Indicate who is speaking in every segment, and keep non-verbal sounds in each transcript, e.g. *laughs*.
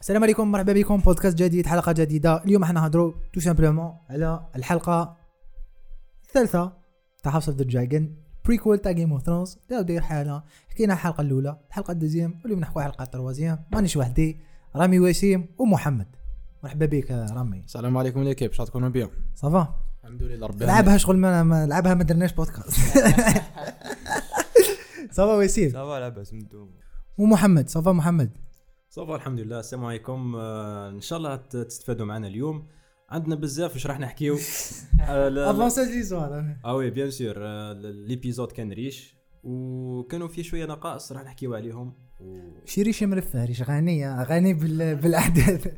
Speaker 1: السلام عليكم مرحبا بكم بودكاست جديد حلقه جديده اليوم احنا نهضروا تو سامبلومون على الحلقه الثالثه تاع هاوس اوف ذا دراجون بريكول تاع جيم اوف ثرونز لا داير حاله حكينا الحلقه الاولى الحلقه الدوزيام واليوم نحكوا على الحلقه التروازيام مانيش وحدي رامي وسيم ومحمد مرحبا بك آه، رامي
Speaker 2: السلام عليكم ليكيب شحال تكونوا بيان
Speaker 1: صافا
Speaker 2: الحمد لله ربي
Speaker 1: لعبها شغل ما, ما لعبها ما درناش بودكاست صافا وسيم
Speaker 3: صافا لاباس مدوم
Speaker 1: ومحمد صافا محمد
Speaker 4: صافا الحمد لله السلام عليكم آه، ان شاء الله ت- تستفادوا معنا اليوم عندنا بزاف واش راح نحكيو آه، لا-
Speaker 1: افونساج ليزوار
Speaker 4: اه وي بيان سور ليبيزود كان ريش وكانوا فيه شويه نقائص راح نحكيو عليهم و...
Speaker 1: شي ريشه ملفه ريش غنيه غني بال... بالاحداث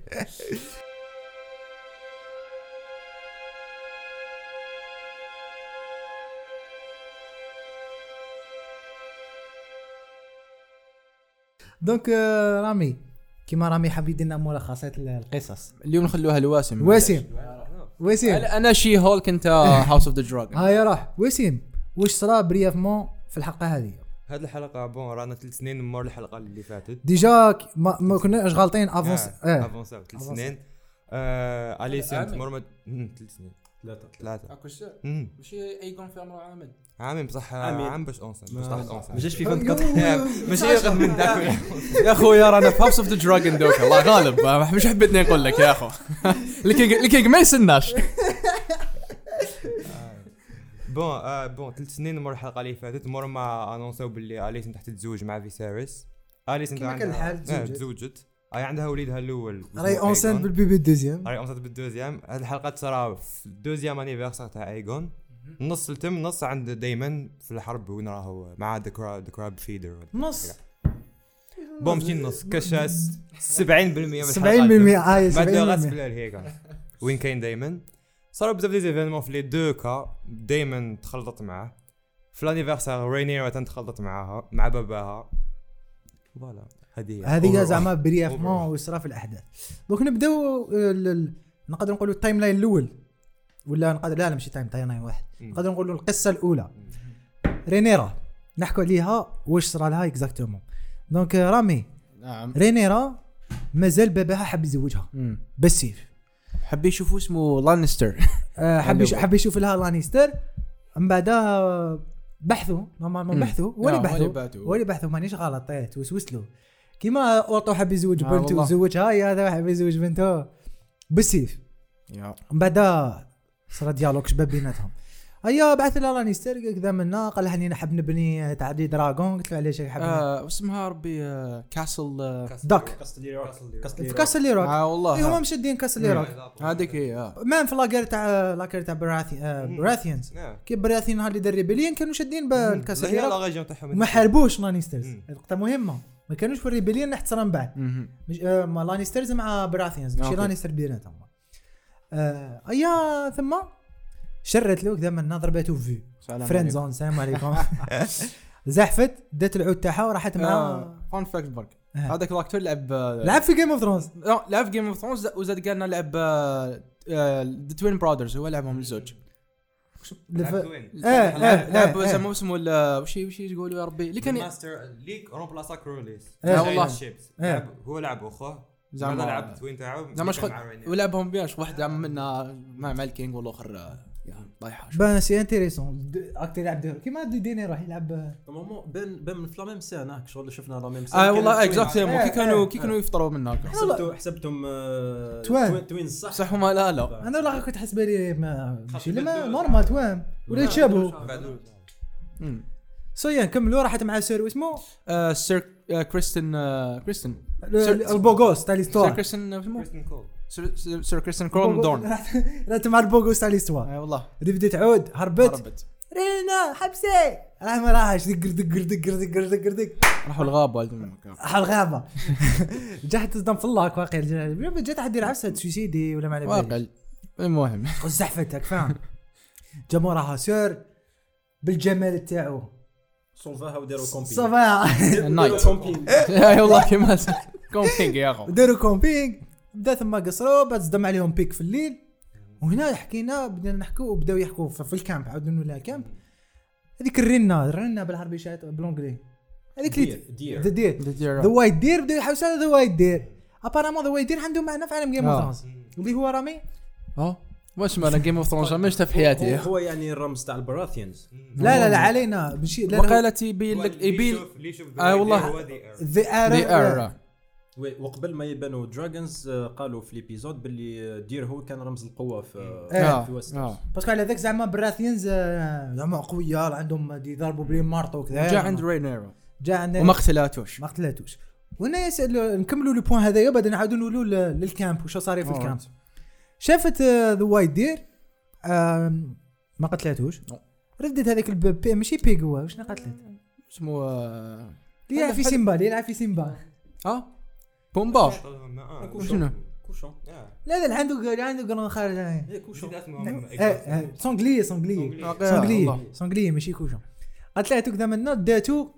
Speaker 1: دونك آه، رامي كيما رامي حاب يدير لنا ملخصات ال- القصص
Speaker 2: اليوم نخلوها لواسم
Speaker 1: وسيم وسيم
Speaker 2: انا أنا شي هولك انت هاوس اوف ذا *laughs* دراجون
Speaker 1: هاي راح وسيم واش صرا بريافمون في الحلقه هذه
Speaker 3: هاد الحلقه بون رانا ثلاث سنين من مور الحلقه اللي فاتت
Speaker 1: ديجا ك- ما, ما كناش غالطين افونس
Speaker 3: اه
Speaker 2: آه.
Speaker 1: اه
Speaker 3: افونسا ثلاث
Speaker 1: أفونسا.
Speaker 3: سنين آه اليسنت
Speaker 2: عامين.
Speaker 3: مور ما- مم، ثلاث سنين
Speaker 4: ثلاثه
Speaker 3: ثلاثه
Speaker 2: الشيء
Speaker 3: مم.
Speaker 2: ماشي اي كونفيرم عامل آه.
Speaker 3: عامين بصح آه،
Speaker 4: عامين.
Speaker 3: عام باش اونسن باش
Speaker 4: ما-
Speaker 3: طاحت
Speaker 4: ما
Speaker 1: *laughs*
Speaker 3: اونسن
Speaker 4: جاش في 24
Speaker 3: *laughs* ماشي ياخذ من داك
Speaker 2: يا خويا رانا في هاوس اوف ذا دراجون دوك الله غالب آه، مش حبيتني نقول لك يا *laughs* اخو الكينج الكينج ما يسناش
Speaker 3: بون آه بون ثلاث سنين مور الحلقه اللي فاتت مور ما انونساو باللي اليسنت راح تتزوج مع فيسيريس اليسنت
Speaker 1: كما كان
Speaker 3: عندها-
Speaker 1: الحال،
Speaker 3: آه،
Speaker 1: تزوجت.
Speaker 3: تزوجت آه، عندها وليدها الاول
Speaker 1: راي
Speaker 3: اسمه
Speaker 1: اونسين
Speaker 3: إيغون.
Speaker 1: بالبيبي الدوزيام
Speaker 3: راي اونسات بالدوزيام هاد الحلقه تصرا في الدوزيام انيفيرسير تاع ايغون نص لتم نص عند دايما في الحرب وين راهو مع ذا كراب ذا كراب فيدر
Speaker 1: نص
Speaker 3: بوم شي نص كشاس 70% من
Speaker 1: 70%
Speaker 3: الحلقة.
Speaker 1: هاي
Speaker 3: بعد غاس
Speaker 1: 70%
Speaker 3: بلال هيك وين كاين دايما صاروا بزاف دي زيفينمون في لي دو كا دايما تخلطت معاه في لانيفيرسير رينيرا تخلطت معاها مع باباها فوالا هذه
Speaker 1: هذه
Speaker 3: Overall.
Speaker 1: زعما بريافمون
Speaker 3: Overall.
Speaker 1: وصرا في الاحداث دونك نبداو آه، ال- ال- نقدر نقولوا التايم لاين الاول ولا نقدر لا لا ماشي تايم تايم لاين واحد
Speaker 3: مم.
Speaker 1: نقدر نقولوا القصه الاولى رينيرا نحكوا عليها واش صرا لها اكزاكتومون دونك آه، رامي
Speaker 2: نعم
Speaker 1: رينيرا مازال باباها حاب يزوجها بالسيف
Speaker 2: حبي يشوفوا اسمه لانستر
Speaker 1: آه، حب يش-
Speaker 2: هلو.
Speaker 1: حب يشوف لها لانيستر من بعدها بحثوا نورمالمون
Speaker 2: مم.
Speaker 1: بحثوا ولا
Speaker 2: آه، ولا
Speaker 1: بحثوا
Speaker 2: بحثوا.
Speaker 1: ولا بحثوا مانيش غلط إيه، توسوس له كيما اورطو حب يزوج
Speaker 2: آه،
Speaker 1: بنته
Speaker 2: والله.
Speaker 1: وزوجها يا هذا حب يزوج بنته بالسيف
Speaker 2: يا
Speaker 1: من بعدها صار ديالوج شباب بيناتهم هيا بعث لها لانيستر كذا منا قال لها اني حاب نبني تعدي دراغون قلت له علاش حاب نبني؟
Speaker 2: آه، واسمها ربي آه، كاسل آه،
Speaker 1: داك
Speaker 4: قصدي روك
Speaker 1: في كاس اللي روك
Speaker 2: آه، والله
Speaker 1: هما مشدين كاس اللي
Speaker 2: مم.
Speaker 1: روك
Speaker 2: هذيك هي آه.
Speaker 1: مان في لاكار تاع لاكار تاع براثي- آ،
Speaker 3: مم.
Speaker 1: براثيانز
Speaker 3: نعم.
Speaker 1: كي براثيين هذه ديال الريبليين كانوا شادين بالكاس
Speaker 3: لا، هي
Speaker 1: اللي
Speaker 3: لا
Speaker 1: روك
Speaker 3: ريجيون تاعهم
Speaker 1: وما حاربوش لانيسترز
Speaker 3: مم.
Speaker 1: نقطة مهمة ما كانوش في الريبليون نحت من بعد
Speaker 2: مهم.
Speaker 1: مش آه ما لانيسترز مع براثيانز ماشي
Speaker 2: أوكي.
Speaker 1: لانيستر بيناتهم آه ايا ثم شرت له كذا من ضربته في
Speaker 2: سلام
Speaker 1: فريند
Speaker 2: عليكم. آه،
Speaker 1: زون السلام عليكم زحفت دات العود تاعها وراحت مع
Speaker 2: فان فاكت برك
Speaker 1: آه.
Speaker 2: هذاك الاكتور لعب آه،
Speaker 1: لعب في جيم اوف ثرونز
Speaker 2: لا لعب جيم اوف ثرونز وزاد قالنا لعب آه، ذا توين براذرز هو لعبهم الزوج
Speaker 1: آه، آه،
Speaker 2: لعب-
Speaker 1: آه،
Speaker 2: لعب
Speaker 1: آه.
Speaker 2: زعما اسمه ال- وش وش يقولوا يا ربي اللي كان
Speaker 3: ماستر ليك رومبلاسا كروليس
Speaker 1: إيه.
Speaker 2: والله.
Speaker 3: شيبس
Speaker 1: إيه.
Speaker 3: هو لعب اخوه
Speaker 2: زعما-
Speaker 3: زعما لعب توين تاعو
Speaker 2: زعما شغل
Speaker 3: مع رينيرا.
Speaker 2: ولعبهم بيان شغل واحد عم منا مع مع الكينج والاخر آه، يعني طايحه شوي.
Speaker 1: بان سي انتيريسون اكتر يلعب دور. كيما دي ديني راح يلعب
Speaker 4: نورمالمون بين بين من في لا ميم سان هاك شغل شفنا لا ميم
Speaker 2: اه والله اكزاكتلي
Speaker 1: آه،
Speaker 2: كي كانوا
Speaker 1: آه.
Speaker 2: كي كانوا يفطروا من هناك
Speaker 4: حسبتهم حسبتهم آه،
Speaker 1: توان.
Speaker 4: توين توين صح
Speaker 2: صح وما لا لا
Speaker 1: انا والله كنت حسب لي ما- ماشي
Speaker 4: خاطر
Speaker 1: لما
Speaker 4: بالدور.
Speaker 1: نورمال توام ولا تشابهوا
Speaker 4: بعد-
Speaker 2: مم.
Speaker 1: سويا نكملوا راحت مع سير واسمو
Speaker 2: آه، سير آه، كريستن آه، كريستن سير-
Speaker 1: البوغوس تاع
Speaker 2: سير
Speaker 1: ليستوار
Speaker 2: كريستن آه، اسمه
Speaker 3: كريستن كول
Speaker 2: سير- سير- سير كريستن كرون دورن
Speaker 1: رحت مع البوغوس تاع ليستوار
Speaker 2: آه، والله
Speaker 1: اللي بدات تعود هربت
Speaker 2: هربت
Speaker 1: رينا حبسي راه ما راهش دقر دقر دقر دقر دقر دقر
Speaker 2: راحوا الغابه هذوك.
Speaker 1: راح الغابه جا تصدم في الله واقع جات حد يلعب سد سويسيدي ولا ما على باليش.
Speaker 2: واقع المهم *laughs*
Speaker 1: وزحفتك فاهم جا موراها سير بالجمال تاعو
Speaker 4: سولفاها وداروا كومبي
Speaker 1: صباح
Speaker 2: النايت.
Speaker 4: كومبي
Speaker 2: *laughs* اي والله كيما *laughs* كومبينج يا اخو
Speaker 1: داروا كومبينغ بدا ثم قصروا بعد صدم عليهم بيك في الليل وهنا حكينا بدنا نحكوا وبداو يحكوا في, في الكامب عاودوا نولها كامب هذيك الرنة الرنة بالعربي شات بالونجلي هذيك اللي
Speaker 4: دير- دير.
Speaker 1: ذا دير ذا وايت دير بداو يحوسوا على ذا وايت دير ابارامون ذا ويدير عندهم معنى في عالم جيم
Speaker 2: آه.
Speaker 1: اوف ثرونز اللي هو رامي
Speaker 2: اه واش معنى جيم اوف ثرونز ما شفتها في حياتي يا
Speaker 4: هو-
Speaker 2: أخي.
Speaker 4: هو يعني الرمز تاع البراثيانز
Speaker 1: لا لا لا علينا بشي لا لا
Speaker 2: وقالت يبين لك يبين آه
Speaker 3: اه
Speaker 2: والله.
Speaker 3: والله
Speaker 1: ذا
Speaker 2: ذا
Speaker 1: ارا
Speaker 2: ايرا
Speaker 4: وي- وقبل ما يبانوا دراجونز قالوا في الابيزود باللي دير هو كان رمز القوه في آه،
Speaker 1: إيه.
Speaker 2: آه،
Speaker 4: في وستروس
Speaker 1: باسكو على ذاك زعما براثينز آه، زعما قويار عندهم يضربوا بلي مارطو وكذا
Speaker 2: جاء عند رينيرو
Speaker 1: جا عند
Speaker 2: وما قتلاتوش
Speaker 1: ما قتلاتوش وهنا يسأل نكملوا لو بوان هذايا بعد نعاودوا نولوا ل- للكامب وش صار في
Speaker 2: Alright.
Speaker 1: الكامب شافت آه، ذا وايت دير آم، ما قتلاتوش
Speaker 2: No.
Speaker 1: ردت هذاك الب- بي- ماشي بيغ هو واش قتلت
Speaker 2: اسمه آه،
Speaker 1: اللي يلعب في
Speaker 2: هذا-
Speaker 1: سيمبا اللي يلعب في سيمبا
Speaker 2: اه بومبا
Speaker 3: آه.
Speaker 2: شنو؟
Speaker 4: آه، كوشون
Speaker 1: لا لا اللي عنده اللي عنده قرن خارج آه،
Speaker 4: إيه، كوشون
Speaker 1: آه، سونغلي سونغلي
Speaker 2: آه،
Speaker 1: سونغلي سونغلي ماشي كوشون قتلاتو كذا منا داتو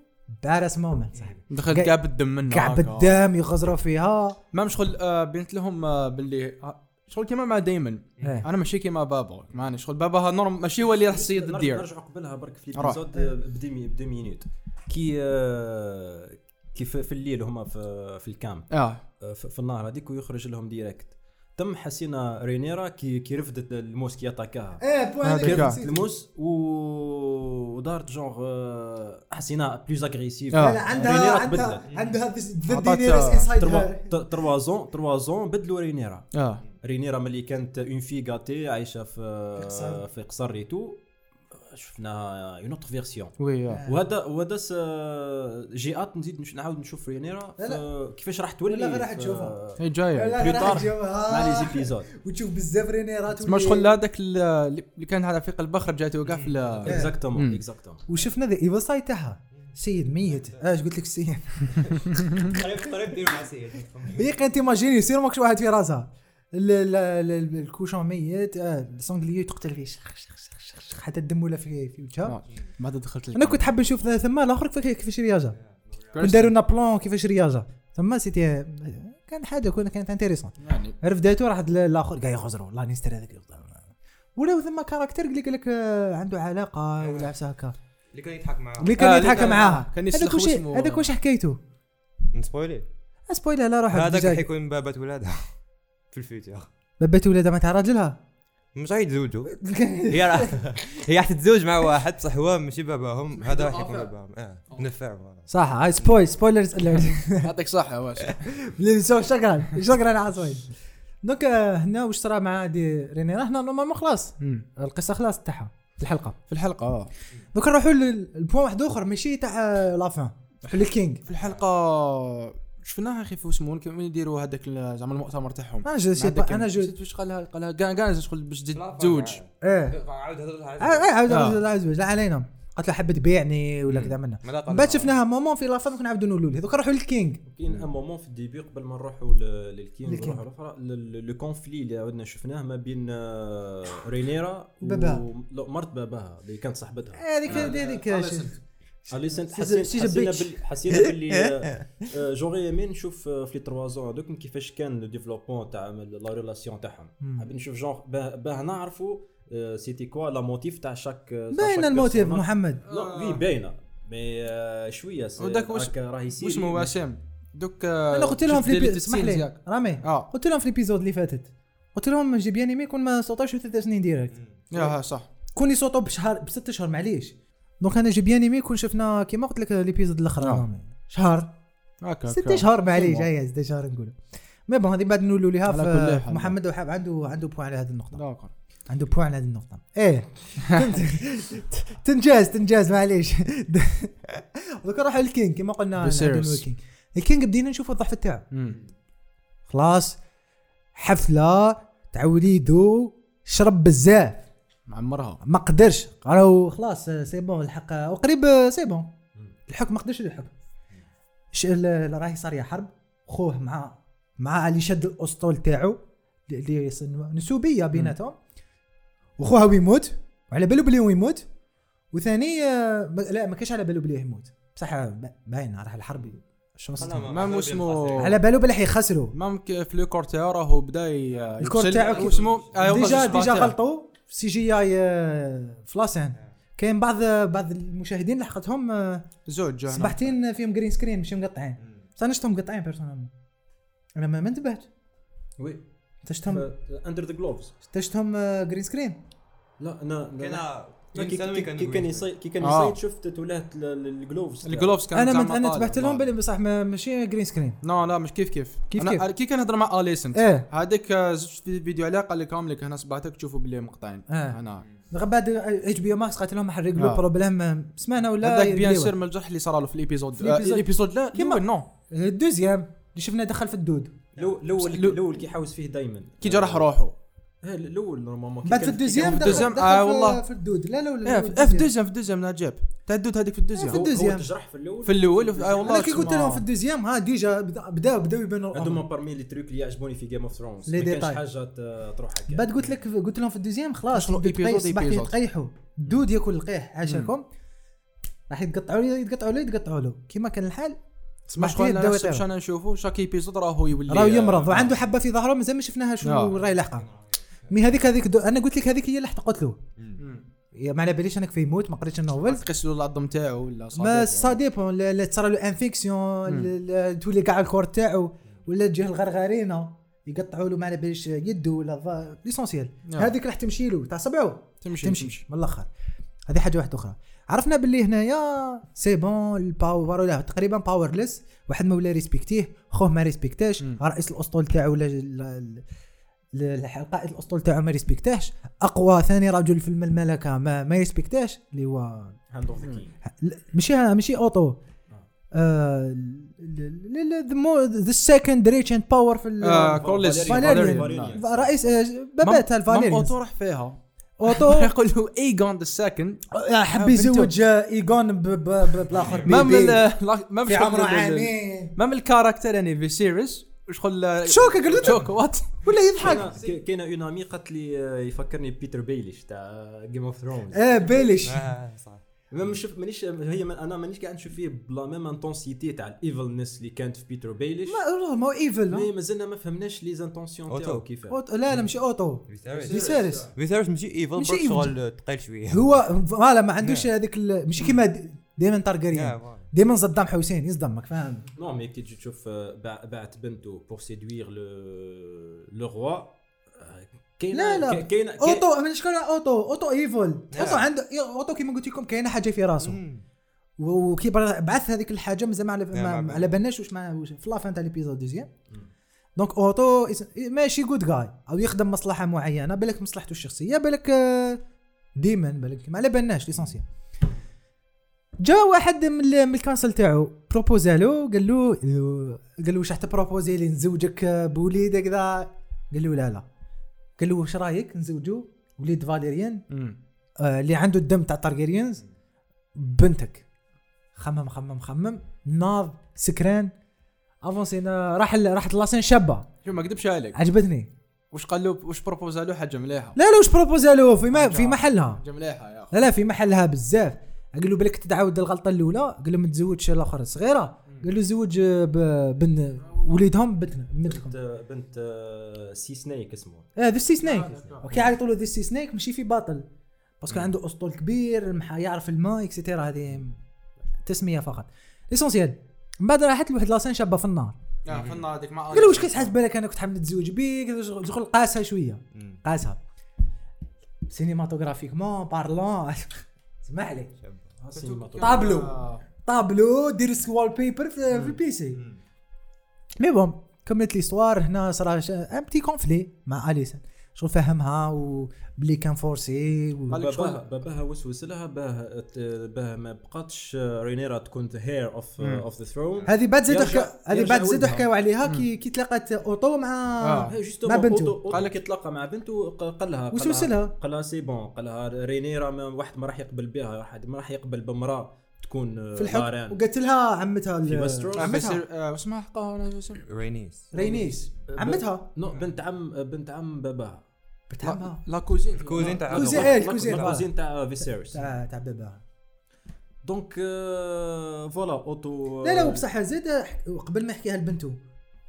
Speaker 1: بارس مومنت صاحبي
Speaker 2: دخل
Speaker 1: قا-
Speaker 2: كعب الدم منه
Speaker 1: كعب
Speaker 2: هكا.
Speaker 1: الدم يغزروا فيها
Speaker 2: ما شغل آه، بنت لهم آه، باللي آه، شغل كيما مع دايما
Speaker 1: إيه.
Speaker 2: انا ماشي كيما بابا معني شغل بابا ها نورم ماشي هو اللي راح يصيد الدير
Speaker 4: نرجع قبلها برك في
Speaker 2: روح.
Speaker 4: الابيزود بدي بدي مينوت كي آه، كي في في الليل هما في في الكامب
Speaker 2: اه
Speaker 4: آه، في في النهار هذيك ويخرج لهم ديريكت تم حسينا رينيرا كي كي رفدت الموس كي
Speaker 2: آه،
Speaker 4: اتاكاها
Speaker 1: ايه بوان
Speaker 2: هذاك
Speaker 1: هذاك
Speaker 2: كاع.
Speaker 1: نسيت.
Speaker 4: الموس و... ودارت جونغ آه، حسينا بلوز اغريسيف
Speaker 2: آه.
Speaker 1: لا لا عندها
Speaker 4: رينيرا
Speaker 1: عندها
Speaker 4: تبدلت
Speaker 1: عندها ذا
Speaker 2: عطاتها
Speaker 1: دينيرس انسايد هير
Speaker 4: تروازون تروازون بدلوا رينيرا
Speaker 2: اه
Speaker 4: رينيرا ملي كانت اون في غاتي عايشه في
Speaker 1: في قصر.
Speaker 4: في قصر ريتو شفنا اون اوتر فيرسيون
Speaker 2: وي
Speaker 1: إيه.
Speaker 2: آه.
Speaker 4: وهذا وهذا س- جيئات نزيد نش- نعاود نشوف رينيرا
Speaker 1: لا
Speaker 4: في- كيفاش راح تولي
Speaker 1: لا غير راح
Speaker 4: في-
Speaker 1: تشوفها.
Speaker 2: هي جايه
Speaker 4: بلو طارق. مع لي
Speaker 1: مع
Speaker 4: زيبيزود
Speaker 1: وتشوف بزاف رينيرات
Speaker 2: ما
Speaker 1: واللي-
Speaker 2: شغل هذاك اللي كان على فيق البخر جات وقع في
Speaker 1: آه.
Speaker 2: ال-
Speaker 1: إيه.
Speaker 4: اكزاكتومون اكزاكتومون
Speaker 1: وشفنا ذا ايفل سايد تاعها سيد ميت اش قلت لك سيد *laughs*
Speaker 3: قريب قريب ديروا مع سيد
Speaker 1: هي كانت تيماجيني يصير ماكش واحد في راسها ال- ال- ال- الكوشون ميت آه، السونغليي تقتل فيه شخ شخ شخ شخ شخ حتى الدم ولا في في
Speaker 2: آه.
Speaker 1: وجهها
Speaker 2: ما دخلت
Speaker 1: انا كنت حاب نشوف ثما الاخر كيف- كيفاش رياجه كون
Speaker 2: Interesting.
Speaker 1: داروا لنا بلون كيفاش رياجه ثما سيتي كان حاجه كون- كانت انتيريسون
Speaker 2: يعني
Speaker 1: عرف داتو راح الاخر قاعد يخزروا لانيستر هذاك يخزر ولا ثم كاركتر اللي قال لك آه، عنده علاقه ولا عفسه هكا
Speaker 3: اللي كان يضحك معاه
Speaker 1: اللي
Speaker 2: يعني. آه،
Speaker 1: كان
Speaker 2: اللي
Speaker 1: يضحك
Speaker 2: كان-
Speaker 1: معاها
Speaker 2: كان يسلخ
Speaker 1: هذاك وش
Speaker 2: واسمه-
Speaker 1: هذاك وش حكايته
Speaker 3: نسبويلي
Speaker 1: سبويلر لا روح
Speaker 3: هذاك راح يكون بابات ولادها *laughs* في الفيوتشر
Speaker 1: ببت ولادها ما تعرض لها
Speaker 3: مش راح يتزوجوا هي راح هي راح تتزوج مع واحد بصح هو ماشي باباهم هذا راح يكون باباهم اه نفعهم
Speaker 1: صح هاي سبويل سبويلرز *laughs*
Speaker 2: يعطيك صحة واش
Speaker 1: شكرا شكرا على سويد دونك آه، هنا وش صرا مع دي رينيرا هنا نورمالمون خلاص
Speaker 2: في
Speaker 1: القصه خلاص تاعها الحلقه
Speaker 2: الحلقة اه
Speaker 1: دوك نروحوا للبوان واحد اخر ماشي تاع آه، لافان الكينج
Speaker 2: في الحلقة شفناها اخي في اسمه كيما يديروا هذاك ال- زعما المؤتمر تاعهم
Speaker 1: انا جو سي
Speaker 2: مع
Speaker 1: با
Speaker 2: هذاك
Speaker 1: انا
Speaker 2: ال-
Speaker 1: جو
Speaker 2: نسيت واش قالها قالها كاع كاع شغل باش تزوج
Speaker 1: ايه
Speaker 3: عاود هذا
Speaker 1: اه اه عاود
Speaker 2: آه.
Speaker 1: عاود عاود لا علينا قالت له حاب تبيعني ولا كذا منا من بعد شفناها مومون في لافا كنا عاودوا نولوا هذوك نروحوا للكينج
Speaker 4: كاين ان مومون في الديبي قبل ما نروحوا ل- للكين
Speaker 1: للكين.
Speaker 4: نروحوا الاخرى لو كونفلي اللي عدنا شفناه ما بين آه، رينيرا و-
Speaker 1: باباها.
Speaker 4: لا، مرت باباها اللي كانت صاحبتها
Speaker 1: هذيك هذيك
Speaker 4: اليسنت
Speaker 1: سيز-
Speaker 4: حسينا
Speaker 1: سيز
Speaker 4: حسينا
Speaker 1: بيتش.
Speaker 4: بال- حسينا باللي آه، جوري يمين نشوف آه، في لي تروا زون هذوك كيفاش كان لو ديفلوبمون تاع لا ريلاسيون تاعهم
Speaker 1: مم.
Speaker 4: حاب نشوف جونغ باه باه نعرفوا آه، سيتي كوا لا موتيف تاع شاك
Speaker 1: باين الموتيف محمد
Speaker 4: لا وي باينه مي آه، شويه س-
Speaker 2: آه. وداك واش-
Speaker 4: هكا راه يسير
Speaker 2: واش هو هشام دوك آه،
Speaker 1: انا قلت لهم
Speaker 2: شفت
Speaker 1: في الإبي-
Speaker 2: ديليتد
Speaker 1: اسمح
Speaker 2: سينز
Speaker 1: لي
Speaker 2: ياك.
Speaker 1: رامي
Speaker 2: اه
Speaker 1: قلت لهم في الابيزود اللي فاتت قلت لهم جي بيان ايمي كون ما سوطاش في ثلاث سنين ديريكت
Speaker 2: يا ها صح
Speaker 1: كون يسوطوا بشهر بست اشهر معليش دونك انا جي بيان ايمي كون شفنا كيما قلت لك الابيزود الاخر
Speaker 2: آه.
Speaker 1: رامي شهر
Speaker 2: هكا
Speaker 1: ست
Speaker 2: هكا.
Speaker 1: اشهر معليش هي ست اشهر نقولوا مي بون هذه بعد نولوا ليها
Speaker 2: على كل
Speaker 1: في
Speaker 2: حال.
Speaker 1: محمد وحاب عنده عنده بوان على هذه النقطه
Speaker 2: داكور.
Speaker 1: عنده بوع على هذه النقطة ايه *laughs* تنجاز تنجاز معليش *laughs* دوك نروحوا للكينج كما قلنا
Speaker 2: Viserys.
Speaker 1: نعدلوا الكينج الكينج بدينا نشوفوا الضعف تاعو
Speaker 2: مم.
Speaker 1: خلاص حفلة تاع وليدو شرب بزاف
Speaker 2: معمرها
Speaker 1: ما قدرش قالوا خلاص سي بون الحق آه، وقريب سي بون الحكم ما قدرش الحكم ش- ال- ال- راهي صاريه حرب خوه مع مع اللي شد الاسطول تاعو اللي يص- نسوبيه بيناتهم وخوها ويموت وعلى بالو بلي هو يموت وثاني آه، ما- لا ما كانش على بالو بلي يموت بصح ب- باين راح الحرب شمس
Speaker 2: ما مو اسمه
Speaker 1: على بالو بلي حيخسروا
Speaker 2: مام ك- في لو كور تاعو راهو آه، بدا ي-
Speaker 1: الكور
Speaker 2: يفشل.
Speaker 1: تاعو كي-
Speaker 2: واسمه آه، والله
Speaker 1: ديجا
Speaker 2: شبه
Speaker 1: ديجا
Speaker 2: تاعو.
Speaker 1: غلطوا في سي جي اي فلاسان آه، كاين بعض بعض المشاهدين لحقتهم آه،
Speaker 2: زوج هنا.
Speaker 1: صبحتين فيهم جرين سكرين مش مقطعين بس انا شفتهم مقطعين بيرسونالمون انا ما ما انتبهت
Speaker 4: وي
Speaker 1: تشتم
Speaker 4: اندر ذا جلوفز
Speaker 1: تشتم كرين سكرين
Speaker 4: لا انا
Speaker 3: كاين
Speaker 4: لا،
Speaker 3: كاين
Speaker 4: كي-
Speaker 3: ثانوي
Speaker 4: كي- كي كان
Speaker 3: وين.
Speaker 4: يصيد كي كان
Speaker 2: آه.
Speaker 4: يصيد شفت تولات الجلوفز
Speaker 2: الجلوفز كانت
Speaker 1: انا
Speaker 2: زعما
Speaker 1: مت... انا
Speaker 2: طالعة.
Speaker 1: انتبهت لهم بلي بصح ما- ماشي جرين سكرين
Speaker 2: لا لا مش كيف كيف
Speaker 1: كيف
Speaker 2: أنا-
Speaker 1: كيف؟
Speaker 2: أنا كي كان نهضر مع اليسنت
Speaker 1: ايه
Speaker 2: هذاك آه، زفت في فيديو عليه قال لك هم لك هنا صبعتك تشوفوا بلي مقطعين
Speaker 1: آه.
Speaker 2: هنا
Speaker 1: بعد اتش بي او ماكس قالت لهم حرق له
Speaker 2: آه.
Speaker 1: بروبليم سمعنا ولا
Speaker 2: هذاك
Speaker 1: يديوه.
Speaker 2: بيان سير من الجرح اللي صار له في الابيزود
Speaker 1: في الإبيزود.
Speaker 2: آه، الابيزود لا
Speaker 1: كيما-
Speaker 2: كيما نو
Speaker 1: الدوزيام اللي شفنا دخل في الدود
Speaker 4: الاول
Speaker 2: لو-
Speaker 4: الاول كي يحوس فيه دائما
Speaker 2: كي جرح روحه
Speaker 4: الاول نورمالمون كي
Speaker 1: بعد في
Speaker 4: كان- كي
Speaker 1: الدوزيام
Speaker 4: كان-
Speaker 1: دخل,
Speaker 2: الدوزيام،
Speaker 1: دخل
Speaker 2: آه
Speaker 1: في-
Speaker 2: والله.
Speaker 1: إيه، في الدود لا لا ولا
Speaker 2: ايه في في الدوزيام في الدوزيام لا جاب تاع الدود هذيك في
Speaker 1: في
Speaker 2: الدوزيام
Speaker 1: الدوزيام.
Speaker 4: هو تجرح في الاول
Speaker 2: في الاول وفي- آه والله
Speaker 1: انا كي قلت
Speaker 2: تسمع.
Speaker 1: لهم في الدوزيام ها ديجا بدا- بداو بداو يبانوا
Speaker 4: هذوما
Speaker 1: الأمر.
Speaker 4: بارمي لي تروك اللي يعجبوني في جيم اوف ثرونز
Speaker 1: لي
Speaker 4: ما كانش
Speaker 1: ديتاي.
Speaker 4: حاجه ت- تروح هكا
Speaker 1: بعد قلت لك قلت لهم في الدوزيام خلاص
Speaker 2: أصله
Speaker 1: يتقي-
Speaker 2: إيبيزود
Speaker 1: صباح
Speaker 2: إيبيزود.
Speaker 1: يتقيحوا الدود ياكل القيح عاشركم راح يتقطعوا لي يتقطعوا لي يتقطعوا له كيما كان الحال
Speaker 2: سمح
Speaker 1: لي
Speaker 2: خويا
Speaker 1: بداو
Speaker 2: نحسب
Speaker 1: يطيروا.
Speaker 2: شانا نشوفو شاك ايبيزود راهو يولي
Speaker 1: راهو يمرض
Speaker 2: آه،
Speaker 1: وعنده حبه في ظهره مازال ما شفناها
Speaker 2: آه.
Speaker 1: شنو راهي لاحقه مي هذيك هذيك دو- انا قلت لك هذيك هي اللي حتقتله يا ما على باليش انك في يموت ما قريتش النوفل
Speaker 2: تقيس له العظم تاعو ولا
Speaker 1: ما سا ديبون لا لا تصرى له انفيكسيون لا- لا تولي كاع الكور تاعو ولا تجيه الغرغرينه يقطعوا له ما على باليش يده ولا ظ- ليسونسيال
Speaker 2: نعم.
Speaker 1: هذيك راح تمشي له تاع صبعو
Speaker 2: تمشي
Speaker 1: تمشي
Speaker 2: تمشي
Speaker 1: من الاخر هذه حاجه واحده اخرى عرفنا باللي هنايا سي بون الباور ولا تقريبا باورليس واحد ما ولا ريسبكتيه خوه ما ريسبكتاش
Speaker 2: مم.
Speaker 1: رئيس الاسطول تاعو ولا ال- ال- ال- القائد الاسطول تاعو ما ريسبكتاش اقوى ثاني رجل في الم- المملكه ما ما ريسبكتاش اللي هو
Speaker 4: هاند اوف ذا كي
Speaker 1: لا، ماشي ماشي اوتو آه، ذا سكند ريتش اند باور في ال-
Speaker 2: آه، كورليس
Speaker 1: فاليريان.
Speaker 4: فاليريان.
Speaker 1: رئيس آه، بابات
Speaker 2: مام
Speaker 1: الفاليريانز
Speaker 2: اوتو راح فيها
Speaker 1: اوتو
Speaker 2: يقول له ايجون ذا سكند
Speaker 1: حب يزوج ايجون بالاخر
Speaker 2: مام
Speaker 1: بيبي.
Speaker 2: *laughs* مام
Speaker 1: في عمره عامين
Speaker 2: مام الكاركتر يعني في سيريس وشغل
Speaker 1: شوكة قلت له.
Speaker 2: شوكا وات
Speaker 1: ولا يضحك
Speaker 4: كاين اون امي قالت لي آه، يفكرني بيتر بيليش تاع جيم اوف
Speaker 2: إيه.
Speaker 4: ثرونز
Speaker 1: اه بيليش
Speaker 3: آه، صح
Speaker 4: ما شوف مانيش هي من انا مانيش قاعد نشوف فيه بلا ميم انتونسيتي تاع الايفلنس اللي كانت في بيتر بيليش
Speaker 1: ما ما هو
Speaker 4: مي
Speaker 1: ايفل
Speaker 4: مازلنا ما فهمناش لي زانتونسيون
Speaker 3: أوتو.
Speaker 4: تاعو كيفاش
Speaker 1: أوتو- لا لا ماشي اوتو دي
Speaker 3: فيتاريس
Speaker 1: سيريس
Speaker 3: فيتاريس ماشي ايفل
Speaker 1: ماشي
Speaker 3: برك
Speaker 1: evil.
Speaker 3: شغل ثقيل شويه
Speaker 1: هو فوالا ما عندوش هذيك ال- ماشي كيما د- دايما
Speaker 3: آه،
Speaker 1: تارجريان
Speaker 3: فوالا.
Speaker 1: دايما صدام حسين يصدمك فاهم
Speaker 4: نو مي كي تجي تشوف آه، باع- باعت بنته بور سيدوير لو روا euh, كاين
Speaker 1: لا، لا.
Speaker 4: كاين
Speaker 1: اوتو من شكون اوتو اوتو ايفل
Speaker 3: نعم.
Speaker 1: اوتو عنده اوتو كيما قلت لكم كاينه حاجه في راسه
Speaker 3: مم.
Speaker 1: و- وكي برا- بعث هذيك الحاجه مازال ما على ما-
Speaker 3: نعم.
Speaker 1: ما على بالناش واش معناها واش- في لافان تاع ليبيزود دوزيام دونك اوتو إس- ماشي جود جاي او يخدم مصلحه معينه بالك مصلحته الشخصيه بالك آه، ديما بالك ما على بالناش ليسونسيال جا واحد من ال- من الكانسل تاعو بروبوزالو قال له قال له واش راح تبروبوزي لي نزوجك آه، بوليد كذا قال له لا لا قال له واش رايك نزوجو وليد فاليريان آه، اللي عنده الدم تاع تارجيريانز بنتك خمم خمم خمم ناض سكران افونسينا راح ال- راحت لاسين شابه
Speaker 2: شوف ما كذبش عليك
Speaker 1: عجبتني
Speaker 2: واش قال له واش بروبوزالو حاجه مليحه
Speaker 1: لا لا وش بروبوزالو في ما
Speaker 2: رجع.
Speaker 1: في محلها
Speaker 2: حاجه مليحه يا اخي
Speaker 1: لا لا في محلها بزاف قال له بالك تتعاود الغلطه الاولى قال له ما تزوجش الاخر صغيره قال له زوج آه، ب- بن وليدهم بنتنا بنتكم
Speaker 4: بنت euh, بنت آه، سي سنيك اسمه
Speaker 1: اه ذا سي سنيك وكي يعيطوا له ذا سي سنيك ماشي في باطل باسكو عنده اسطول كبير مح- يعرف الماء اكسيتيرا هذه تسميه فقط ليسونسيال من بعد راحت لواحد لاسين شابه في النار
Speaker 2: آه، في النار هذيك مع
Speaker 1: قال له واش كنت حاسب بالك انا كنت حاب نتزوج بيك شغل قاسها شويه
Speaker 3: مم.
Speaker 1: قاسها سينيماتوغرافيكمون بارلون *laughs* اسمح لي
Speaker 3: شابة.
Speaker 4: آه، سينماتوجرافي.
Speaker 1: طابلو.
Speaker 2: آه،
Speaker 1: طابلو دير وول بيبر في في البي سي
Speaker 3: مم.
Speaker 1: مي بون كملت ليستوار هنا صرا ان بتي كونفلي مع اليسن شغل فهمها وبلي كان فورسي و...
Speaker 2: قال لك
Speaker 4: باباها
Speaker 2: شغل
Speaker 4: باباها وسوس لها باه ت- باه ما بقاتش آه، رينيرا تكون هير اوف
Speaker 2: مم.
Speaker 4: اوف ذا ثرون
Speaker 1: هذه بعد زادوا
Speaker 4: يرجع-
Speaker 1: حكا... هذه
Speaker 4: يرجع
Speaker 1: بعد زادوا
Speaker 4: ولدها.
Speaker 1: حكاو عليها كي كي تلاقت اوتو مع
Speaker 2: آه.
Speaker 1: مع بنته.
Speaker 4: قال لك يتلاقى مع بنته ق- قال لها قال
Speaker 1: وسوس
Speaker 4: لها-
Speaker 1: لها.
Speaker 4: قال لها سي بون قال لها رينيرا ما واحد ما راح يقبل بها واحد ما راح يقبل بامراه تكون آه،
Speaker 1: في الحب
Speaker 4: داران.
Speaker 1: وقالت لها عمتها ال-
Speaker 4: في وستروس.
Speaker 2: آه،
Speaker 1: عمتها
Speaker 2: بيصير- آه، اسمها حقها انا شو اسمها؟
Speaker 3: رينيس
Speaker 1: رينيس عمتها
Speaker 4: نو بنت عم بنت عم باباها
Speaker 1: بنت
Speaker 2: لا-
Speaker 1: عمها
Speaker 2: لا كوزين
Speaker 3: الكوزين تاع
Speaker 1: كوزين،
Speaker 3: هذا.
Speaker 1: إيه، الكوزين.
Speaker 4: لا، الكوزين تاع فيسيريس
Speaker 1: تاع تاع باباها
Speaker 4: دونك آه، فوالا اوتو
Speaker 1: لا لا وبصح زاد قبل ما يحكيها لبنته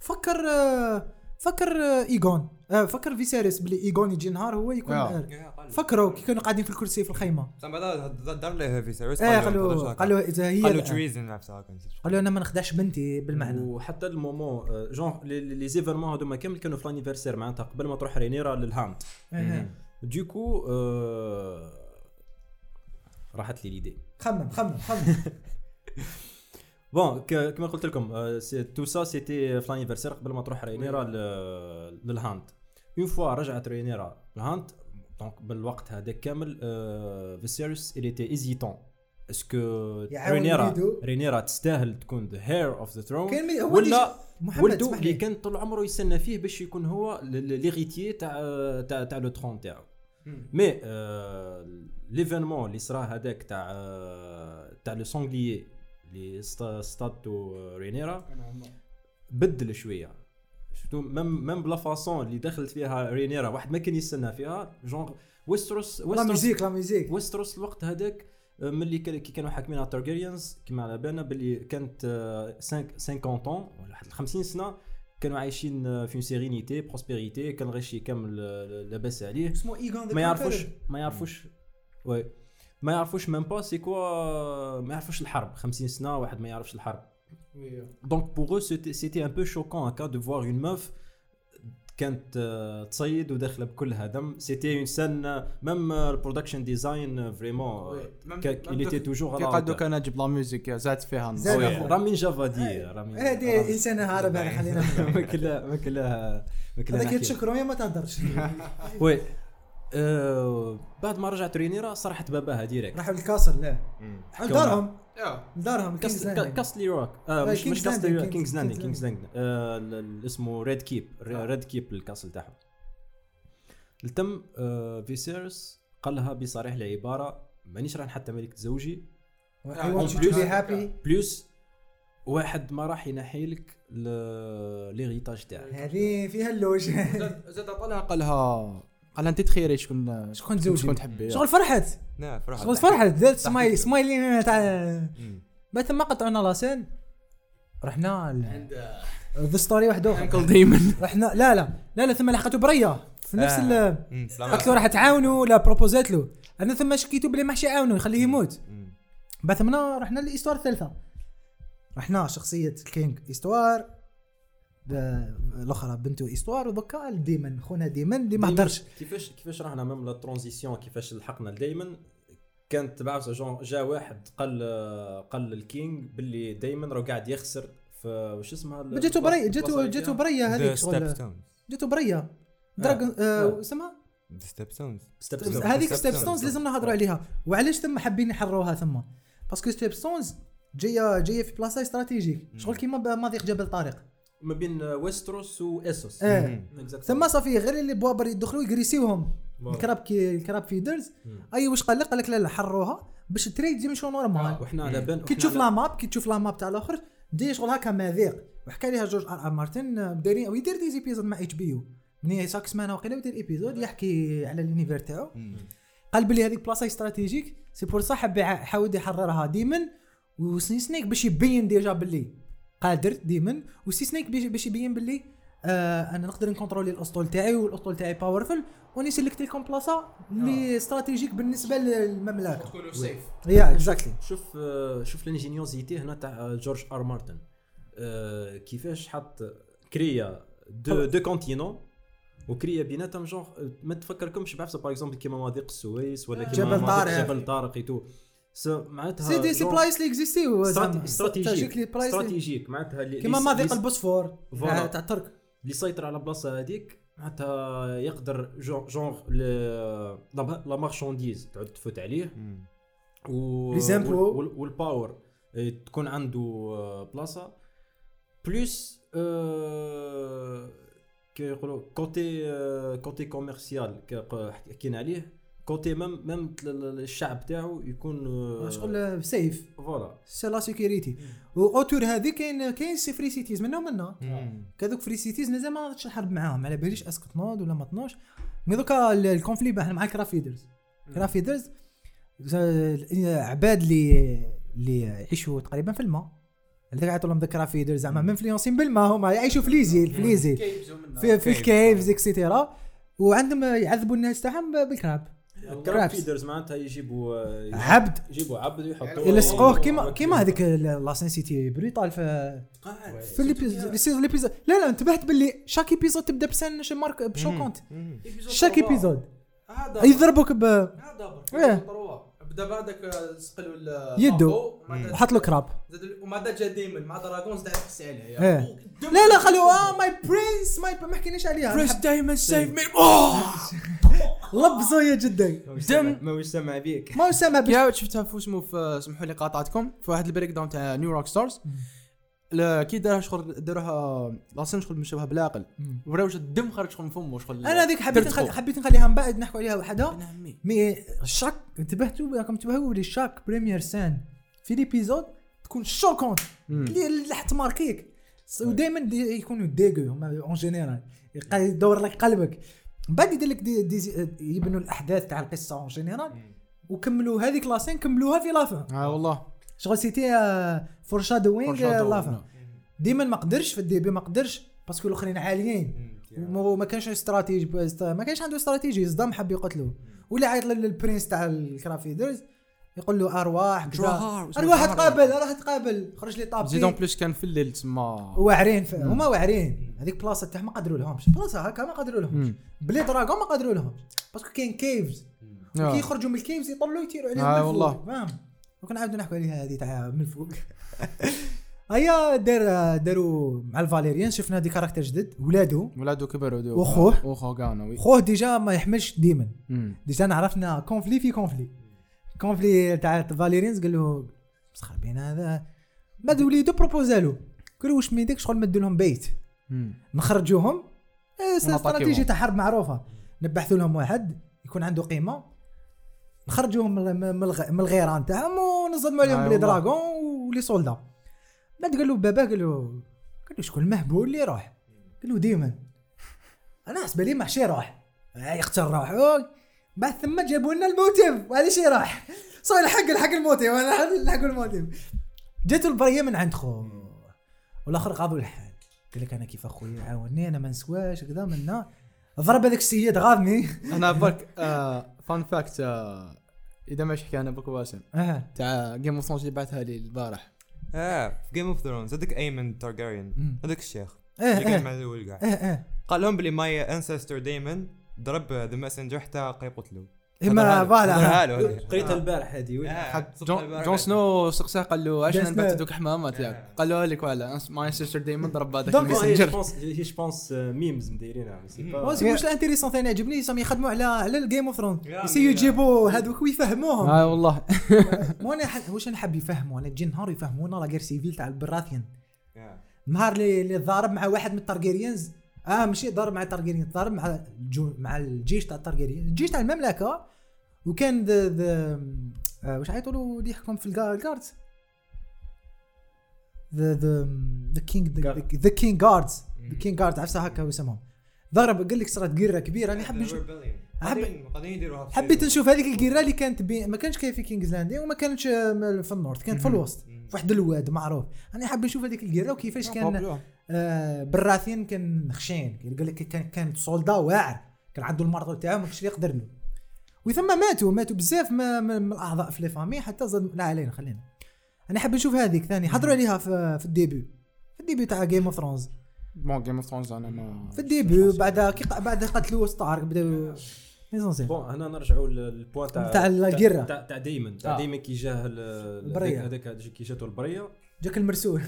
Speaker 1: فكر آه، فكر آه، ايجون آه، فكر فيسيريس بلي ايجون يجي نهار هو يكون
Speaker 2: آه.
Speaker 1: آه، فكروا كي كانوا قاعدين في الكرسي في الخيمه
Speaker 3: من بعد دار ليه في سيريس
Speaker 1: ايه قالوا قالوا اذا هي
Speaker 3: قالوا
Speaker 1: قالوا
Speaker 3: تريزن نفسها كنت
Speaker 1: انا ما نخدعش بنتي بالمعنى
Speaker 4: وحتى المومون آه، جون لي- لي- لي زيفينمون هذوما كامل كانوا في لانيفرسير معناتها قبل ما تروح رينيرا للهاند
Speaker 1: إيه.
Speaker 4: ديكو آه، راحت لي ليدي
Speaker 1: خمم خمم
Speaker 4: *laughs*
Speaker 1: خمم
Speaker 4: بون ك- كما قلت لكم آه، تو سا سيتي في لانيفرسير قبل ما تروح رينيرا ل- للهانت اون فوا رجعت رينيرا للهانت دونك بالوقت هذاك كامل آه، فيسيريس il était hésitant اسكو
Speaker 1: يعاون
Speaker 4: رينيرا
Speaker 1: وليدو.
Speaker 4: رينيرا تستاهل تكون ذا هير اوف ذا ثرون
Speaker 1: كان مي- هو
Speaker 4: ولا
Speaker 1: اللي- محمد
Speaker 4: ولده
Speaker 1: اسمح
Speaker 4: اللي
Speaker 1: لي
Speaker 4: كان طول عمره يستنى فيه باش يكون هو ليغيتيي تاع تاع تاع لو ترون تاعو euh, مي ليفينمون اللي صرا هذاك تاع آه، تاع لو سونغليي اللي ستا- ستاتو رينيرا بدل شويه شفتو ميم ميم بلا فاسون اللي دخلت فيها رينيرا واحد ما كان يستنى فيها جونغ ويستروس
Speaker 1: لا
Speaker 4: ويستروس
Speaker 1: ميوزيك لا ميوزيك
Speaker 4: ويستروس الوقت هذاك آه، ملي كان- كي كانوا حاكمين على التارجيريانز كما على بالنا باللي كانت آه، 50 طون ولا حتى 50 سنه كانوا عايشين آه، في سيرينيتي بروسبيريتي كان غشي كامل آه، لاباس عليه
Speaker 1: اسمه ايجون ذا
Speaker 4: ما يعرفوش
Speaker 1: كونكرر.
Speaker 4: ما يعرفوش وي ما يعرفوش ميم با سي كوا ما يعرفوش الحرب 50 سنه واحد ما يعرفش الحرب
Speaker 1: آه،
Speaker 4: دونك بوغ او سيتي ان بو شوكون هكا دو فوار اون موف كانت آه، تصيد وداخله بكلها دم سيتي اون سان ميم البرودكشن ديزاين فريمون il euh, était toujours à la
Speaker 2: قعدوا
Speaker 4: hauteur.
Speaker 2: كان اجيب لا ميوزك زاد فيها
Speaker 1: زاد
Speaker 2: نص.
Speaker 1: فيها.
Speaker 4: وي، رامين جافادي رامين
Speaker 1: هذه
Speaker 4: *laughs*
Speaker 1: انسان هارب هذا خلينا
Speaker 4: رامين- ما كلا ما كلا ما كلا
Speaker 1: هذاك
Speaker 4: نحكي.
Speaker 1: يتشكروا يا ما تهدرش *laughs*
Speaker 4: وي آه، بعد ما رجعت رينيرا صرحت باباها ديريكت
Speaker 1: راحوا للكاسل لا
Speaker 4: حكوا
Speaker 1: لدارهم لدارهم
Speaker 4: كاس- كا- كاستلي روك آه،
Speaker 1: آه،
Speaker 4: مش
Speaker 1: كينجز
Speaker 4: مش كاستلي
Speaker 1: لاندينج،
Speaker 4: روك كينجز
Speaker 1: كينجز
Speaker 4: لاندينج
Speaker 1: لاندينج.
Speaker 4: كينجز لاندينج آه، ال- ال- اسمه ريد كيب ريد كيب الكاسل تاعهم التم آه، فيسيرس قال لها بصريح العباره مانيش راح حتى ملك تزوجي
Speaker 1: اي
Speaker 2: أيوة،
Speaker 1: ونت
Speaker 4: آه،
Speaker 1: يو تو بي
Speaker 4: بلوز.
Speaker 1: هابي
Speaker 4: بلوس واحد ما راح ينحيلك ليغيتاج تاعك
Speaker 1: هذه فيها اللوج
Speaker 2: زاد زاد عطلها قالها قالها انت تخيري شكون
Speaker 1: شكون تزوجي؟
Speaker 2: شكون تحبي
Speaker 1: شغل فرحت
Speaker 3: نعم فرحت
Speaker 1: شغل فرحت درت
Speaker 2: تحكي
Speaker 1: سماي
Speaker 2: كده.
Speaker 1: سمايلين تاع
Speaker 3: مم.
Speaker 1: بعد ما قطعونا لاسين رحنا ذا ستوري واحد اخر
Speaker 2: انكل ديمون
Speaker 1: رحنا لا لا لا لا ثم لحقته بريه في نفس
Speaker 2: آه.
Speaker 1: ال
Speaker 3: مم. سلام
Speaker 1: قالت له راح تعاونوا لا بروبوزات له انا ثم شكيتو بلي ما حش يعاونوا يخليه يموت
Speaker 3: مم.
Speaker 1: بعد منا رحنا للاستوار الثالثه رحنا شخصيه الكينج استوار ب- الاخرى بنته استوار ودوكا ديمن خونا ديمن اللي ما
Speaker 4: دايماً
Speaker 1: هدرش
Speaker 4: كيفاش كيفاش رحنا ميم لا ترانزيسيون كيفاش لحقنا دايما كانت بعرف جون جا واحد قال قال الكينج باللي دايما راه قاعد يخسر في وش اسمها ال- يعني.
Speaker 1: جاتو بريه جاتو
Speaker 4: الوصاية
Speaker 1: جاتو
Speaker 4: تاعو.
Speaker 1: بريه هذيك
Speaker 3: The step
Speaker 1: شغل
Speaker 3: stones
Speaker 1: جاتو بريه دراجون
Speaker 4: آه.
Speaker 1: اسمها
Speaker 3: The step stones
Speaker 4: ستيب
Speaker 3: بالضبط.
Speaker 4: ستيب.
Speaker 1: هذيك
Speaker 3: Step
Speaker 1: ستيب
Speaker 3: Stones.
Speaker 1: ستونز لازم نهضروا عليها وعلاش ثم حابين يحروها ثم باسكو ستيب ستونز جايه جايه في بلاصه استراتيجيك شغل كيما ب- مضيق جبل طارق
Speaker 4: ما بين ويستروس واسوس
Speaker 1: آه.
Speaker 3: مم.
Speaker 4: Exactly.
Speaker 1: ثم صافي غير اللي بوابر يدخلوا يجريسيوهم
Speaker 4: Voilà.
Speaker 1: الكراب كي الكراب فيدرز
Speaker 4: مم.
Speaker 1: اي أيوة، واش قال لك قال لك لا لا حروها باش التريد يمشيو نورمال
Speaker 4: وحنا على بالنا
Speaker 1: كي تشوف لا ماب كي تشوف لا ماب تاع الاخر دي شغل هكا مذيق وحكى ليها جورج ار ار مارتن آه، دايرين ويدير دي زيبيزود مع اتش بي يو من هي ساك سمانه وقيله ويدير ايبيزود يحكي على النيفير تاعو
Speaker 3: مم.
Speaker 1: قال بلي هذيك بلاصه استراتيجيك سي بور صح حب يع- حاول يحررها ديمن وسي سنيك باش يبين ديجا باللي قادر ديمن وسي سنيك باش- باش يبين باللي آه انا نقدر نكونترولي الاسطول تاعي والاسطول تاعي باورفل وني سيلكت لكم بلاصه اللي استراتيجيك بالنسبه للمملكه
Speaker 2: تكونوا سيف
Speaker 1: يا اكزاكتلي
Speaker 4: شوف آه، شوف لانجينيوزيتي هنا تاع آه، جورج ار مارتن آه، كيفاش حط كريا دو دو كونتينون وكريا بيناتهم جونغ آه، ما تفكركمش بعفسه باغ اكزومبل كيما مضيق السويس ولا كيما
Speaker 1: جبل
Speaker 4: مضيق
Speaker 1: طارق.
Speaker 4: جبل طارق اي تو س- معناتها
Speaker 1: سي دي سي
Speaker 4: جونغ
Speaker 1: بلايس اللي اكزيستيو
Speaker 4: استراتي- استراتيجيك
Speaker 1: استراتيجيك
Speaker 4: استراتيجيك معناتها اللي-
Speaker 1: كيما
Speaker 4: اللي-
Speaker 1: مضيق
Speaker 4: اللي-
Speaker 1: البوسفور
Speaker 4: فوالا.
Speaker 1: تاع تاع الترك
Speaker 4: اللي سيطر على البلاصه هذيك معناتها يقدر جونغ جونغ ل- لا لا مارشانديز تعود تفوت عليه
Speaker 3: مم.
Speaker 4: و
Speaker 1: Les impôts.
Speaker 4: وال- والباور إيه، تكون عنده آه، بلاصه بلوس آه، كي يقولوا كوتي آه، كوتي كوميرسيال كي ق- حكينا عليه كوتي ميم ميم تل- ال- الشعب تاعو يكون آه،
Speaker 1: شغل سيف
Speaker 4: فوالا
Speaker 1: سي لا سيكوريتي واوتور هذه كاين كاين سي فري سيتيز منا ومنا
Speaker 3: مم.
Speaker 1: كذوك فري سيتيز مازال ما نضتش نحارب معاهم على باليش اسك تنوض ولا ما تنوضش مي دوكا ال- الكونفلي باه مع كرافيدرز كرافيدرز ز- ال- عباد اللي اللي يعيشوا تقريبا في الماء هذاك يعطوا لهم ذكرى في زعما منفلونسين بالما هما يعيشوا في ليزيل في ليزيل في في
Speaker 3: Caves.
Speaker 1: الكيفز اكسيتيرا وعندهم يعذبوا الناس تاعهم بالكراب
Speaker 4: كراب فيدرز معناتها يجيبوا آه،
Speaker 1: عبد
Speaker 4: يجيبوا عبد ويحطوه
Speaker 1: يلصقوه كيما كيما هذيك لاسنسيتي بريطال في في السيزون ليبيزود لا لا انتبهت باللي شاك ايبيزود تبدا بسن شو مارك بشو كونت شاك ايبيزود
Speaker 5: هذا
Speaker 1: يضربوك ب
Speaker 5: هذا
Speaker 1: إيه.
Speaker 5: بدا بعدك آه، سقل ولا
Speaker 1: يدو.
Speaker 5: أبو، ما عاد-
Speaker 1: وحط له كراب
Speaker 5: زاد- وما عاد جا دايما مع دراغونز تاع تقسي عليها
Speaker 1: إيه.
Speaker 5: يا أخو. دم-
Speaker 1: لا لا خلوه اه ماي برنس ماي ما حكيناش عليها
Speaker 2: دايما سيف مي اوه
Speaker 1: لبزويه جدا
Speaker 2: دم
Speaker 3: ما وش سمع بيك
Speaker 1: ما سامع بش...
Speaker 2: يا شفتها في اسمه في سمحوا لي قاطعتكم في واحد البريك داون تاع نيو روك ستارز لا، كي دارها شغل دارها لاسين شغل من شبه بلاقل
Speaker 1: مم.
Speaker 2: وراوش الدم خرج شغل من فمه شغل
Speaker 1: انا هذيك حبيت
Speaker 2: ترتخو.
Speaker 1: نخلي حبيت نخليها من بعد نحكوا عليها وحدها
Speaker 2: أنا أمي.
Speaker 1: مي الشاك انتبهتوا راكم انتبهوا لي شاك بريمير سان في ليبيزود تكون شوكونت اللي اللي حتماركيك ودائما يكونوا ديغو هما اون جينيرال يق- يدور لك قلبك من بعد يدير لك دي دي يبنوا الاحداث تاع القصه اون جينيرال وكملوا هذيك لاسين كملوها في لافا
Speaker 2: اه والله
Speaker 1: شغل سيتي فورشادوينغ
Speaker 2: Foreshadowing.
Speaker 1: لافا ديما ما قدرش في الديبي ما قدرش باسكو الاخرين عاليين وما ما كانش استراتيجي بس- ما كانش عنده استراتيجي صدام حب يقتلو ولا عيط لل- للبرنس تاع الكرافيدرز يقول له ارواح كذا.
Speaker 2: Drawar.
Speaker 1: ارواح تقابل ارواح تقابل خرج لي طاب
Speaker 2: زيد اون بليس كان في الليل تما
Speaker 1: واعرين ف-
Speaker 2: نعم.
Speaker 1: هما واعرين هذيك بلاصه تاعهم ما قدروا لهمش بلاصه هكا ما قدروا لهمش
Speaker 2: مم.
Speaker 1: بلي دراغون ما قدروا لهمش باسكو كاين كيفز
Speaker 2: آه.
Speaker 1: كي يخرجوا من الكيفز يطلوا يطيروا عليهم
Speaker 2: آه
Speaker 1: من
Speaker 2: والله.
Speaker 1: فوق فاهم دوك نعاودوا نحكوا عليها هذه تاع من فوق *laughs* هيا دار داروا مع الفاليريان شفنا دي كاركتر جديد ولادو
Speaker 2: ولادو آه، كبروا دو
Speaker 1: وأخوه؟
Speaker 2: واخوه كانوا
Speaker 1: خوه ديجا ما يحملش ديما ديجا عرفنا كونفلي في كونفلي كونفلي تاع فاليرينز قال له مسخر بين هذا بعد وليدو بروبوزالو قالوا واش من يديك شغل مدوا لهم بيت نخرجوهم إيه، استراتيجيه تاع حرب معروفه نبحثوا لهم واحد يكون عنده قيمه نخرجوهم من من- من الغ- من الغيران تاعهم ونظلموا
Speaker 2: آه
Speaker 1: عليهم لي
Speaker 2: والله.
Speaker 1: دراغون ولي سولدا بعد قال له بابا قال له قال له شكون المهبول اللي يروح قال له ديما انا حسب لي ماشي يروح آه، يقتل روحه بعد ثم جابوا لنا الموتيف وهذا شي راح صار الحق الحق الموتيف انا الحق الموتيف جاتو البريه من عند خوه والاخر قاضوا الحال قال لك انا كيف اخويا عاوني انا ما نسواش كذا منا ضرب هذاك السيد غاضني *laughs*
Speaker 2: انا برك فان فاكت اذا آه، ما حكي انا برك واسم
Speaker 1: اه
Speaker 2: تاع جيم اوف ثرونز اللي بعثها لي البارح
Speaker 3: اه في جيم اوف ثرونز هذاك ايمن
Speaker 1: مم.
Speaker 3: تارجاريان هذاك الشيخ
Speaker 1: إيه،
Speaker 3: اللي
Speaker 1: إيه.
Speaker 3: كان مع الاول كاع
Speaker 1: اه اه
Speaker 3: قال لهم بلي ماي انسستر دايما ضرب ذا ماسنجر حتى قا يقتلو
Speaker 1: إيه، ما فوالا
Speaker 4: قريتها البارح هذه
Speaker 3: آه.
Speaker 4: وين
Speaker 2: حق جون جون سنو سقساه قال له علاش
Speaker 1: Yes,
Speaker 2: نبات
Speaker 1: man.
Speaker 2: دوك حمامات ياك قال له لك ولا ماي سيستر دايما ضرب هذاك
Speaker 1: Don't go
Speaker 4: جو
Speaker 2: الميسنجر
Speaker 4: بونس جو بونس ميمز آه، مدايرينها مي سي با-
Speaker 1: واش واش الانتيريسون ثاني عجبني سام يخدموا على على الجيم اوف ثرونز
Speaker 5: يا
Speaker 1: يسيو
Speaker 5: أمي.
Speaker 1: يجيبوا هذوك ويفهموهم
Speaker 2: اه والله
Speaker 1: وانا ح- واش نحب يفهموا انا تجي نهار يفهمونا لا غير سيفيل تاع البراثيان نهار اللي اللي ضارب مع واحد من التارجيريانز اه ماشي ضارب مع التارجيريانز ضارب مع الجو مع الجيش تاع التارجيريانز الجيش تاع المملكه وكان ذا ذا آه واش عيطوا له اللي يحكم في الجا- الجاردز ذا ذا ذا كينج
Speaker 4: Guard.
Speaker 1: ذا كينج جاردز ذا كينج جاردز عفسه هكا هو يسمهم ضرب قال لك صارت قيره كبيره راني حاب نشوف حب-
Speaker 3: قادرين يديروها
Speaker 1: حبيت نشوف هذيك القيره اللي كانت بي... ما كانش كاين في كينجز لاندين وما كانتش آه، في النورث كانت في الوسط في واحد الواد معروف انا حاب نشوف هذيك القيره وكيفاش كان آه، براثين كان خشين يقول لك كان كان سولدا واعر كان عنده المرض تاعو ما كانش يقدر له وثما ماتوا ماتوا بزاف ما- ما- من الاعضاء في لي فامي حتى زاد لا علينا خلينا انا حاب نشوف هذيك ثاني حضروا عليها في, في الديبي في الديبي تاع جيم اوف ثرونز
Speaker 2: بون جيم اوف ثرونز انا ما
Speaker 1: في الديبي بعد كي ق- بعد قتلوا ستارك بداو ليزونسيل
Speaker 4: بون هنا نرجعوا للبوان تاع
Speaker 1: تاع القرة.
Speaker 4: تاع- تاع دايما تاع
Speaker 2: آه.
Speaker 4: دايما كي جاه ال-
Speaker 1: البرية.
Speaker 4: هذاك هذاك كي جاته البريه
Speaker 1: جاك المرسول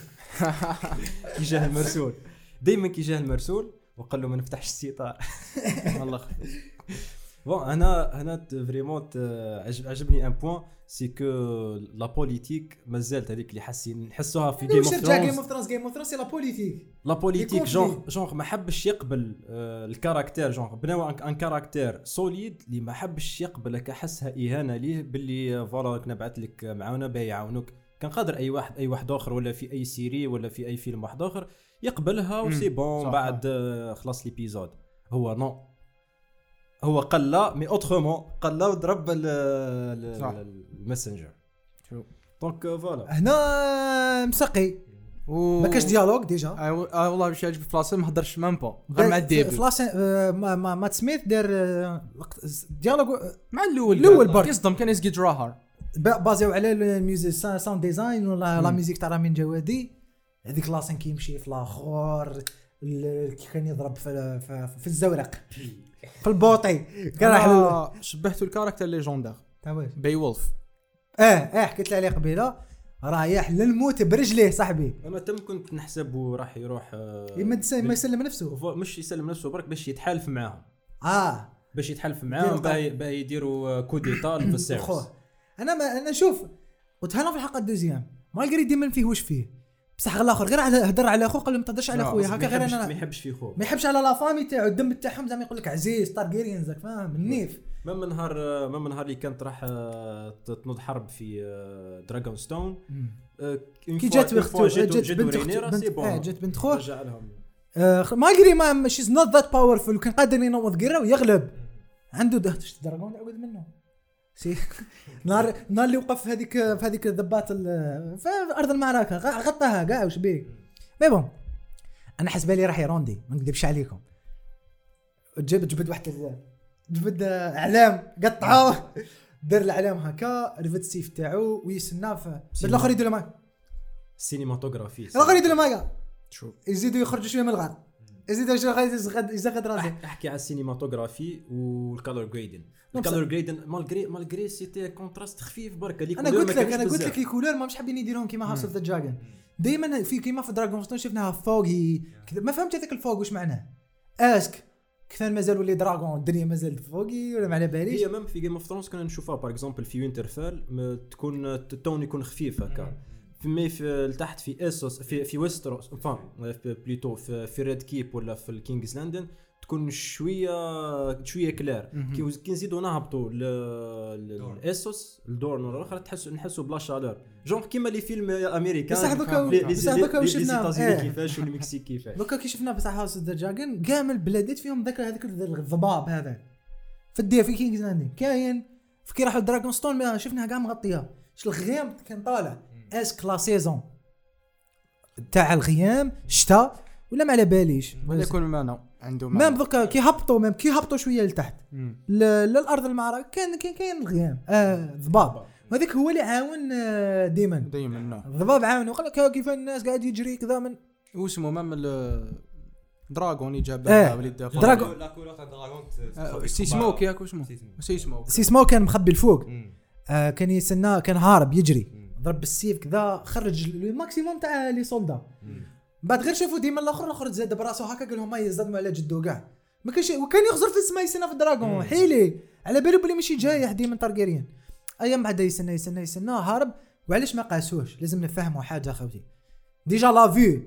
Speaker 4: كي جاه المرسول دايما كي جاه المرسول وقال له ما نفتحش السيطار
Speaker 2: والله خ-
Speaker 4: بون انا هنا فريمون عجبني ان بوان سي كو لا بوليتيك مازالت هذيك اللي حاسين نحسوها في جيم
Speaker 1: واش
Speaker 4: اوف
Speaker 1: رجع جيم
Speaker 4: ثرونز
Speaker 1: اوف ثرونز جيم اوف ثرونز سي لا بوليتيك
Speaker 4: لا
Speaker 1: Les
Speaker 4: بوليتيك
Speaker 1: conflits.
Speaker 4: جونغ جونغ ما حبش يقبل آه، الكاركتير جونغ بناو ان كاركتير سوليد اللي ما حبش يقبلك حسها اهانه ليه باللي آه، فوالا راك نبعث لك معاونه باهي يعاونوك كان قادر اي واحد اي واحد اخر ولا في اي سيري ولا في اي فيلم واحد اخر يقبلها وسي بون
Speaker 2: صح.
Speaker 4: بعد آه، خلاص ليبيزود هو نو هو قال لا مي اوترومون قال لا وضرب ال- ال-
Speaker 2: صح.
Speaker 4: ال- euh, الماسنجر
Speaker 2: شو.
Speaker 4: دونك آه، فوالا
Speaker 1: هنا مسقي
Speaker 2: و...
Speaker 1: ما كاش ديالوج ديجا
Speaker 2: آه، و- آه، والله باش يعجب فلاسي ما هضرش مام با غير
Speaker 1: دار-
Speaker 2: مع الديبي
Speaker 1: فلاس آه، ما- ما- مات سميث دار آه، وقت- ديالوج آه،
Speaker 2: مع الاول
Speaker 1: الأول برك.
Speaker 2: يصدم كان يسقي دراهر
Speaker 1: با- بازيو على الميوزيك سا- ساوند ديزاين ولا لا ميوزيك تاع رامين جوادي هذيك لاسين كيمشي في الاخر ال- كي كان يضرب في, في, في الزورق في البوطي كان
Speaker 2: Ah.
Speaker 1: راح لل-
Speaker 2: أنا شبهته الكاركتر ليجوندير
Speaker 1: تا واش؟
Speaker 2: بي وولف
Speaker 1: اه اه حكيت لي عليه قبيله رايح للموت برجليه صاحبي
Speaker 4: انا تم كنت نحسبه راح يروح آه،
Speaker 1: ما تس- ما
Speaker 4: بال-
Speaker 1: يسلم نفسه
Speaker 4: فو- مش يسلم نفسه برك باش يتحالف معاهم
Speaker 1: اه
Speaker 4: باش يتحالف
Speaker 1: يديروا
Speaker 4: معاهم باهي باهي يديروا آه، كوديتا
Speaker 1: *coughs*
Speaker 4: بالسيرس
Speaker 1: خوه انا ما انا نشوف قلت هلا في الحلقه الدوزيام مالغري ديما فيه واش فيه بصح الآخر غير على- هدر على اخوه قال له ما تهدرش على
Speaker 4: آه،
Speaker 1: خويا
Speaker 4: بس
Speaker 1: هكا
Speaker 4: ما
Speaker 1: غير
Speaker 4: يحبش-
Speaker 1: انا
Speaker 4: ما يحبش في خوه
Speaker 1: ما يحبش على لا فامي تاعو الدم تاعهم زعما يقول لك عزيز تارجيريان زاك فاهم النيف
Speaker 4: ما من نهار ما من نهار اللي كانت راح آه، ت- تنوض حرب في آه، دراغون ستون
Speaker 1: كي جات بنت اختو جات بنت اختو
Speaker 4: سي
Speaker 1: بنت- آه،
Speaker 4: بون
Speaker 1: جات بنت خوه
Speaker 4: رجع لهم
Speaker 1: آه، خ- مالغري ما شيز نوت ذات باورفول وكان قادر ينوض قره ويغلب عنده دهت شت دراغون عقد منه *laughs* سي نهار نهار اللي وقف في هذيك في هذيك الذبات ال- في ارض المعركه غ- غطاها كاع وش بيه مي بون انا حسب لي راح يروندي ما نكذبش عليكم جبت جبت واحد ال- جبت آه، اعلام قطعوه *laughs* دار الاعلام هكا رفد السيف تاعو ويسنى في بالاخر يدير له ما
Speaker 4: سينيماتوغرافي
Speaker 1: الاخر يدير له ما
Speaker 4: شوف
Speaker 1: يزيدوا يخرجوا شويه من الغار يزيدوا شويه غادي يزغد راسه
Speaker 4: أح- احكي على السينيماتوغرافي والكالور جريدن
Speaker 1: بصح-
Speaker 4: الكالور جريدن مالغري مالغري سيتي كونتراست خفيف برك هذيك
Speaker 1: انا قلت لك انا قلت لك الكولور ما مش حابين يديرون كيما هاوس اوف ذا دراجون دائما في كيما في دراجون ستون شفناها فوقي كذا ما فهمت هذاك الفوق واش معناه اسك كثر مازال ولي دراغون الدنيا مازال فوقي ولا ما على باليش
Speaker 4: هي ميم في جيم اوف ثرونز كنا نشوفها باغ اكزومبل في وينترفيل ما تكون التون يكون خفيف هكا في مي في لتحت في اسوس في في ويستروس فان بليتو في, في ريد كيب ولا في الكينجز لاندن تكون شويه شويه كلير كي وز- كي نزيدو نهبطوا لاسوس الدورن ولا الاخر تحس نحسوا بلا شالور جونغ كيما لي فيلم امريكان
Speaker 1: بصح دوكا-
Speaker 4: لي- لي-
Speaker 1: بصح
Speaker 4: لي-
Speaker 1: دوكا
Speaker 4: لي-
Speaker 1: وشفنا-
Speaker 4: لي
Speaker 1: إيه.
Speaker 4: زيتازيني كيفاش
Speaker 1: *laughs*
Speaker 4: والمكسيك كيفاش
Speaker 1: دوكا كي شفنا بصح هاوس اوف ذا دراجون كامل البلادات فيهم ذاك هذاك الضباب هذا في الدير في كينجز لاندين كاين في كي راحوا دراغون ستون ما شفناها كاع مغطيه شو الغيام كان طالع اسك لا سيزون تاع الغيام شتاء ولا ما على باليش
Speaker 2: ولا يكون معنا عنده
Speaker 1: مام دوكا كي هبطوا مام كي هبطوا شويه لتحت ل- للارض المعركه كان كان كاين الغيام اه ضباب وهذاك هو اللي عاون آه، ديما
Speaker 2: دايما نعم
Speaker 1: الضباب عاون وقال لك آه، كيف الناس قاعد يجري كذا من
Speaker 2: واسمه مام ال- دراغون اللي جاب
Speaker 1: إيه.
Speaker 2: وليد دافور.
Speaker 1: دراغون.
Speaker 3: لا كولور تاع دراغون
Speaker 2: آه، سي سموك ياك واسمه سي سموك
Speaker 1: سي سمو كان مخبي الفوق
Speaker 3: مم.
Speaker 1: آه كان يستنى كان هارب يجري
Speaker 3: مم.
Speaker 1: ضرب بالسيف كذا خرج الماكسيموم تاع لي سولدا بعد غير شافوا ديما الاخر الاخر زاد براسه هكا قال لهم هاي صدموا على جدو كاع ما كانش وكان يخزر في السماء يستنى في الدراغون حيلي على بالو بلي ماشي جايح ديما تارجيريان ايام بعد يستنى يستنى يستنى هارب وعلاش ما قاسوش لازم نفهموا حاجه خوتي ديجا لا فيو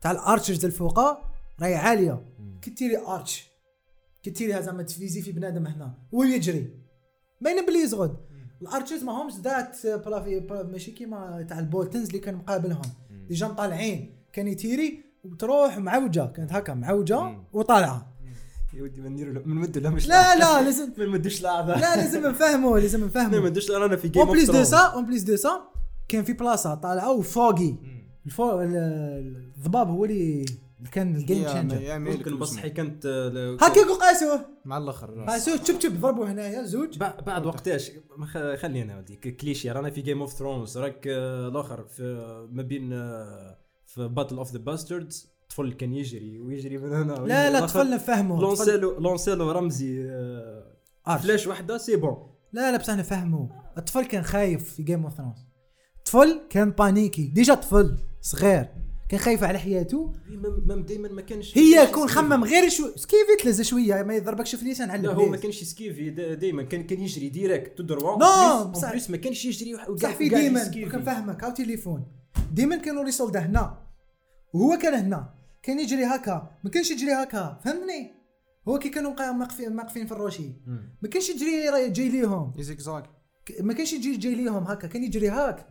Speaker 1: تاع الارشرز الفوقا راهي عاليه كي تيري ارش كي تيري زعما تفيزي في بنادم هنا ويجري باين بلي يزغد الارشرز ما همش ذات بلافي بلا- ماشي كيما تاع البولتنز اللي كان مقابلهم ديجا مطالعين كان يتيري وتروح معوجه كانت هكا معوجه
Speaker 3: مم.
Speaker 1: وطالعه
Speaker 4: يا ودي ما نديرو ما نمدو لا مش
Speaker 1: لا لا لازم
Speaker 4: ما نمدوش لعبه
Speaker 1: لا لازم نفهموا لازم
Speaker 4: انا *laughs* ما
Speaker 3: نعم،
Speaker 1: نفهموا
Speaker 4: نديرش انا في جيم
Speaker 1: اون
Speaker 4: اوف
Speaker 1: بليس دو
Speaker 4: ثرونز
Speaker 1: سا اون بليس دو سا كان في بلاصه طالعه وفوقي الفو... ال- الضباب هو اللي اللي كان الجيم
Speaker 2: يا-
Speaker 1: تشينجر
Speaker 2: يا ميلك
Speaker 4: ممكن بصحي
Speaker 2: واسمه.
Speaker 4: كانت آه، ل-
Speaker 1: هكا قاسوه
Speaker 2: مع الاخر
Speaker 1: قاسوه تشب تشب ضربوا هنايا زوج
Speaker 4: بع- بعد وقتاش ما خ- خلينا هذيك كليشيه رانا في جيم اوف ثرونز راك آه، الاخر في ما بين آه، في باتل اوف ذا باستردز طفل كان يجري ويجري من هنا
Speaker 1: لا لا
Speaker 4: الآخر.
Speaker 1: تفل نفهموا تفل-
Speaker 4: لونسيلو لونسيلو رمزي آه،
Speaker 1: عرش.
Speaker 4: فلاش وحده سي بون
Speaker 1: لا لا بس انا فهمه الطفل كان خايف في جيم اوف ثرونز الطفل كان بانيكي ديجا طفل صغير كان خايف على حياته
Speaker 4: مام دائما ما كانش ما
Speaker 1: هي
Speaker 4: كانش
Speaker 1: كون
Speaker 4: يسكيفي.
Speaker 1: خمم غير شو سكيفيت لازم شويه ما يضربكش في ليسان على
Speaker 4: لا هو ما
Speaker 1: البلايص
Speaker 4: كانش يسكيفي دائما كان كان يجري ديريكت تدروا
Speaker 1: نو، بصح-
Speaker 4: بصح ما كانش يجري وح- وقاع-
Speaker 1: نعم، صح في
Speaker 4: وقاع
Speaker 1: ديما
Speaker 4: يسكيفي.
Speaker 1: كان فاهمك هاو تليفون ديما كانوا لي سولدا هنا وهو كان هنا كان يجري هكا ما كانش يجري هكا فهمتني هو كي كانوا قا- ماقفين ماقفين في الروشي
Speaker 4: مم.
Speaker 1: ما كانش يجري راه جاي ليهم
Speaker 2: زيكزاك
Speaker 1: ك- ما كانش يجي جاي ليهم هكا كان يجري هاك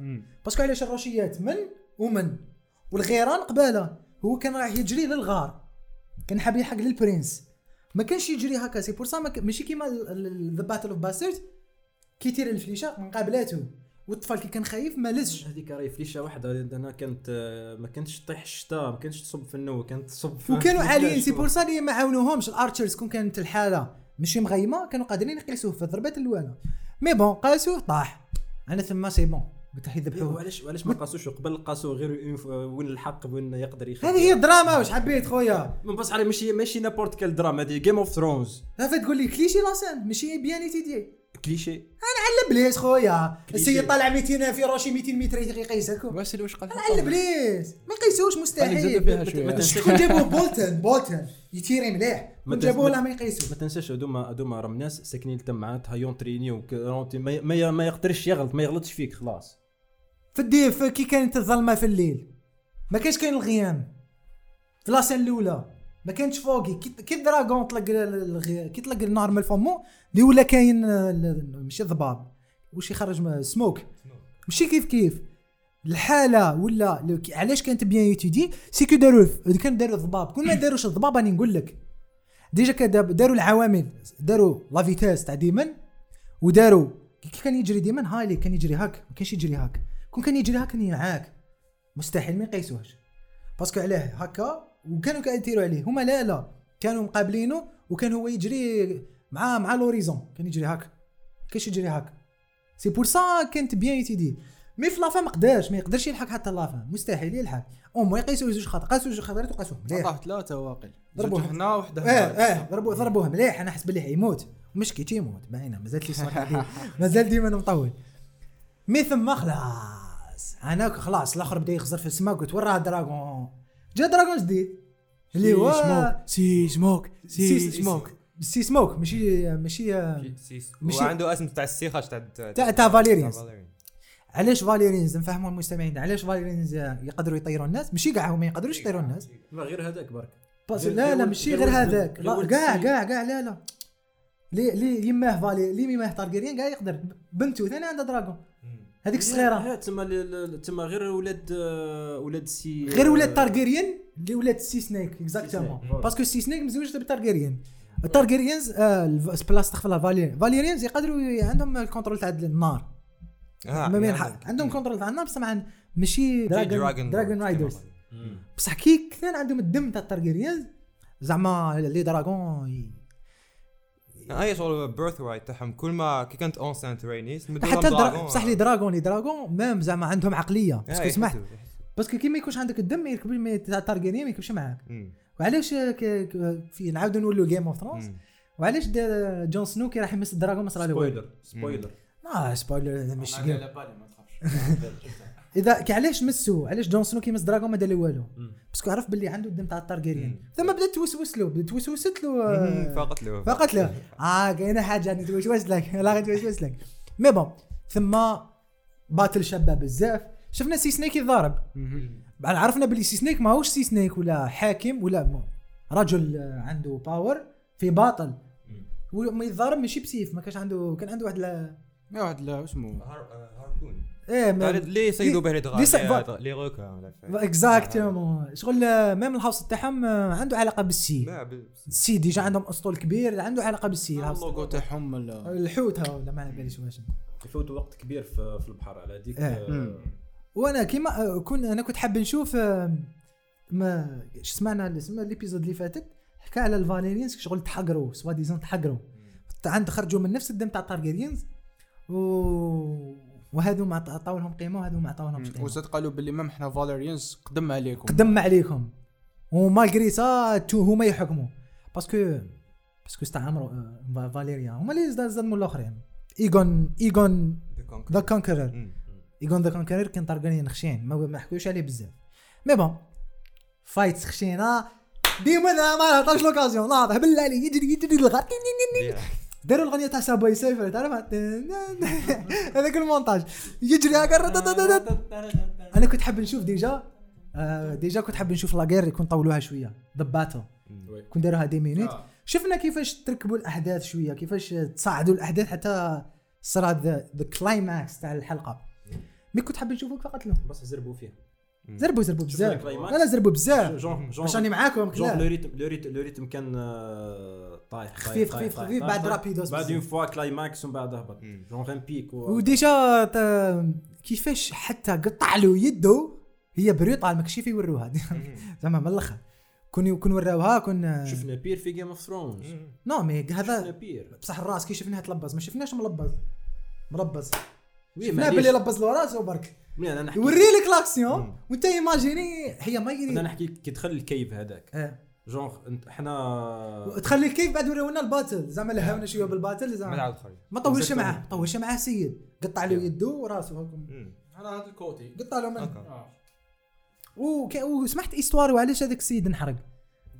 Speaker 1: باسكو علاش الروشيات من ومن والغيران قباله هو كان رايح يجري للغار كان حاب يلحق للبرنس ما كانش يجري هكا سي بور سا ما ك- ماشي كيما ذا باتل اوف باسترد كي تير الفليشه من قابلاته والطفل كي كان خايف ما لزش
Speaker 4: هذيك راهي فليشه واحده انا كانت آه، ما كانتش تطيح الشتاء ما كانتش تصب في النو كانت تصب في
Speaker 1: وكانوا
Speaker 4: في
Speaker 1: عاليين
Speaker 4: الثلج.
Speaker 1: سي بور سا اللي ما عاونوهمش الارشرز كون كانت الحاله ماشي مغيمه كانوا قادرين يقيسوه في ضربات الاولى مي بون قاسوه طاح انا ثما سي بون قلت راح
Speaker 4: إيه،
Speaker 1: يذبحوه
Speaker 4: وعلاش وعلاش ما قاسوش قبل قاسوه غير إون ف- وين الحق وين يقدر يخدم
Speaker 1: هذه هي الدراما واش حبيت خويا
Speaker 4: من بصح عليه ماشي ماشي نابورت كال دراما هذه جيم اوف ثرونز
Speaker 1: هذا تقول لي كليشي لاسان ماشي بيان ايتيدي
Speaker 4: كليشي
Speaker 1: على بليس خويا
Speaker 4: كليشي.
Speaker 1: السيد طالع 200 في روشي 200 متر يقيسك
Speaker 2: واش اللي واش قال
Speaker 1: على بليس ما يقيسوش
Speaker 2: قال لك زادوا
Speaker 1: مستحيل
Speaker 2: فيها شويه
Speaker 4: ما تنساش-
Speaker 1: شكون جابوه بولتن بولتن يتيري مليح
Speaker 4: ما
Speaker 1: كون
Speaker 4: تنس-
Speaker 1: جابوه
Speaker 4: ما-
Speaker 1: لا ما
Speaker 4: ما
Speaker 1: يقيسوش
Speaker 4: تنساش هذوما هذوما راهم ناس ساكنين تمعاتها يونترينيو ما, ما, ما يقدرش يغلط ما يغلطش فيك خلاص
Speaker 1: في الديف كي كانت الظلمه في الليل ما كانش كاين الغيام في لاسين الاولى ما كانش فوقي كي كي الدراغون طلق ال- الغي- كي طلق النار من فمو اللي ولا كاين آه، ال- ماشي ضباب واش يخرج من- سموك ماشي كيف كيف الحاله ولا لو- كي- علاش كانت بيان يتيدي سي كو داروا الف- كان داروا الضباب كون ما داروش الضباب راني نقول لك ديجا كداب- داروا العوامل داروا لا فيتاس تاع ديما وداروا كي كان يجري ديما هايلي كان يجري هاك ما كانش يجري هاك كون كان يجري هاك راني معاك مستحيل ما يقيسوهاش باسكو علاه هكا وكانوا كيتيروا عليه هما لا لا كانوا مقابلينه وكان هو يجري مع مع لوريزون كان يجري هاك ما كانش يجري هاك سي بور سا كانت بيان يتيدي مي في لافان ما قدرش ما يقدرش يلحق حتى لافان مستحيل يلحق هما يقيسوا زوج خطرات قاسوا زوج خطرات وقاسوهم مليح
Speaker 2: قطع ثلاثه واقل
Speaker 1: ضربوه.
Speaker 2: ضربوه هنا وحده
Speaker 1: اه اه ضربوه ضربوه مليح انا حسب اللي حيموت مش كي تيموت باينه مازالت لي صوت عندي. مازال ديما أنا مطول مي ثم خلاص انا خلاص الاخر بدا يخزر في السماء قلت وين راه دراغون جا دراغون جديد اللي هو
Speaker 2: سي سموك
Speaker 1: سي سموك سي سموك ماشي ماشي آه، ماشي-
Speaker 3: وعنده اسم تاع السيخاش تاع
Speaker 1: تاع- تاع فاليرينز. علاش فاليرينز نفهموا المستمعين علاش فاليرينز يقدروا يطيروا الناس ماشي كاع هما يقدروش يطيروا الناس
Speaker 4: لا غير هذاك برك
Speaker 1: بس
Speaker 4: غير-
Speaker 1: لا
Speaker 4: غير
Speaker 1: لا
Speaker 4: ولد-
Speaker 1: ماشي
Speaker 4: غير
Speaker 1: غير
Speaker 4: ولد-
Speaker 1: هذاك
Speaker 4: غير
Speaker 1: لا
Speaker 4: ولد
Speaker 1: كاع
Speaker 4: سيد.
Speaker 1: كاع كاع لا لا لي لي يماه فالي لي يماه تارجيريان كاع يقدر بنته ثاني عندها دراغون هذيك الصغيره
Speaker 4: ها، تما ل- ل- تما غير ولاد آه، ولاد سي آه،
Speaker 1: غير ولاد تارجيريان اللي ولاد سي سنيك اكزاكتومون
Speaker 4: فوالا.
Speaker 1: باسكو سي سنيك مزوج بتارجيريان التارجيريانز آه، الف- بلاصه تخفى لا فاليريان فاليريانز يقدروا ي- عندهم الكونترول تاع النار
Speaker 3: آه،
Speaker 1: ما
Speaker 3: يعني
Speaker 1: بين حق عندهم كونترول تاع النار بصح ما عند- ماشي دراغون دراغون رايدرز
Speaker 4: مم.
Speaker 1: بصح كي كان عندهم الدم تاع التارجيريانز زعما لي دراغون ي-
Speaker 3: هاي آه، شغل بيرث رايت تاعهم كل ما كي كانت اونسانت رينيس
Speaker 1: حتى درا... بصح لي دراغون لي دراغون مام زعما عندهم عقليه
Speaker 3: إيه،
Speaker 1: باسكو سمعت باسكو كي ما يكونش عندك الدم ما يركبش ما تاع التارجيريان ما يركبش معاك وعلاش آه، ك... ك... في نعاودوا نولوا جيم اوف ثرونز وعلاش دا- جون سنو كي راح يمس الدراغون مصرى له والو
Speaker 4: سبويلر سبويلر
Speaker 1: اه سبويلر هذا مش
Speaker 5: انا
Speaker 1: جيم
Speaker 5: على بالي ما تخافش
Speaker 1: اذا كي علاش مسو علاش جون سنو كي مس دراغون ما دار له والو
Speaker 4: مم.
Speaker 1: باسكو عرف باللي عنده الدم تاع التارجيريان
Speaker 3: مم.
Speaker 1: ثم بدا توسوس له بدا توسوست له آه،
Speaker 3: فقط له
Speaker 1: فقط له اه كاينه حاجه نتوسوس لك *laughs* لا غنتوسوس لك مي بون ثم باتل شابه بزاف شفنا سي سنيك يتضارب بعد عرفنا بلي سي سنيك ماهوش سي سنيك ولا حاكم ولا م- رجل آه، عنده باور في باطل وما يتضارب ماشي بسيف ما كانش عنده كان عنده واحد لا-
Speaker 2: يا واحد لا اسمه
Speaker 3: آه، هاركون
Speaker 1: ايه ما-
Speaker 3: ليه يصيدوا به
Speaker 1: ليه ص-
Speaker 3: لي لي غوكا
Speaker 1: اكزاكتومون شغل آه، ميم الهاوس تاعهم آه، عنده علاقه بالسي
Speaker 3: لا بس-
Speaker 1: السي ديجا عندهم اسطول كبير عنده علاقه بالسي الهاوس
Speaker 2: اللوغو تاعهم ولا-
Speaker 1: الحوت ها ولا ما على باليش واش
Speaker 4: يفوتوا وقت كبير في في البحر على هذيك
Speaker 1: إيه.
Speaker 4: آه،
Speaker 2: مم.
Speaker 1: وانا كيما كون انا كنت حاب نشوف آه، ما شو سمعنا اللي سمع الابيزود اللي فاتت حكى على الفاليريانز شغل تحقروا سوا ديزون تحقروا عند خرجوا من نفس الدم تاع التارجيريانز و وهذو ما عطاو لهم قيمه وهذو ما عطاو لهمش قيمه
Speaker 2: وزاد قالوا باللي مام احنا فاليريانز قدم عليكم
Speaker 1: قدم عليكم ومالغري سا تو هما يحكموا باسكو باسكو استعمروا آه، فاليريا هما اللي زدموا الاخرين ايجون ايجون ذا كونكرر
Speaker 3: مم.
Speaker 1: يقول ذا كونكرير كان طرقانين خشين ما ما حكوش عليه بزاف مي بون فايت خشينه ديما أنا ما نعطاش لوكازيون ناضح بالله عليك يجري يجري للغار
Speaker 3: ديرها.
Speaker 1: داروا الاغنيه تاع سابوي سيفر تعرف *laughs* هذاك المونتاج يجري هكا انا كنت حاب نشوف ديجا آه، ديجا كنت حاب نشوف لاغير يكون طولوها شويه دباتو
Speaker 3: مم.
Speaker 1: كون داروها دي مينوت
Speaker 5: آه.
Speaker 1: شفنا كيفاش تركبوا الاحداث شويه كيفاش تصاعدوا الاحداث حتى صار ذا كلايماكس تاع الحلقه مي كنت حاب نشوفك فقط له
Speaker 4: بس زربوا فيه
Speaker 3: مم.
Speaker 1: زربوا زربوا
Speaker 4: شفنا
Speaker 1: بزاف
Speaker 4: الكلايماكس.
Speaker 1: لا لا زربوا بزاف
Speaker 4: جون جون
Speaker 1: باش راني معاكم
Speaker 4: جون
Speaker 1: لا.
Speaker 4: لو ريتم لو ريتم لو ريتم كان آه، طايح طايح،
Speaker 1: خفيف،
Speaker 4: طايح،
Speaker 1: خفيف،
Speaker 4: طايح،
Speaker 1: خفيف،
Speaker 4: طايح،
Speaker 1: بعد
Speaker 4: طايح.
Speaker 1: رابيدوس
Speaker 4: بعد
Speaker 1: بزاف.
Speaker 4: اون فوا كلايماكس ومن بعد هبط
Speaker 3: مم.
Speaker 4: جون غير بيك و-
Speaker 1: وديجا تا- كيفاش حتى قطع له يده هي بريطال ماكشيف يوروها *laughs* زعما من الاخر كون كون وراوها كون
Speaker 4: شفنا بير في جيم اوف ثرونز
Speaker 1: نو مي
Speaker 4: شفنا
Speaker 1: هذا
Speaker 4: بير
Speaker 1: بصح الراس كي شفناه تلبز ما شفناش ملبز ملبز
Speaker 4: وي
Speaker 1: شفناه
Speaker 4: معليش.
Speaker 1: باللي لبز له راسه برك
Speaker 4: مي انا نحكي
Speaker 1: يوري لك لاكسيون
Speaker 3: مم.
Speaker 1: وانت ايماجيني هي ما
Speaker 4: انا
Speaker 1: يدير
Speaker 4: نحكي كي دخل الكيف هذاك
Speaker 1: إيه.
Speaker 4: جون احنا
Speaker 1: تخلي كيف بعد ورونا الباتل زعما لهاونا شويه بالباتل
Speaker 3: ما
Speaker 1: زعما
Speaker 3: نعاود خرج
Speaker 1: ما طولش
Speaker 4: Exactly.
Speaker 1: معاه ما طولش معاه سيد قطع له يده وراسه هكم.
Speaker 5: انا هذا الكوتي
Speaker 1: قطع له منه
Speaker 3: هكا.
Speaker 1: وك- وسمعت ايستوار وعلاش هذاك السيد انحرق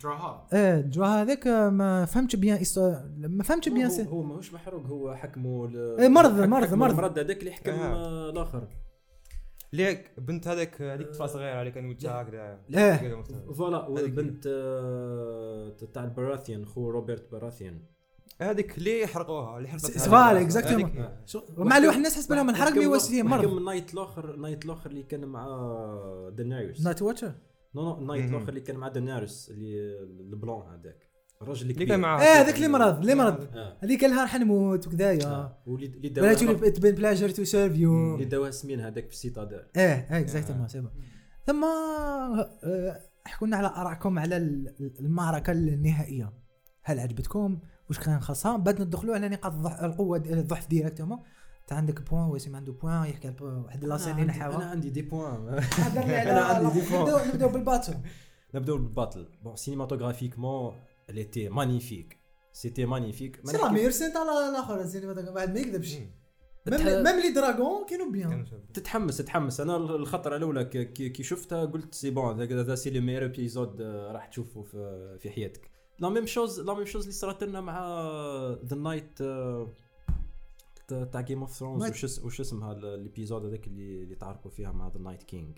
Speaker 5: دراها
Speaker 1: اه جو هذاك آه، ما فهمتش بيان إيستوار- ما فهمتش بيان
Speaker 4: هو
Speaker 1: سي
Speaker 4: هو ماهوش محروق هو حكمه ال-
Speaker 1: إيه، مرض-
Speaker 4: حك-
Speaker 1: مرض-
Speaker 4: حكمه
Speaker 1: مرض.
Speaker 4: المرض هذاك اللي حكم
Speaker 3: آه.
Speaker 4: آه، الاخر
Speaker 3: ليك بنت هذاك هذيك طفله صغيره اللي كان وجهها هكذا
Speaker 1: إيه.
Speaker 4: فوالا
Speaker 3: هذيك
Speaker 4: وبنت آه، تاع البراثيان خو روبرت براثيان
Speaker 3: هذيك اللي حرقوها اللي حرقتها
Speaker 1: سفالة،
Speaker 3: هذيك.
Speaker 1: exactly.
Speaker 3: هذيك-
Speaker 1: مع الواحد الناس حسب لهم انحرق مي واسلي
Speaker 4: حكم
Speaker 1: مرض
Speaker 4: النايت الاخر نايت الاخر اللي كان مع دناريوس
Speaker 1: نايت واتشر
Speaker 4: نو نو النايت
Speaker 3: مهم.
Speaker 4: الاخر اللي كان مع دناريوس اللي آه، البلون هذاك الراجل
Speaker 3: اللي
Speaker 4: الكبير
Speaker 3: كان معاه
Speaker 1: اه هذاك اللي مرض اللي
Speaker 3: آه.
Speaker 1: مرض
Speaker 4: اه
Speaker 1: هذيك النهار حنموت وكذايا
Speaker 4: آه. واللي اللي
Speaker 1: بلاتي
Speaker 4: داوها
Speaker 1: بين بلاجر تو سيرف يو
Speaker 4: اللي داوها سمين هذاك في السيتاديل
Speaker 1: ايه ايه اكزاكتومون سي بون ثم آه، احكوا لنا على ارائكم على ال- المعركه النهائيه هل عجبتكم واش كان خاصها بعد ندخلوا على نقاط الضح- القوه د- الضعف ديريكتومون تا عندك بوان وسيم عنده بوان يحكي على بوان. واحد
Speaker 4: أنا
Speaker 1: لاسين
Speaker 4: عندي-
Speaker 1: هنا
Speaker 4: انا
Speaker 1: حاول
Speaker 4: عندي دي بوان *laughs*
Speaker 1: هضر لي على *laughs*
Speaker 4: أنا عندي
Speaker 1: نبداو-
Speaker 4: ديفون.
Speaker 1: نبداو
Speaker 3: *laughs*
Speaker 1: بالباتل
Speaker 4: نبداو بالباتل بون سينيماتوغرافيكمون اللي تي مانيفيك سيتي مانيفيك ما
Speaker 1: سي لا
Speaker 4: نحكي-
Speaker 1: ميور سنت على الاخر زين هذاك بعد ما يكذبش
Speaker 3: مم.
Speaker 1: ميم ميم لي دراغون كانوا بيان
Speaker 3: كان شاب.
Speaker 4: تتحمس تتحمس انا الخطره الاولى ك- كي كي شفتها قلت سي بون هذا هذا سي لو ميور ابيزود آه، راح تشوفه في في حياتك لا ميم شوز لا ميم شوز اللي صارت لنا مع آه، ذا نايت تاع جيم اوف ثرونز
Speaker 1: Night.
Speaker 4: وش اس- وش اسمها الابيزود هذاك اللي اللي تعاركوا فيها مع ذا نايت كينج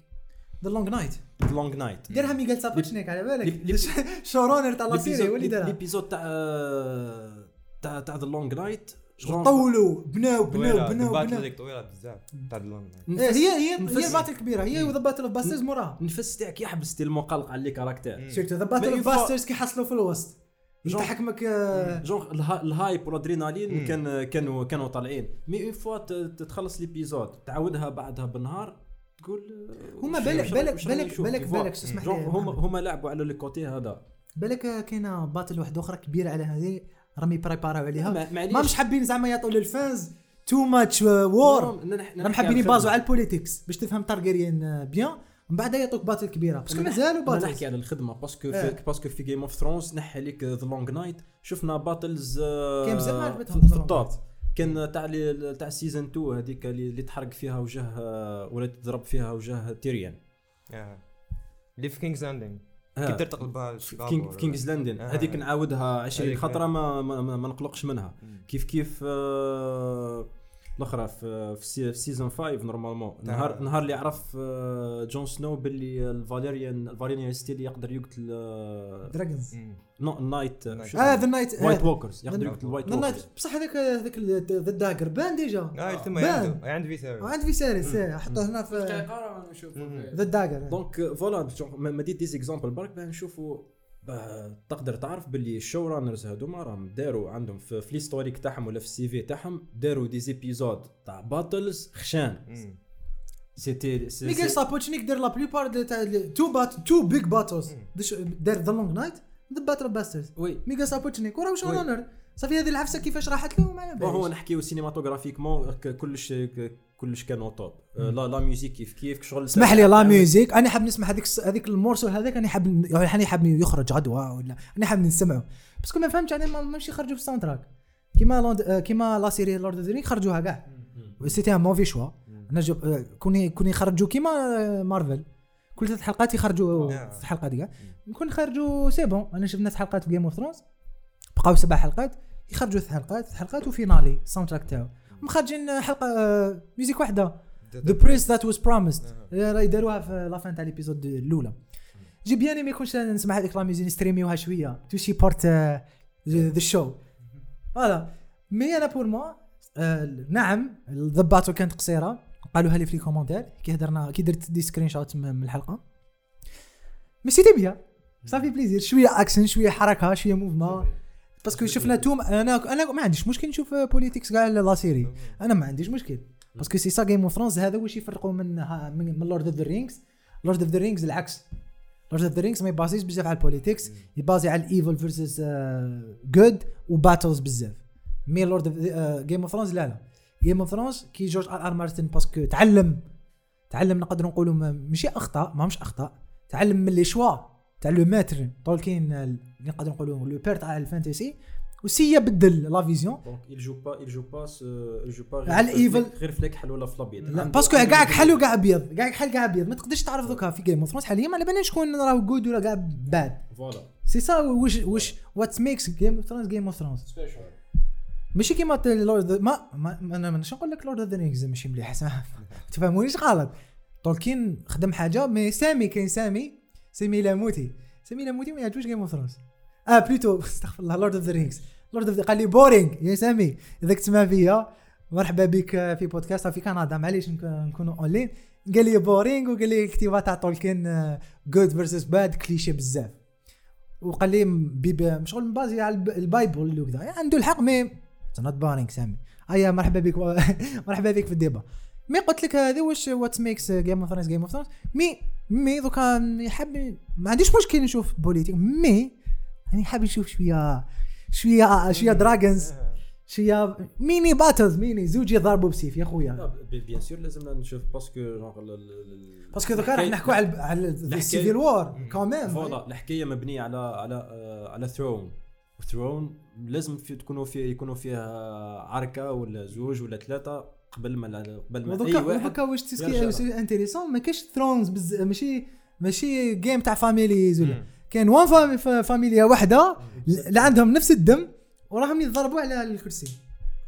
Speaker 1: ذا لونغ نايت
Speaker 4: لونج نايت
Speaker 1: ديرها ميغال سابوتشنيك على
Speaker 4: لي-
Speaker 1: بالك
Speaker 4: لي-
Speaker 1: *laughs* شورونر تاع لا سيري هو اللي دارها
Speaker 4: الابيزود تاع آه، تاع تاع ذا لونج نايت
Speaker 1: طولوا بناو بناو
Speaker 3: طويله
Speaker 1: بناو
Speaker 3: الباتل
Speaker 1: بناو
Speaker 3: هذيك طويله بزاف تاع اللون
Speaker 1: إيه، هي هي هي
Speaker 4: نفس-
Speaker 1: الباتل الكبيره
Speaker 4: إيه.
Speaker 1: هي ذا باتل اوف باسترز موراها
Speaker 4: النفس تاعك يحبس تي المقلق على لي كاركتير
Speaker 3: مم.
Speaker 1: سيرتو ذا باتل
Speaker 4: إيه. ما
Speaker 1: اوف
Speaker 4: ينفع-
Speaker 1: باسترز كي حصلوا في الوسط
Speaker 4: جون-
Speaker 1: يتحكمك آه،
Speaker 4: جونغ الها- الهايب والادرينالين
Speaker 1: Hmm.
Speaker 3: مم.
Speaker 4: كان كانوا كانوا طالعين مي اون فوا ت- تتخلص ليبيزود تعاودها بعدها بالنهار تقول آه،
Speaker 1: هما
Speaker 4: وش-
Speaker 1: بالك
Speaker 4: وش-
Speaker 1: بالك
Speaker 4: وش راني
Speaker 1: بالك
Speaker 4: نشوف؟
Speaker 1: بالك
Speaker 4: تيفوا.
Speaker 1: بالك اسمح لي
Speaker 4: جونغ هما
Speaker 1: محمد.
Speaker 4: هما لعبوا على الكوتي هذا
Speaker 1: بالك آه، كاينه باتل واحده اخرى كبيره على هذه رامي بريباراو عليها
Speaker 4: ما- معليش.
Speaker 1: ما مش حابين زعما يعطوا للفانز تو ماتش وور
Speaker 4: نحن- نحن-
Speaker 1: راهم
Speaker 4: نحكي
Speaker 1: حابين
Speaker 4: على
Speaker 1: يبازوا
Speaker 4: الخدمة.
Speaker 1: على البوليتيكس باش تفهم تارجيريان بيان من بعد يعطوك باتل كبيره باسكو
Speaker 4: أنا
Speaker 1: مازالوا
Speaker 4: نح- أنا نحكي
Speaker 1: باتل
Speaker 4: على الخدمه باسكو
Speaker 1: إيه.
Speaker 4: في باسكو في جيم اوف ثرونز نحي لك ذا لونج نايت شفنا باتلز
Speaker 1: كان بزاف ما عجبتهم The
Speaker 4: في
Speaker 1: Long
Speaker 4: الدور كان تاع لي- تاع سيزون 2 هذيك اللي اللي تحرق فيها وجه آه، ولا تضرب فيها وجه تيريان
Speaker 3: اللي آه. في كينجز لاندينغ
Speaker 4: آه.
Speaker 3: كي دير تقلبها
Speaker 4: في كينج في كينجز لاندن
Speaker 3: آه.
Speaker 4: هذيك نعاودها 20
Speaker 3: هذيك آه.
Speaker 4: خطره ما ما, ما, ما نقلقش منها
Speaker 3: مم.
Speaker 4: كيف كيف آه، الاخرى في في سي- في سيزون 5 نورمالمون
Speaker 3: تاع-
Speaker 4: نهار نهار اللي عرف آه، جون سنو باللي الفاليريان الفاليريان ستيل يقدر يقتل آه،
Speaker 1: دراجونز
Speaker 4: نو النايت
Speaker 3: Night.
Speaker 1: اه ذا نايت
Speaker 4: وايت ووكرز يقدر
Speaker 3: آه.
Speaker 1: The-
Speaker 4: يقتل الوايت
Speaker 1: ذا نايت
Speaker 4: ووكرز
Speaker 1: بصح هذاك هذاك ذا داجر بان ديجا
Speaker 3: اه يتم
Speaker 1: بان.
Speaker 3: عنده عنده فيثاري
Speaker 1: عند في سيريس إيه، حطوه هنا في
Speaker 5: دقيقه رانا نشوف
Speaker 3: مم.
Speaker 1: ذا داجر
Speaker 4: دونك آه، فوالا جون- ما ما ديت ديز اكزامبل برك باه نشوفوا باه تقدر تعرف باللي الشو رانرز هذوما راهم داروا عندهم في في الهيستوريك تاعهم ولا في السي في تاعهم داروا ديز ايبيزود تاع باتلز خشان سيتي سي-
Speaker 1: ميغيل
Speaker 4: سي-
Speaker 1: سابوتشنيك دير لا بليبار تاع تو بات تو بيج باتلز
Speaker 3: مم.
Speaker 1: دار ذا لونج نايت ذا باتل باسترز
Speaker 4: وي
Speaker 1: ميغا سابوتشنيك وراه
Speaker 4: وي.
Speaker 1: شونر صافي هذه العفسه كيفاش راحت له ما على
Speaker 4: بون هو
Speaker 1: باليش
Speaker 4: نحكيو سينيماتوغرافيكمون ك- كلش ك- كلش كانوا توب آه، لا لا ميوزيك كيف كيف شغل
Speaker 1: اسمح لي
Speaker 4: آه،
Speaker 1: لا ميوزيك انا حاب نسمع هذيك هذيك المورسو هذاك انا حاب انا حاب يخرج غدوه ولا انا حاب نسمعه بس كون ما فهمتش انا ما ماشي يخرجوا في الساوند تراك كيما لوند آه، كيما لا سيري لورد اوف خرجوها كاع سيتي ان موفي شوا انا جو- آه، كون كون يخرجوا كيما آه، مارفل كل ثلاث حلقات يخرجوا
Speaker 3: آه.
Speaker 1: في الحلقه ديك كون يخرجوا سي بون انا شفنا ثلاث حلقات في جيم اوف ثرونز بقاو سبع حلقات يخرجوا ثلاث حلقات ثلاث حلقات وفينالي الساوند تراك تاعو مخرجين حلقه آه، ميوزيك واحده ذا بريس ذات واز بروميسد آه، راهي داروها في لافان تاع ليبيزود الاولى جي بيان ما يكونش نسمع هذيك لا ميوزي نستريميوها شويه تو سي بارت ذا شو فوالا مي انا بور موا آه، نعم الضباطو كانت قصيره قالوها لي في لي كومونتير كي هضرنا كي درت دي سكرين شوت من من الحلقه مسيتي بيها صافي بليزير شويه اكشن شويه حركه شويه موفمون باسكو شفنا توم انا انا ما عنديش مشكل نشوف بوليتيكس كاع لا سيري انا ما عنديش مشكل باسكو سي سا جيم اوف ثرونز هذا واش يفرقوا من ها- من, من لورد اوف ذا رينجز لورد اوف ذا رينجز العكس لورد اوف ذا رينجز ما يبازيش بزاف على البوليتيكس يبازي على آه، الايفل فيرسز جود وباتلز بزاف مي لورد اوف آه، جيم اوف ثرونز لا لا جيم اوف ثرونز كي جورج ار ار مارتن باسكو تعلم تعلم نقدر نقولوا ما- ماشي اخطاء ماهمش اخطاء تعلم من لي شوا تاع لو ماتر تولكين آه، اللي نقدر نقولوا لو بير تاع الفانتسي وسي بدل لا فيزيون
Speaker 4: دونك il joue pas il joue pas ce- il joue pas غير
Speaker 1: على
Speaker 4: في الفليك-
Speaker 1: الإيفل.
Speaker 4: غير فليك حل ولا في الابيض
Speaker 1: لا
Speaker 4: عنده-
Speaker 1: باسكو
Speaker 4: عنده
Speaker 1: كاع
Speaker 4: الإيفل.
Speaker 1: كحل وكاع ابيض كاع كحل كاع ابيض ما تقدرش تعرف دوكا في جيم اوف ثرونز حاليا ما على بالناش شكون راه جود ولا كاع باد
Speaker 4: فوالا
Speaker 1: سي سا واش واش وات ميكس جيم اوف ثرونز جيم اوف ثرونز ماشي كيما ت- لورد ما ما ما- انا مانيش نقول لك لورد اوف ذا رينجز ماشي مليح *laughs* اسمع تفهمونيش غلط تولكين خدم حاجه مي سامي كاين سامي سامي لاموتي سامي لاموتي ما يعجبوش جيم اوف ثرونز اه بلوتو *laughs* استغفر الله لورد اوف ذا رينجز لورد اوف قال لي بورينغ يا سامي اذا تسمع فيا مرحبا بك آه، في بودكاست في كندا معليش نك- نكونوا اونلاين قال لي بورينغ وقال لي الكتيبه تاع تولكين آه، جود فيرسس باد كليشيه بزاف وقال لي بيبي شغل مبازي على الب- البايبل اللي وكذا يعني عنده الحق مي اتس نوت بارينغ سامي ايا مرحبا بك و- *laughs* مرحبا بك في الديبا مي قلت لك هذا واش آه، وات ميكس جيم اوف ثرونز جيم اوف ثرونز مي مي دوكا حاب ما عنديش مشكل نشوف بوليتيك مي يعني حاب نشوف آه، شويه شويه شويه دراجونز
Speaker 3: آه.
Speaker 1: شويه ميني باتلز ميني زوج يضربوا بسيف يا
Speaker 4: لا،
Speaker 1: خويا
Speaker 4: ب- بيان سور لازمنا نشوف باسكو جونغ ال- ال- ال-
Speaker 1: باسكو دوكا راح
Speaker 4: الحكاية-
Speaker 1: نحكوا على على السيفيل وور كوميم
Speaker 4: فوالا الحكايه مبنيه على على آه، على ثرون ثرون لازم في تكونوا فيه يكونوا فيها عركه ولا زوج ولا ثلاثه قبل ما لا- قبل ما
Speaker 1: ودوكا
Speaker 4: اي واحد
Speaker 1: ودوكا واش
Speaker 4: يرجع
Speaker 1: تسكي انتريسون ما كاش ثرونز بز... ماشي ماشي جيم تاع فاميليز ولا كاين وان فامي ف- فاميليا وحده اللي عندهم نفس الدم وراهم يتضربوا على الكرسي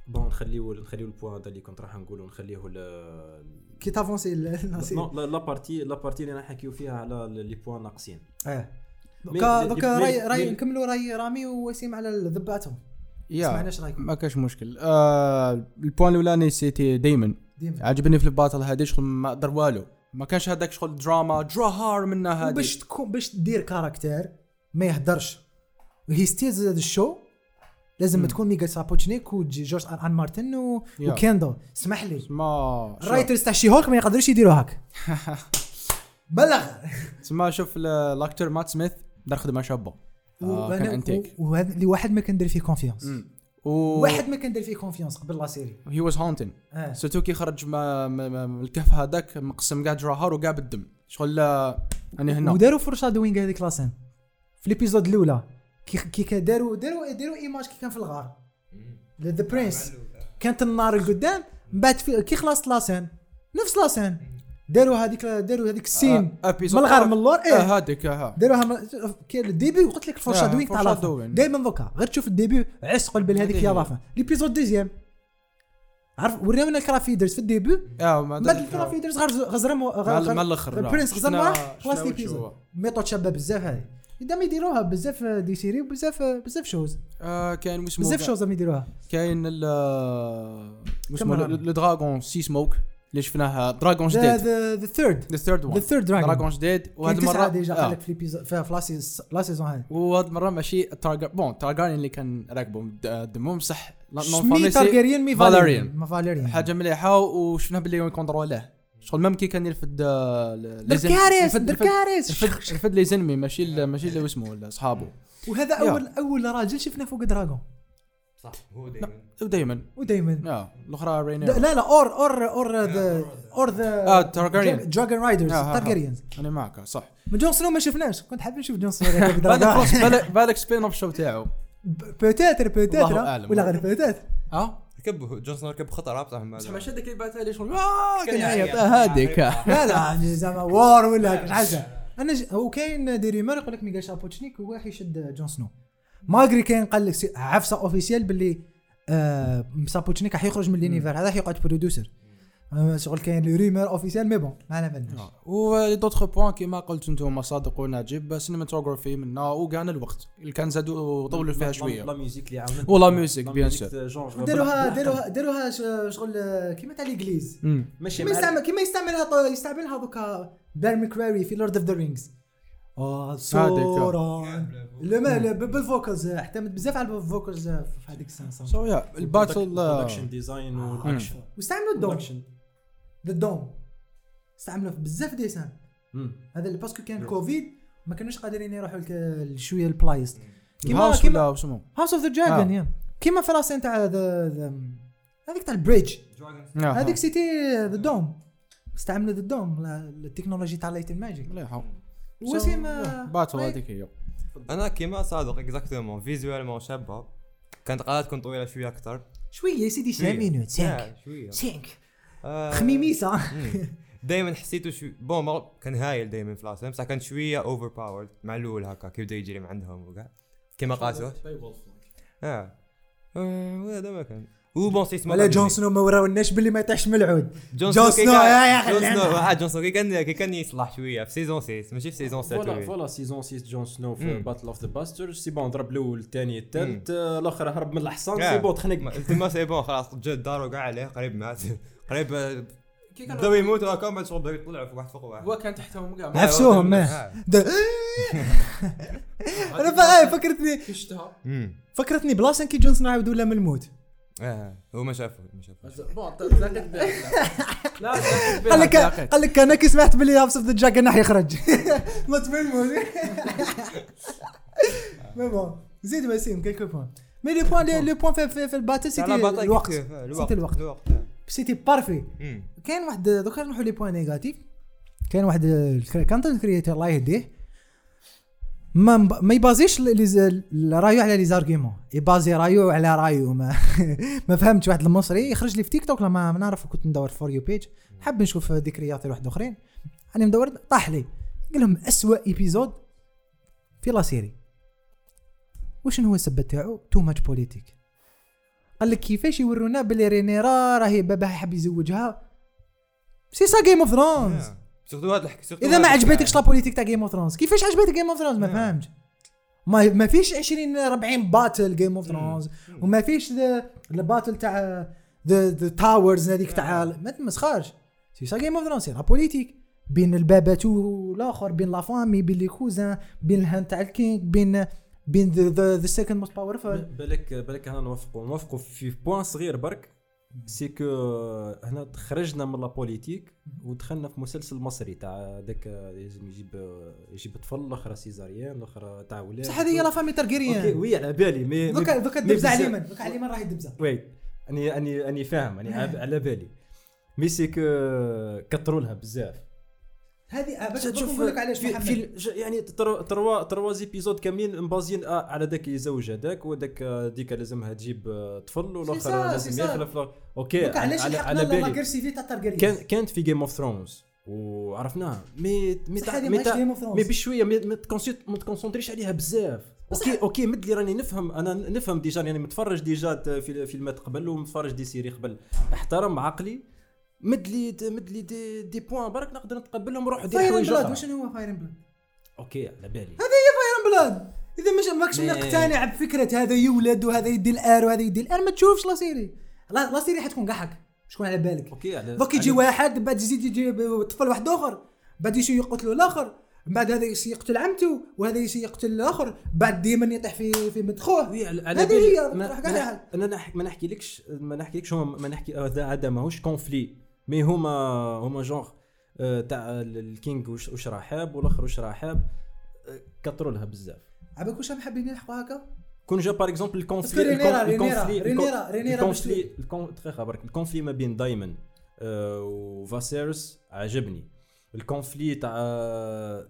Speaker 4: بون نخليو نخليو البوان هذا اللي كنت راح نقوله نخليه ل-
Speaker 1: كي تافونسي النصيب
Speaker 4: نو، لا لا بارتي لا بارتي اللي نحكيو فيها على ال- لي بوان ناقصين
Speaker 1: اه
Speaker 4: مي-
Speaker 1: دوكا
Speaker 4: مي-
Speaker 1: دوكا
Speaker 4: مي-
Speaker 1: راي راي
Speaker 4: مي-
Speaker 1: نكملوا راي رامي ووسيم على ذباتهم
Speaker 2: يا
Speaker 1: سمعناش رايكم
Speaker 2: ما كاش مشكل آه، البوان الاولاني سيتي دايما
Speaker 1: ديما
Speaker 2: عجبني في الباتل هذه شغل ما دار والو ما كانش هذاك شغل دراما درا هار منها هذه
Speaker 1: باش تكون باش تدير كاركتير ما يهدرش هي ستيلز هذا الشو لازم تكون ميغا سابوتشنيك وجي جورج ار ار مارتن و...
Speaker 2: يا.
Speaker 1: وكيندو اسمح لي
Speaker 2: ما
Speaker 1: الرايترز تاع شي هولك ما يقدروش يديروا
Speaker 2: *laughs*
Speaker 1: هاك بلغ
Speaker 2: آه، تسمى شوف ال- الاكتر مات سميث دار خدمه شابه آه، كان انتيك
Speaker 1: وهذا اللي واحد ما كندير فيه كونفيونس
Speaker 2: مم. و
Speaker 1: واحد ما كندير فيه كونفيونس قبل لا سيري
Speaker 2: هي واز هونتين
Speaker 1: اه
Speaker 2: سيرتو كي خرج ما- ما- ما- من الكهف هذاك مقسم كاع دراهار وكاع بالدم شغل آه، انا هنا
Speaker 1: وداروا فرشة دوينغ هذيك لاسين في الابيزود الاولى كي كي كان داروا داروا داروا ايماج كي كان في الغار ذا برنس كانت النار القدام من بعد في- كي خلصت لاسين نفس لاسين داروا هذيك داروا هذيك السين
Speaker 2: آه، episode
Speaker 1: من الغار
Speaker 2: آه،
Speaker 1: من اللور
Speaker 2: آه،
Speaker 1: ايه
Speaker 2: هذيك آه،
Speaker 1: داروها من- كاين الديبي وقلت لك الفرشة
Speaker 2: آه،
Speaker 1: دوينغ تاع
Speaker 2: الفرشة
Speaker 1: لافا
Speaker 2: دوينغ.
Speaker 1: دائما دوكا غير تشوف الديبي عس قلب هذيك
Speaker 2: هذه
Speaker 1: يا
Speaker 2: هي.
Speaker 1: لافا ليبيزود دوزيام عرف وريونا الكرافيدرز في الديبي
Speaker 2: اه ما
Speaker 1: بعد الكرافيدرز غير غزرم
Speaker 2: مع مع الاخر لا.
Speaker 1: برنس غزرم
Speaker 2: شفنا-
Speaker 1: واحد
Speaker 2: شفنا
Speaker 1: خلاص
Speaker 2: وجهه.
Speaker 1: ليبيزود ميطود شابه بزاف هذه دام يديروها بزاف دي سيري وبزاف بزاف شوز
Speaker 2: آه، كاين واسمه
Speaker 1: بزاف
Speaker 2: كاع-
Speaker 1: شوز راهم يديروها
Speaker 2: كاين ال آه، اسمه
Speaker 1: كاميرا.
Speaker 2: لو دراغون سي سموك اللي شفناه دراغون جديد
Speaker 1: ذا ثيرد
Speaker 2: ذا ثيرد
Speaker 1: ذا
Speaker 2: وان
Speaker 1: ثيرد
Speaker 2: دراغون
Speaker 1: دراجون
Speaker 2: جديد
Speaker 1: كاين
Speaker 2: وهذه
Speaker 1: تسعه
Speaker 2: المره
Speaker 1: ديجا
Speaker 2: آه.
Speaker 1: قال لك في ليبيزود في في لا سيز- لا سيزون هذه
Speaker 2: وهاد المره ماشي تارجا بون تارجاريان اللي كان راكبهم دمهم بصح لا- نون
Speaker 1: مي
Speaker 2: فاميسي
Speaker 1: تارجيريان مي فاليريان
Speaker 2: فاليريان.
Speaker 1: ما فاليريان
Speaker 2: حاجه مليحه وشفناها باللي يكونترولاه شغل مام كي كان يرفد آه، ل- لي
Speaker 1: درب
Speaker 2: زن-
Speaker 1: كارث
Speaker 2: يرفد-
Speaker 1: درب
Speaker 2: يرفد-
Speaker 1: كارث
Speaker 2: يرفد يرفد لي زنمي ماشي ال- ماشي اللي اسمه ولا اصحابه
Speaker 1: وهذا
Speaker 2: يا.
Speaker 1: اول اول راجل شفنا فوق دراغون
Speaker 3: صح هو دايما
Speaker 2: ودائما
Speaker 1: ودائما
Speaker 2: اه الاخرى
Speaker 1: لا
Speaker 2: رينير
Speaker 1: لا اور اور اور ذا اور ذا
Speaker 2: اه تارجاريان
Speaker 1: دراجون رايدرز
Speaker 2: آه، آه، آه.
Speaker 1: تارجيريانز
Speaker 2: انا معك آه،
Speaker 1: *laughs*
Speaker 2: صح
Speaker 1: من جون سنو ما شفناش كنت حاب نشوف
Speaker 2: *laughs*
Speaker 1: جون سنو راكب
Speaker 2: بالك
Speaker 1: دراغون.
Speaker 2: خلاص، بالك بالك سبين اوف شو تاعو
Speaker 1: بوتيتر بوتيتر
Speaker 2: الله أعلم.
Speaker 1: ولا غير بوتيتر
Speaker 2: اه
Speaker 3: ركب جون سنو ركب خطر بصح ما
Speaker 2: بصح ماشي هذاك اللي بعثها لي شغل اه كان
Speaker 3: يعيط.
Speaker 2: يعيط آه، هذيك آه.
Speaker 1: لا لا يعني زعما وار ولا هكا حاجه انا ج... وكاين دي ريمور يقول لك ميغا شابوتشنيك هو راح يشد جون سنو ماغري كاين قال لك سي- عفسه اوفيسيال باللي آه سابوتشنيك راح يخرج من لينيفر هذا راح يقعد برودوسر أه، شغل كاين لو ريمور اوفيسيال مي بون ما على بالناش
Speaker 2: آه، ولي دوتر بوان كيما قلت انتم صادق ونجيب سينماتوغرافي منا وكان الوقت اللي كان زادوا طولوا فيها شويه
Speaker 4: لا ميوزيك اللي عاونت
Speaker 2: ولا ميوزيك، بيان سور.
Speaker 1: داروها داروها داروها ش- شغل آه، كيما تاع ليغليز
Speaker 2: مم.
Speaker 4: ماشي
Speaker 1: كيما
Speaker 4: مع
Speaker 1: يستعمل كيما يستعملها طو- يستعملها دوكا بير ميكراري في لورد اوف ذا رينجز الصورة آه، لما بالفوكلز آه، اعتمد بزاف على الفوكلز آه، في هذيك السنة
Speaker 2: سو يا الباتل آه،
Speaker 4: برودكشن ديزاين والاكشن
Speaker 1: واستعملوا الدوم
Speaker 4: برودكشن
Speaker 1: ذا دوم استعملوا في بزاف ديسان هذا اللي باسكو كان كوفيد ما كانوش قادرين يروحوا لك- شويه البلايص كيما
Speaker 2: هاوس
Speaker 1: كيما
Speaker 2: ولا شنو
Speaker 1: هاوس اوف ذا دراجون يا كيما في لاسين تاع ذا ذا- هذيك تاع البريدج هذيك سيتي ذا دوم استعملوا ذا دوم التكنولوجي تاع لايت ماجيك
Speaker 2: مليحه
Speaker 1: وسيم
Speaker 2: باتل هذيك هي
Speaker 3: انا كيما صادق اكزاكتومون فيزوالمون شابه كانت قاعده تكون طويله شويه اكثر
Speaker 1: شويه يا سيدي 5 مينوت 5
Speaker 3: شويه
Speaker 1: 5
Speaker 3: آه،
Speaker 1: خميميسه
Speaker 3: مم. دايما آه، حسيته شو بون مر- كان هايل دايما في لاسن بصح كان شويه اوفر باورد مع الاول هكا كيف بدا يجري من عندهم وكاع كيما قاسوه اه آه، وهذا ما كان وبون سيس
Speaker 1: ولا جون سنو ما وراوناش باللي ما يطيحش من العود
Speaker 3: جون
Speaker 1: جون
Speaker 3: سنو كي
Speaker 1: سنو،
Speaker 3: كان-
Speaker 1: يا- يا
Speaker 3: جون
Speaker 1: خلينا.
Speaker 3: سنو واحد جون سنو كي كان كي كان يصلح شويه في سيزون 6 ماشي في سيزون 7
Speaker 4: فوالا فوالا سيزون 6 جون سنو في
Speaker 3: مم.
Speaker 4: باتل اوف ذا باسترز سي بون ضرب الاول الثاني الثالث آه، الاخر هرب من الحصان
Speaker 3: آه.
Speaker 4: سي بون
Speaker 3: *laughs*
Speaker 4: تخنق
Speaker 3: تما سي بون خلاص جا الدار وكاع عليه قريب مات *laughs* قريب آه،
Speaker 5: كي كان
Speaker 3: بداو يموتوا هكا بعد شغل بداو يطلعوا فوق واحد فوق واحد
Speaker 5: هو كان تحتهم
Speaker 2: *laughs*
Speaker 5: كاع
Speaker 1: عفسوهم
Speaker 3: آه.
Speaker 1: دا- انا فا- آه، فكرتني
Speaker 5: كي شتها
Speaker 3: مم.
Speaker 1: فكرتني بلاصه كي جون سنو عاود ولا من الموت
Speaker 3: اه هو ما شافه ما شافه
Speaker 5: بون تلاقيت بها لا تلاقيت بها
Speaker 1: قال لك
Speaker 2: uh,
Speaker 1: قال لك انا كي سمعت باللي هابس اوف ذا جاك راح يخرج *laughs* ما تفهموش *laughs* مي بون زيد وسيم كيلكو بوان مي لو بوان لو بوان في, في, في الباتل سيتي
Speaker 3: على بطل
Speaker 1: الوقت
Speaker 3: كيف- آه،
Speaker 1: سيتي الوقت
Speaker 3: الوقت آه.
Speaker 1: سيتي بارفي
Speaker 3: مم.
Speaker 1: كاين واحد دوكا نروحوا لي بوان نيجاتيف كاين واحد الكري- كونتنت كريتور الله يهديه ما مب- ما يبازيش ل- لي ز- ل- رايو على لي زارغيمون يبازي رايو على رايو ما *laughs* ما فهمتش واحد المصري يخرج لي في تيك توك لما ما نعرف كنت ندور فور يو بيج حاب نشوف دي كرياتور واحد اخرين انا مدور طاح لي قال لهم اسوء ايبيزود في لا سيري وشنو هو السبب تاعو تو ماتش بوليتيك قال لك كيفاش يورونا بلي رينيرا راهي باباها حاب يزوجها سي سا جيم اوف ثرونز
Speaker 3: آه. سورتو هاد الحكي سورتو
Speaker 1: اذا
Speaker 3: هاد
Speaker 1: ما
Speaker 3: الحكي.
Speaker 1: عجبتكش لا بوليتيك تاع جيم اوف ثرونز كيفاش عجبتك جيم اوف ثرونز ما
Speaker 3: نعم.
Speaker 1: فهمتش ما ما فيش 20 40 باتل جيم اوف
Speaker 4: نعم.
Speaker 1: ثرونز وما فيش الباتل تاع ذا ذا تاورز هذيك تاع
Speaker 4: نعم.
Speaker 1: ما تمسخرش سي سا جيم اوف ثرونز سي لا بوليتيك بين الباباتو والاخر بين لا فامي بين لي كوزان بين الهان تاع الكينج بين بين ذا ذا سكند موست باورفل
Speaker 4: بالك بالك انا نوافقوا نوافقوا في بوان صغير برك سي كو هنا خرجنا من لا بوليتيك ودخلنا في مسلسل مصري تاع ذاك لازم يجيب يجيب طفل الاخر سيزاريان الاخر تاع ولاد
Speaker 1: بصح هذه هي لا فامي
Speaker 4: اوكي
Speaker 1: ترقيريان
Speaker 4: وي على بالي مي
Speaker 1: دوكا دوكا
Speaker 4: مي
Speaker 1: الدبزه على
Speaker 4: بزاف-
Speaker 1: اليمن دوكا على اليمن راهي الدبزه
Speaker 4: وي اني اني اني فاهم اني عاب- على بالي مي سي كو كثروا لها بزاف
Speaker 1: هذه باش
Speaker 4: تشوف
Speaker 1: نقول لك علاش
Speaker 4: في,
Speaker 1: محمد.
Speaker 4: في ج- يعني ترو- تروا تروا زيبيزود كاملين مبازيين آه، على ذاك يزوج هذاك وذاك آه، ديك لازمها تجيب آه، طفل
Speaker 1: سي
Speaker 4: والاخر
Speaker 1: سا، سي
Speaker 4: لازم
Speaker 1: سا.
Speaker 4: يخلف لا- اوكي
Speaker 1: دوكا علاش
Speaker 4: على,
Speaker 1: لحقنا
Speaker 4: على بالي
Speaker 1: لاغريسيفي تاع تارجيريان
Speaker 4: كان كانت في جيم اوف ثرونز وعرفناها مي مي
Speaker 1: بصح
Speaker 4: تع-
Speaker 1: هذه
Speaker 4: مي
Speaker 1: ماهيش
Speaker 4: تع-
Speaker 1: Game of Thrones.
Speaker 4: مي بشويه مي- ما تكونسي- ما تكونسونتريش عليها بزاف اوكي اوكي مد اللي راني نفهم انا نفهم ديجا يعني متفرج ديجا ت- في فيلمات قبل ومتفرج دي سيري قبل احترم عقلي مد لي مد لي دي, دي بوان برك نقدر نتقبلهم روح دير
Speaker 1: فاير
Speaker 4: حوايج
Speaker 1: بلاد
Speaker 4: أخرى.
Speaker 1: وشنو هو فاير بلاد؟
Speaker 4: اوكي على بالي
Speaker 1: فاير بلاد اذا مش ماكش
Speaker 4: مي-
Speaker 1: مقتنع بفكره هذا يولد وهذا يدي الار وهذا يدي الار ما تشوفش لا سيري لا لا سيري حتكون قحك شكون على بالك
Speaker 4: اوكي على
Speaker 1: دوك يجي واحد بعد يزيد يجي ب- طفل واحد اخر بعد يجي يقتلوا الاخر بعد هذا يسي يقتل عمته وهذا يسي يقتل الاخر بعد ديما يطيح في في مدخوه
Speaker 4: وي، على على
Speaker 1: هذه هي
Speaker 4: ما-
Speaker 1: راح قاعد
Speaker 4: ما-
Speaker 1: عليها.
Speaker 4: انا نح- ما نحكيلكش ما نحكيلكش هما ما نحكي آه، هذا هذا ماهوش كونفلي مي هما هما جونغ آه، تاع ال- الكينج وش وش رحاب والاخر وش رحاب آه، كثروا لها بزاف
Speaker 1: عباك واش هم حابين يلحقوا هكا
Speaker 4: كون جا باغ اكزومبل الكونفلي
Speaker 1: رينيرا-
Speaker 4: الكون-
Speaker 1: رينيرا-
Speaker 4: الكونفلي-
Speaker 1: رينيرا-
Speaker 4: الكون-
Speaker 1: رينيرا
Speaker 4: الكونفلي الكون- دقيقه برك الكونفلي ما بين دايمن آه، وفاسيرس عجبني الكونفلي تاع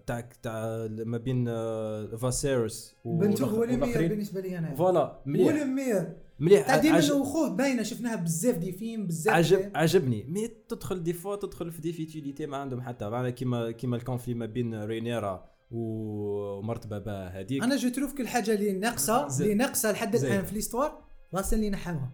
Speaker 4: تاع تاع ما بين آه، فاسيرس
Speaker 1: بنته هو
Speaker 4: والآخر-
Speaker 1: اللي مير
Speaker 4: والآخرين.
Speaker 1: بالنسبه لي انا هو
Speaker 4: فوالا
Speaker 1: اللي
Speaker 4: مليح
Speaker 1: مير
Speaker 4: مليح
Speaker 1: تاع ديما
Speaker 4: عجب-
Speaker 1: وخوه باينه شفناها بزاف دي فيلم بزاف
Speaker 4: عجب عجبني مي تدخل دي فوا تدخل في دي فيتيليتي ما عندهم حتى معنى كيما كيما الكونفلي ما بين رينيرا و- ومرت بابا هذيك
Speaker 1: انا جو تروف كل حاجه اللي ناقصه
Speaker 4: زين.
Speaker 1: اللي ناقصه لحد
Speaker 4: زين.
Speaker 1: الان في ليستوار لاسين اللي نحاوها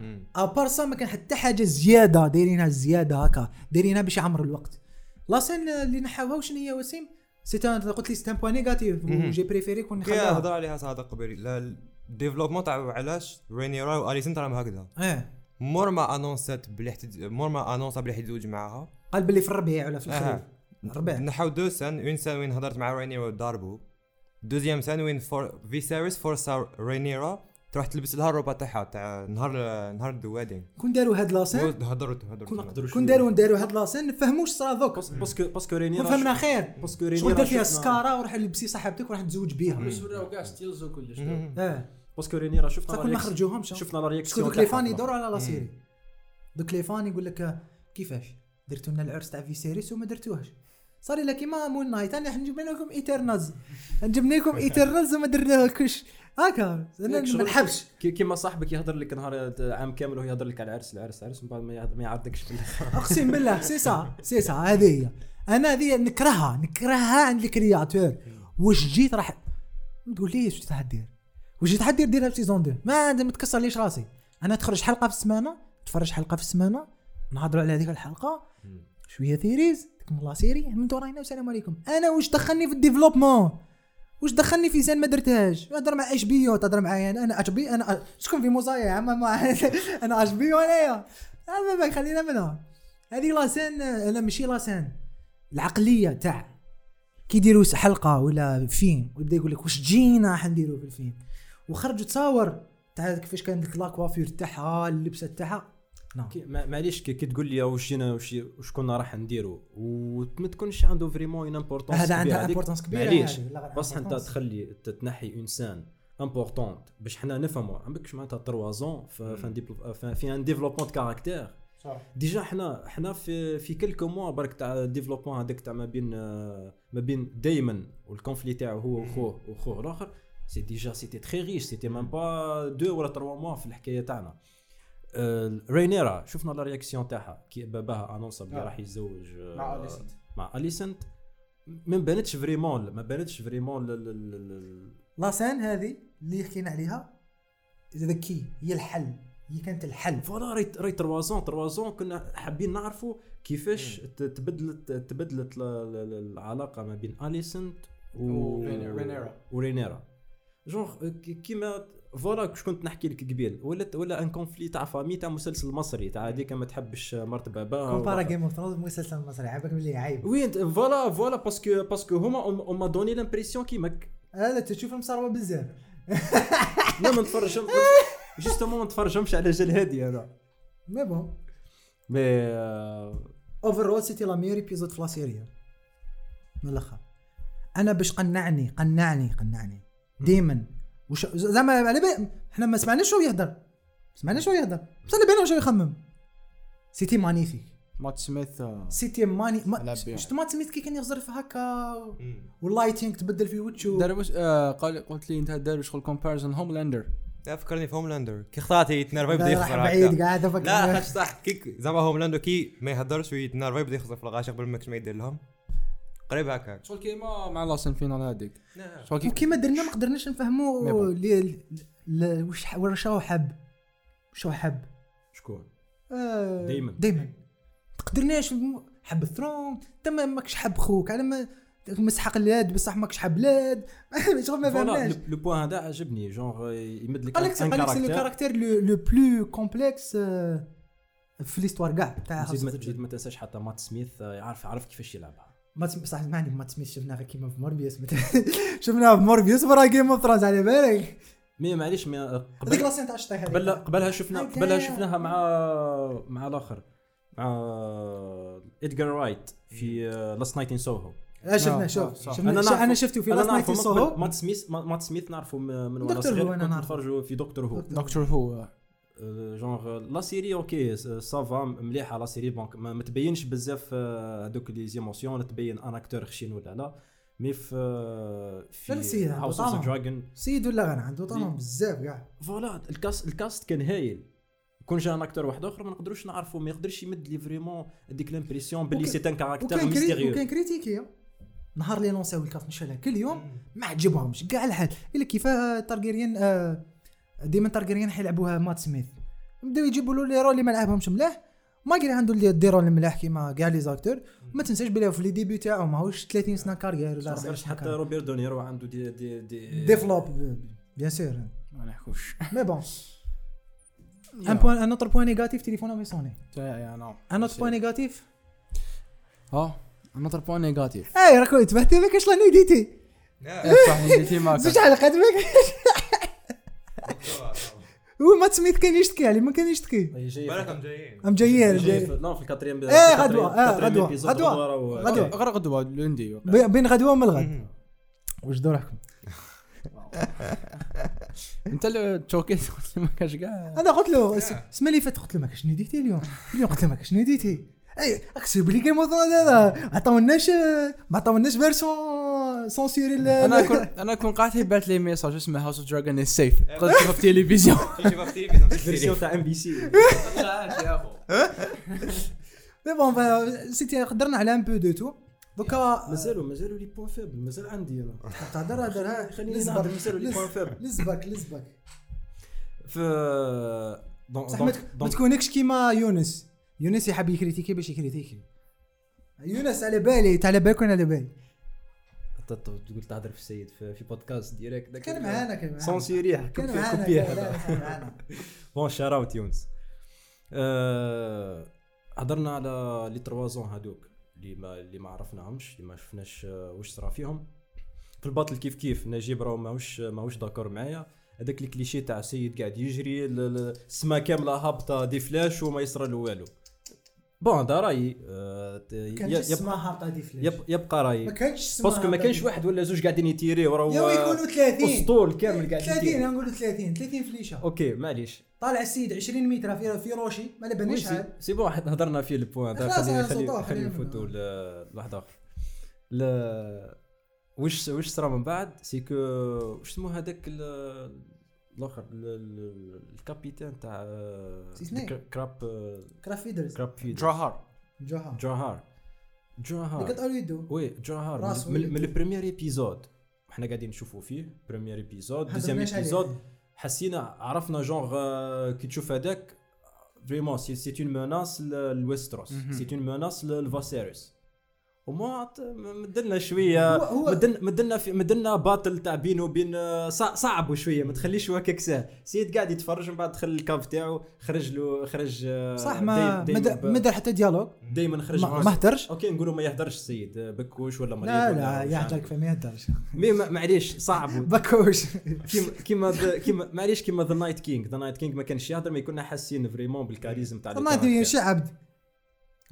Speaker 3: مم.
Speaker 1: ابار سا ما كان حتى حاجه زياده دايرينها زياده هكا دايرينها باش يعمروا الوقت لاسين اللي نحاوها شنو هي وسيم سيت قلت لي سيت ان بوان نيجاتيف
Speaker 3: مهم.
Speaker 1: جي بريفيري كون
Speaker 3: كي
Speaker 1: نخليها
Speaker 3: هضر عليها صادق قبيل لا الديفلوبمون تاع علاش رينيرا واليسن راهم هكذا
Speaker 1: ايه
Speaker 3: مور ما انونسات بلي حتد... مور ما انونسا بلي حيتزوج معاها
Speaker 1: قال باللي في الربيع ولا في الخريف الربيع.
Speaker 3: نحاو دو سان اون سان وين هضرت مع رينيرا وداربو دوزيام سان وين فور فيسيريس فورسا رينيرا تروح تلبس لها الروبا تاعها تاع نهار نهار الدوادين
Speaker 1: كون داروا هاد لاسين
Speaker 3: هضروا
Speaker 1: كون
Speaker 3: هضروا
Speaker 4: نقدروا
Speaker 1: كون داروا داروا هاد لاسين نفهموش صرا دوك
Speaker 4: باسكو باسكو رينيرا
Speaker 1: كون فهمنا خير
Speaker 4: باسكو رينيرا
Speaker 1: شغل دار فيها
Speaker 4: شفنا-
Speaker 1: السكاره وراح لبسي صاحبتك وراح تزوج بها
Speaker 5: بس وراو كاع ستيلز وكلش
Speaker 1: اه
Speaker 4: باسكو رينيرا شفنا
Speaker 1: بصح
Speaker 4: لا
Speaker 1: كون ما
Speaker 4: رياكس-
Speaker 1: خرجوهمش
Speaker 4: شفنا لا
Speaker 1: باسكو
Speaker 4: رياكسيون
Speaker 1: دوك لي فان يدوروا على لا
Speaker 4: إيه.
Speaker 1: سيري دوك لي فان يقول لك آه، كيفاش درتوا لنا العرس تاع في سيريس وما درتوهاش صار لنا كيما مون نايت انا حنجيب لكم ايترنالز جبنا
Speaker 4: *laughs*
Speaker 1: لكم ايترنالز وما درناهوش هكا انا
Speaker 4: ياك شغل-
Speaker 1: ما نحبش
Speaker 4: كيما صاحبك يهضر لك نهار آه، عام كامل وهو يهضر لك على العرس العرس العرس من بعد ما يعض- ما يعرضكش في الاخر
Speaker 1: اقسم بالله سي سا سي سا هذه هي انا هذه نكرهها نكرهها عند الكرياتور واش جيت راح تقول لي واش تحدير واش جيت تحدير ديرها في سيزون 2 ما عندي ما تكسر ليش راسي انا تخرج حلقه في السمانه تفرج حلقه في السمانه نهضروا على هذيك الحلقه شويه ثيريز تكمل لا سيري من دور هنا والسلام عليكم انا واش دخلني في الديفلوبمون واش دخلني في زين ما درتهاش تهضر مع اش بيو تهضر معايا انا انا اش بي انا شكون في موزايا يا عم ما *laughs* انا اش بيو انايا هذا ما خلينا منها هذه لاسين انا ماشي لاسين العقليه تاع كي يديروا س- حلقه ولا فيلم ويبدا يقول لك واش جينا حنديروا في الفيلم وخرجوا تصاور تاع كيفاش كانت لا كوافير تاعها اللبسه تاعها نو
Speaker 4: كي- ما- معليش كي كي تقول لي واش جينا واش واش كنا راح نديرو وما تكونش عنده فريمون اون امبورطونس
Speaker 1: هذا عندها
Speaker 4: هذيك.
Speaker 1: امبورتانس كبيره
Speaker 4: معليش
Speaker 1: هذه، لا غير
Speaker 4: بصح انت
Speaker 1: importance.
Speaker 4: تخلي ت- تنحي انسان امبورطونت باش حنا نفهموا عندكش معناتها 3 زون في في ان ديبلو- في- في ان ديفلوبمون كاركتير ديجا حنا حنا في في كلكو موا برك تاع الديفلوبمون هذاك تاع ما بين آه، ما بين دايمن والكونفلي تاعو هو وخوه وخوه الاخر سي ديجا سيتي تري ريش سيتي ميم با دو ولا تروا موا في الحكايه تاعنا آه، رينيرا شفنا لا رياكسيون تاعها كي باباها انونسا بلي
Speaker 2: آه.
Speaker 4: راح يتزوج آه،
Speaker 2: مع اليسنت
Speaker 4: مع اليسنت ما بانتش فريمون ما بانتش فريمون ل- ل- ل- ل-
Speaker 1: لاسان هذه اللي حكينا عليها ذكي هي الحل هي كانت الحل
Speaker 4: فوالا راي راي 3 زون 3 زون كنا حابين نعرفوا كيفاش ت- تبدلت تبدلت ال- ال- ال- العلاقه ما بين اليسنت و euh,
Speaker 2: ورينيرا- رينيرا.
Speaker 4: ورينيرا جونغ ك- كيما فوالا كش كنت نحكي لك قبيل ولا ولا ان كونفلي تاع فامي تاع مسلسل مصري تاع هذيك ما تحبش مرت باباها
Speaker 1: كومبارا
Speaker 4: ولا-
Speaker 1: جيم اوف ثرونز مسلسل مصري عيبك باللي عيب
Speaker 4: وي انت- فوالا فوالا باسكو باسكو هما اون ما دوني لامبرسيون كيماك
Speaker 1: هذا تشوف مصروه بزاف
Speaker 4: لا ما نتفرج جوستومون ما نتفرجهمش على جال هادي انا
Speaker 1: مي بون
Speaker 4: مي آه،
Speaker 1: اوفرول سيتي لا ميور ايبيزود في لا سيريا من الاخر انا باش قنعني قنعني قنعني ديما وش زعما على بالي احنا ما سمعناش شو يهدر ما سمعناش شو يهدر بس على بالنا شو يخمم سيتي مانيفيك
Speaker 2: مات سميث آه،
Speaker 1: سيتي ماني ما
Speaker 2: على بالي.
Speaker 1: شفت ما تسميت كي كان يغزر في هكا واللايتينغ تبدل في وجهه
Speaker 2: داروا واش آه، قال قلت لي انت داروا شغل كومباريزون هوملاندر
Speaker 3: فكرني في هوملاندر كي خطات يتنرفي بدا
Speaker 1: لا، راح
Speaker 3: يخسر
Speaker 1: بعيد
Speaker 3: هكذا.
Speaker 1: قاعد افكر
Speaker 3: لا خاش صح كي زعما هوملاندر كي ما يهدرش ويتنرفي بدا يخسر في الغاشي قبل ما كش ما يدير لهم قريب هكاك
Speaker 2: شغل كيما مع لاسن فينال هذيك شغل كي
Speaker 1: وكيما درنا ما قدرناش
Speaker 2: مي
Speaker 1: نفهموا
Speaker 2: بون.
Speaker 1: لي- ل- ل- وش ح- وش هو حب وش هو حب
Speaker 4: شكون
Speaker 1: آه،
Speaker 4: دايماً.
Speaker 1: دايما ما قدرناش نفهموا. حب الثرون تما ماكش حب خوك على ما مسحق اليد بصح ماكش حب لاد *laughs* شغل ما
Speaker 4: فوالا
Speaker 1: فهمناش
Speaker 4: لو- لو بوان هذا عجبني جونغ يمد لك
Speaker 1: قال لك
Speaker 4: ان
Speaker 1: قال لك سي لو
Speaker 4: كاركتير
Speaker 1: كاركتير لو لو بلو كومبلكس آه، في ليستوار كاع تاع
Speaker 4: زيد ما
Speaker 1: House of the
Speaker 4: زيد ما تنساش حتى مات سميث آه، يعرف عرف كيفاش يلعبها
Speaker 1: ما تسم... بصح معني ما تسميش شفنا غير كيما في موربيوس *laughs* شفناها في موربيوس ورا جيم اوف ثرونز على بالك
Speaker 4: مي معليش مي آه،
Speaker 1: هذيك
Speaker 4: قبل
Speaker 1: لاسين تاع الشطيح هذيك.
Speaker 4: قبل قبلها شفنا
Speaker 1: أوكي.
Speaker 4: قبلها شفناها مع مع الاخر مع ادجار رايت في آه، لاست نايت ان سوهو
Speaker 1: لا شفنا
Speaker 2: آه،
Speaker 1: شوف
Speaker 2: صح.
Speaker 1: شفنا
Speaker 4: أنا
Speaker 1: ش-
Speaker 4: نعرف-
Speaker 1: انا شفته في لاست نايت
Speaker 4: نعرفه من قبل.
Speaker 1: سوهو
Speaker 4: مات سميث ما- مات سميث نعرفه من من وانا
Speaker 1: دكتور هو،
Speaker 4: صغير
Speaker 1: أنا
Speaker 4: كنت
Speaker 1: نعرفه.
Speaker 4: نتفرجوا في دكتور هو
Speaker 2: دكتور هو
Speaker 4: آه، جونغ لا سيري اوكي س- سافا مليحه لا سيري بونك ما ما تبينش بزاف آه، هذوك لي زيموسيون تبين ان اكتور خشين ولا لا مي في آه،
Speaker 1: لا، لا، سيدي،
Speaker 4: في هاوس اوف
Speaker 1: طبعاً.
Speaker 4: ذا دراجون
Speaker 1: سيد ولا غنى عنده
Speaker 4: إيه.
Speaker 1: طمم بزاف كاع
Speaker 4: فوالا الكاست الكاست كان هايل كون جا ان اكتور واحد اخر ما نقدروش نعرفوا ما يقدرش يمد لي فريمون هذيك لامبرسيون باللي
Speaker 1: وكان-
Speaker 4: سي ان كاركتير
Speaker 1: وكان كري...
Speaker 4: ميستيريو
Speaker 1: وكان كريتيكي نهار اللي لونساو الكاف نشالها كل يوم ما عجبهمش آه، كاع الحال الا كيف تارجيريان ديما تارجيريان حيلعبوها مات سميث بداو يجيبوا له لي رول اللي ما لعبهمش ملاح ما قال عنده لي دي رول ملاح كيما كاع لي زاكتور ما تنساش بلي في لي ديبي تاعو ماهوش 30 سنه كارير ولا
Speaker 4: ما
Speaker 1: 40
Speaker 4: صغرش
Speaker 1: سنه
Speaker 4: حتى
Speaker 1: كارير.
Speaker 4: روبير دونيرو عنده دي دي دي
Speaker 1: ديفلوب بيان سور
Speaker 2: ما *laughs* نحكوش
Speaker 1: مي بون ان بوان ان اوتر بوان نيجاتيف تليفونه مي سوني ان اوتر بوان نيجاتيف
Speaker 2: اه نوتر بوان *laughs* نيجاتيف
Speaker 1: اي راكو تبهتي بك اش لا نيديتي *laughs*
Speaker 2: صح نيجاتيف *laughs* ما
Speaker 1: زوج حلقات بك هو ما تسميت كان يشتكي علي ما كان يشتكي
Speaker 4: جاي في-
Speaker 3: بالكم
Speaker 1: *laughs*
Speaker 3: جايين
Speaker 1: ام جايين
Speaker 4: جاي في-
Speaker 1: جاي
Speaker 4: نو في الكاتريام
Speaker 1: إيه، غدوة، إيه، غدوة، غدوة، غدوة.
Speaker 4: غدوة
Speaker 2: غير غدوه *laughs* لندي
Speaker 1: بي- بين غدوه والغد واش دوركم
Speaker 2: انت اللي تشوكيت قلت لي *laughs* ما كانش كاع
Speaker 1: انا قلت له الس- السما اللي فاتت قلت له ما كاش نيديتي اليوم اليوم قلت له ما كاش نيديتي اي اكسب لي كيما هذا ما عطاوناش ما عطاوناش فيرسون سونسيري
Speaker 2: انا
Speaker 1: *laughs*
Speaker 2: كون انا كون قاعد هي بعث لي ميساج اسمه هاوس اوف دراجون از سيف *laughs* قلت في التلفزيون
Speaker 4: فيرسيون تاع ام بي *laughs* سي
Speaker 1: مي بون سيتي قدرنا على ان بو دو تو دوكا
Speaker 4: *laughs* مازالوا مازالوا لي بوان فيبل مازال عندي انا
Speaker 1: *laughs* تهضر هضر
Speaker 4: خليني نهضر مازالوا لي بوان فيبل
Speaker 1: لزبك لزبك
Speaker 4: ف دونك
Speaker 1: بصح ما تك- ما تكونكش كيما يونس يونس يحب يكريتيكي باش يكريتيكي يونس على بالي انت على بالك وانا على بالي
Speaker 4: تقول تهضر في السيد في في بودكاست ديريكت داك
Speaker 1: كان معانا كان معانا
Speaker 4: سونسي ريح
Speaker 1: كان
Speaker 4: كوبي
Speaker 1: معانا
Speaker 4: كوبي
Speaker 1: كان-
Speaker 4: هذا
Speaker 1: لا، كان
Speaker 4: *laughs*
Speaker 1: معانا
Speaker 4: بون شار اوت يونس آه، هضرنا على لي تروازون هادوك اللي ما اللي ما عرفناهمش اللي ما شفناش آه، واش صرا فيهم في الباطل كيف كيف نجيب راه ماهوش ماهوش داكور معايا هذاك الكليشيه تاع سيد قاعد يجري ال- ال- السما كامله هابطه دي فلاش وما يصرى له والو بون هذا رايي آه، ت-
Speaker 1: كان
Speaker 4: يب-
Speaker 1: جسمها
Speaker 4: يب-
Speaker 1: هابطه دي فلاش
Speaker 4: يب- يبقى
Speaker 1: ما
Speaker 4: رايي
Speaker 1: كانش اسمها
Speaker 4: باسكو ما كانش واحد ولا زوج قاعدين يتيريو راه
Speaker 1: يا يكونوا 30
Speaker 4: اسطول كامل قاعد
Speaker 1: 30
Speaker 4: يتيري
Speaker 1: نقولوا 30 30 فليشه
Speaker 4: اوكي معليش
Speaker 1: طالع السيد 20 متر في في روشي ما على بالناش
Speaker 4: وي، سي-
Speaker 1: عاد
Speaker 4: سي بون حد- هضرنا فيه البوان هذا
Speaker 1: خلاص،
Speaker 4: خلي
Speaker 1: أنا صدقوه،
Speaker 4: خلي خلي
Speaker 1: خلينا-
Speaker 4: نفوتوا ل- لواحد اخر لا وش وش صرا من بعد سي كو وش سمو هذاك ال- الاخر ال- ال- الكابيتان تاع
Speaker 1: سي سنيك.
Speaker 4: الك- كراب آه،
Speaker 1: كراف فيدرز
Speaker 4: كراب فيد
Speaker 2: دراهار
Speaker 1: جوها
Speaker 4: جوهار جوهار
Speaker 1: قطعوا له يده
Speaker 4: وي جوهار
Speaker 1: راسه
Speaker 4: من- من
Speaker 1: ويده.
Speaker 4: من البريمير ايبيزود حنا قاعدين نشوفوا فيه بريمير ايبيزود
Speaker 1: هذا
Speaker 4: دوزيام
Speaker 1: ماشي عليه.
Speaker 4: ايبيزود حسينا عرفنا جونغ آه، كي تشوف هذاك فريمون سي سي اون موناس لويستروس
Speaker 2: مهم.
Speaker 4: سي اون موناس لفاسيريس وما ت- م- مدلنا شويه
Speaker 1: هو- هو-
Speaker 4: مدلنا مدلنا في مدلنا باطل تاع بينه وبين آه، صع- صعبوا شويه ما تخليش هو ككساه سيد قاعد يتفرج من بعد دخل الكاف تاعو خرج له خرج آه،
Speaker 1: صح ما
Speaker 4: دايما ب-
Speaker 1: ما دار حتى ديالوج
Speaker 4: دايما خرج
Speaker 1: ما
Speaker 4: براسه.
Speaker 1: ما هدرش
Speaker 4: اوكي نقولوا ما يهدرش السيد بكوش ولا مريض
Speaker 1: لا
Speaker 4: ولا
Speaker 1: لا
Speaker 4: وش
Speaker 1: يهدر
Speaker 4: عندك.
Speaker 1: كفايه ما يهدرش *laughs*
Speaker 4: مي ما- معليش صعب
Speaker 1: بكوش
Speaker 4: كيما كيما ذا- كيما معليش كيما ذا نايت كينج ذا نايت كينج ما كانش يهضر ما كنا حاسين فريمون بالكاريزم تاع
Speaker 1: ما
Speaker 4: الكاركتر.
Speaker 1: ادري شي عبد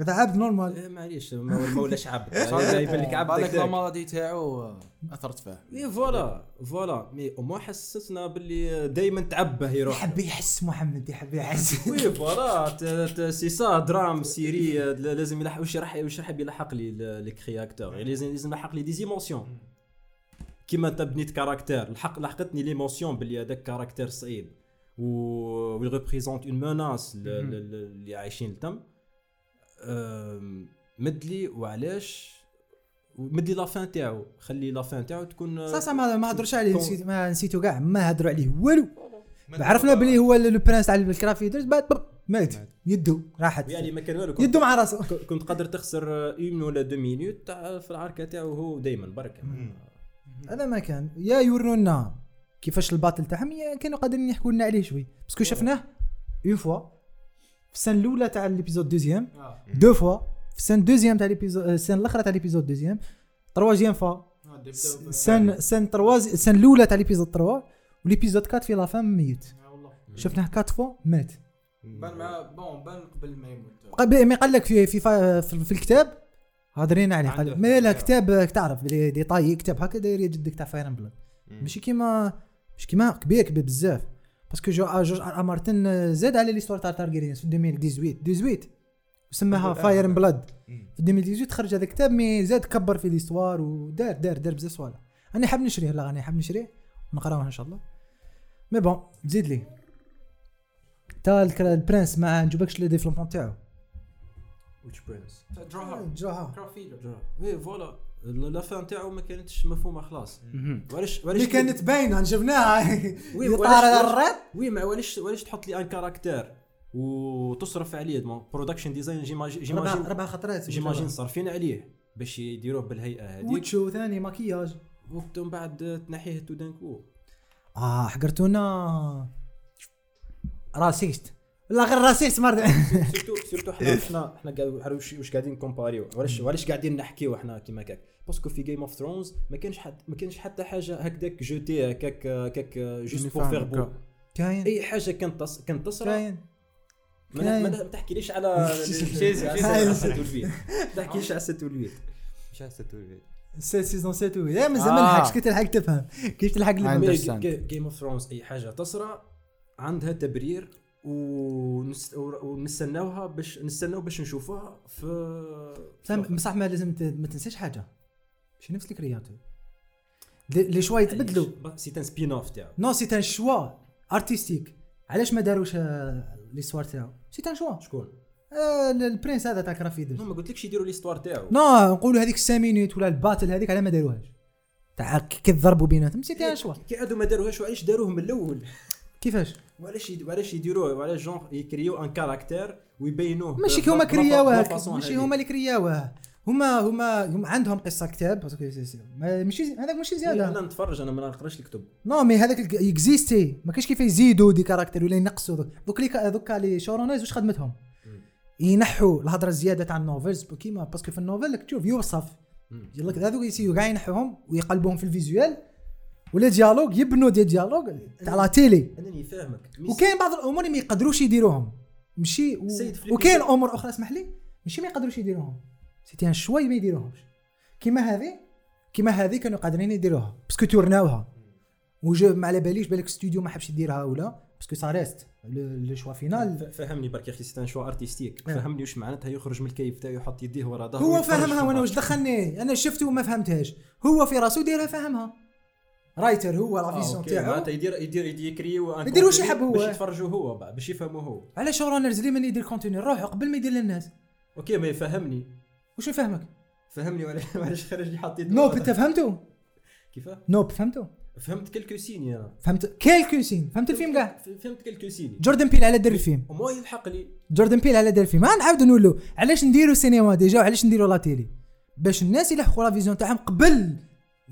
Speaker 1: هذا عبد نورمال
Speaker 4: إيه، معليش ما ما ولاش عبد
Speaker 2: أيوة.
Speaker 4: إيه، يبان لك عبد
Speaker 2: بالك
Speaker 4: هكذاك.
Speaker 2: الماضي تاعو اثرت فيه
Speaker 4: مي فوالا فوالا مي او موان حسسنا باللي دائما تعبه يروح
Speaker 1: يحب يحس محمد يحب *laughs* يحس
Speaker 4: وي فوالا ت- ت- سي سا درام سيري ل- لازم يلحق واش راح واش راح يلحق لي ل- لي كري اكتور يعني لازم لازم يلحق لي ديزيمونسيون كيما انت بنيت كاركتير لحق لحقتني ليمونسيون باللي هذاك كاركتير صعيب و ريبريزونت اون مناس اللي عايشين لتم أم، مدلي وعلاش مدلي لافان تاعو خلي لافان تاعو تكون آه،
Speaker 1: صح صح ما ما هدروش عليه
Speaker 4: كون-
Speaker 1: نسيت ما نسيتو كاع ما هدروا عليه والو عرفنا بلي هو لو برانس تاع الكرافيدرز بعد بب، مات
Speaker 3: مات.
Speaker 1: يدو راحت
Speaker 4: يعني ما كان والو كنت-
Speaker 1: يدو مع راسه
Speaker 4: ك- كنت قادر تخسر اون ولا دو مينوت تاع في العركه تاعو هو دائما برك
Speaker 3: مم.
Speaker 1: *laughs* هذا ما كان يا يورونا كيفاش الباطل تاعهم يا كانوا قادرين يحكوا لنا عليه شوي باسكو شفناه اون فوا في السنه الاولى تاع ليبيزود دوزيام
Speaker 2: آه،
Speaker 1: دو فوا في السنه دوزيام تاع ليبيزود السنه الاخرى تاع ليبيزود دوزيام تروازيام فوا سن سن ترواز سن الاولى تاع ليبيزود 3 وليبيزود 4 في لافان ميت شفناه 4 فوا مات
Speaker 2: بان آه، مع بون بان قبل ما يموت
Speaker 1: قبل ما قال لك في في فا- في, في الكتاب هادرين عليه
Speaker 3: عنده أيوة.
Speaker 1: قال ما لا
Speaker 3: اختيار.
Speaker 1: كتاب آه، تعرف بلي دي طاي كتاب هكا داير يا جدك تاع فاير بلاد ماشي كيما مش كيما كبير كبير بزاف باسكو جو جورج ار آر مارتن آه، زاد على ليستوار تاع تارجيريانس في 2018 18 وسماها
Speaker 3: آه.
Speaker 1: فاير بلاد
Speaker 3: مم.
Speaker 1: في 2018 خرج هذا الكتاب مي زاد كبر في ليستوار ودار دار دار بزاف صوالح انا حاب نشريه لا انا حاب نشريه نقراوه ان شاء الله مي بون زيد لي تا الك- البرنس ما نجيبكش لي ديفلوبمون تاعو
Speaker 4: ويتش برنس
Speaker 2: دراهار
Speaker 1: جاها
Speaker 4: وي فوالا ال- لا فان تاعو ما كانتش مفهومه خلاص وعلاش
Speaker 1: اللي
Speaker 4: وعلاش
Speaker 1: كانت باينه شفناها
Speaker 4: وي
Speaker 1: اللي
Speaker 4: وعلاش-
Speaker 1: طار على الريت
Speaker 4: وي ما وعلاش وعلاش تحط لي ان كاركتير وتصرف عليه برودكشن ديزاين
Speaker 1: ربع
Speaker 4: جيماجين
Speaker 1: ربع خطرات
Speaker 4: جيماجين صارفين عليه باش يديروه بالهيئه هذيك
Speaker 1: وتشو ثاني ماكياج
Speaker 4: وقت من بعد تنحيه تو دان كو
Speaker 1: اه حقرتونا راسيست لا غير راسيست مرة
Speaker 4: سيرتو سيرتو حنا حنا حنا قاعد- عارف واش- واش قاعدين كومباريو علاش علاش قاعدين نحكيو حنا كيما كاك باسكو في جيم اوف ثرونز ما كانش حتى ما كانش حتى حاجه هكذاك جوتي هكاك هكاك جوست بور فير بو
Speaker 1: كاين
Speaker 4: اي حاجه كانت تص... كانت تصرى
Speaker 1: كاين
Speaker 4: ما ما تحكيليش على
Speaker 3: شيز-
Speaker 4: على 7 و8 ما تحكيش على 7 و8
Speaker 3: مش عارف تقول
Speaker 1: سيزون إيه، 7 لا مازال
Speaker 2: آه.
Speaker 1: ما لحقش كي تلحق تفهم كيف تلحق
Speaker 2: I
Speaker 1: لما-
Speaker 2: understand.
Speaker 4: جيم اوف ثرونز اي حاجه تصرى عندها تبرير ونس... ونستناوها باش نستناو باش نشوفوها في
Speaker 1: فهم- بصح ما لازم ت- ما تنساش حاجة ماشي نفس الكرياتور لي لي شوا يتبدلوا
Speaker 4: سي ان سبين اوف تاعو
Speaker 1: نو سي ان شوا ارتستيك علاش ما داروش آه، لي سوار تاعو سي ان شوا
Speaker 4: شكون؟
Speaker 1: آه، البرنس هذا تاع كرافيدر
Speaker 4: ما قلتلكش يديروا ليستوار تاعو
Speaker 1: نو نقولوا هذيك 5 مينوت ولا الباتل هذيك على ما داروهاش تاع كي تضربوا بيناتهم
Speaker 4: إيه.
Speaker 1: سيتي ان شوا
Speaker 4: كي عادوا ما داروهاش وعلاش داروه من الاول
Speaker 1: كيفاش
Speaker 4: وعلاش يد- وعلاش يديروه وعلاش جونغ يكريو ان كاركتير ويبينوه
Speaker 1: ماشي
Speaker 4: ب-
Speaker 1: كي هما
Speaker 4: ب- ب-
Speaker 1: كرياوه
Speaker 4: بالفاصون
Speaker 1: ماشي
Speaker 4: هذيك.
Speaker 1: هما اللي كرياوه هما هما هم عندهم قصه كتاب باسكو سي- سي- ما- ماشي هذاك ماشي
Speaker 4: انا
Speaker 1: زياده
Speaker 4: إيه، نتفرج انا ما نقراش الكتب
Speaker 1: نو مي هذاك اكزيستي ما كاينش كيف يزيدوا دي كاركتر ولا ينقصوا دوك- دوك لي دوك لي شورونيز واش خدمتهم ينحوا الهضره الزياده تاع النوفلز كيما باسكو في النوفل راك تشوف يوصف
Speaker 4: مم.
Speaker 1: يلا كذا هذوك يسيو كاع ينحوهم ويقلبوهم في الفيزيوال ولا ديالوج يبنوا دي ديالوج تاع لا تيلي
Speaker 4: انني فاهمك مي
Speaker 1: وكاين بعض الامور اللي ما يقدروش يديروهم ماشي و...
Speaker 4: سيد فليب
Speaker 1: وكاين
Speaker 4: يقول-
Speaker 1: امور اخرى اسمح لي ماشي ما يقدروش يديروهم سيتي ان شوي ما يديروهمش كيما هذه كيما هذه كانوا قادرين يديروها باسكو تورناوها وجو ما على باليش بالك ستوديو ما حبش يديرها ولا باسكو سا ريست لو شوا فينال
Speaker 4: ف- فهمني برك يا اخي سيتان شو ارتستيك فهمني واش معناتها يخرج من الكيف تاعو يحط يديه ورا ظهره
Speaker 1: نعم. هو
Speaker 4: ويتفرج
Speaker 1: فهمها
Speaker 4: في
Speaker 1: وانا واش
Speaker 4: الماتش.
Speaker 1: دخلني انا شفته وما فهمتهاش هو في راسو دايرها فهمها رايتر هو
Speaker 4: آه،
Speaker 1: لافيسيون
Speaker 4: أوكي.
Speaker 1: تاعو
Speaker 4: معناتها يدير يدير يدير يكريو ان
Speaker 1: يدير واش
Speaker 4: كونتوني
Speaker 1: يحب هو.
Speaker 4: باش يتفرجوا هو بقى، باش يفهموا هو
Speaker 1: على شورانرز اللي من يدير كونتوني روحو قبل ما يدير للناس
Speaker 4: اوكي ما يفهمني
Speaker 1: واش يفهمك
Speaker 4: فهمني وعلاش *laughs* وعلاش خرج لي حاط يده
Speaker 1: نوب
Speaker 4: ورا
Speaker 1: انت
Speaker 4: ظهره.
Speaker 1: فهمتو
Speaker 4: كيفاه
Speaker 1: نوب فهمتو
Speaker 4: فهمت كلكو سيني انا
Speaker 1: فهمت كيلكو سين فهمت الفيلم كاع
Speaker 4: فهمت كلكو سيني
Speaker 1: جوردن بيل على دار الفيلم
Speaker 4: وما يلحق لي
Speaker 1: جوردن بيل على دار الفيلم ما نعاودو نقولو علاش نديرو سينما ديجا وعلاش نديرو لا تيلي باش الناس يلحقوا لا فيزيون تاعهم قبل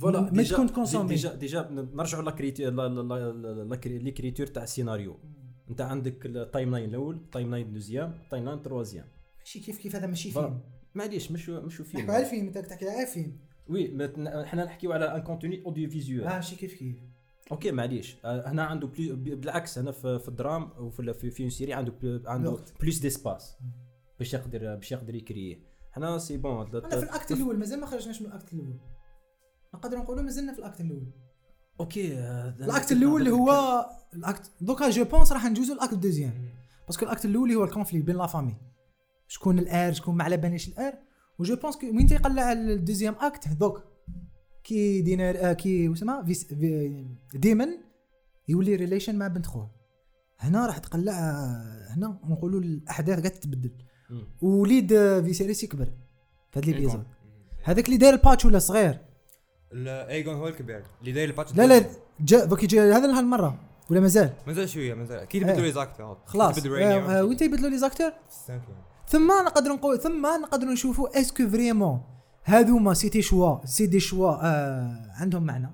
Speaker 4: فوالا
Speaker 1: ما
Speaker 4: ديجا-
Speaker 1: تكون
Speaker 4: دي-
Speaker 1: كونسومي.
Speaker 4: ديجا ديجا نرجعوا لاكريتي لا- لا- لا- لا- لا- ليكريتور تاع السيناريو انت عندك التايم لاين الاول التايم لاين دوزيام التايم لاين تروازيام
Speaker 1: ماشي كيف كيف هذا ماشي
Speaker 4: فوالا. معليش مش مش
Speaker 1: نحكوا على
Speaker 4: فيلم
Speaker 1: الفيلم انت تحكي على فيلم
Speaker 4: وي ما تن- حنا نحكيو على ان كونتوني اوديو فيزيوال
Speaker 1: ماشي كيف كيف
Speaker 4: اوكي معليش آه، هنا عنده بلي ب- بالعكس هنا في, في الدرام وفي ال- في, في اون سيري عنده بل- عنده
Speaker 1: الوقت.
Speaker 4: بلوس ديسباس باش يقدر باش يقدر يكريه هنا سي بون
Speaker 1: انا في الاكت الاول مازال ما خرجناش من الاكت الاول نقدروا نقولوا مازلنا في الاكت الاول
Speaker 4: اوكي آه، أنا
Speaker 1: الاكت
Speaker 4: كنت
Speaker 1: الاول اللي
Speaker 4: نعمل-
Speaker 1: هو الاكت دوكا جو بونس راح نجوزو الاكت دوزيام باسكو الاكت الاول اللي هو الكونفلي بين لا فامي شكون الار شكون ما على بالناش الار وجو بونس كو وين تيقلع الدوزيام اكت دوك كي دينار آه كي وسما فيس في ديمن يولي ريليشن مع بنت خوه هنا راح تقلع آه، هنا نقولوا الاحداث قاعد تتبدل
Speaker 4: مم.
Speaker 1: وليد آه، فيسيريس يكبر في هاد ليبيزود هذاك اللي داير الباتش ولا صغير
Speaker 3: ايجون هو الكبير اللي داير الباتش
Speaker 1: لا لا جا دوك يجي هذا نهار المره ولا مازال
Speaker 3: مازال شويه مازال اكيد
Speaker 1: إيه.
Speaker 3: بدلوا لي زاكت
Speaker 1: خلاص
Speaker 3: بدلوا
Speaker 1: آه، آه،
Speaker 3: رينيو
Speaker 1: وين تيبدلوا لي زاكتور ثم نقدر نقول ثم نقدر نشوفوا اسكو فريمون هذوما سيتي شوا سيتي شوا آه عندهم معنى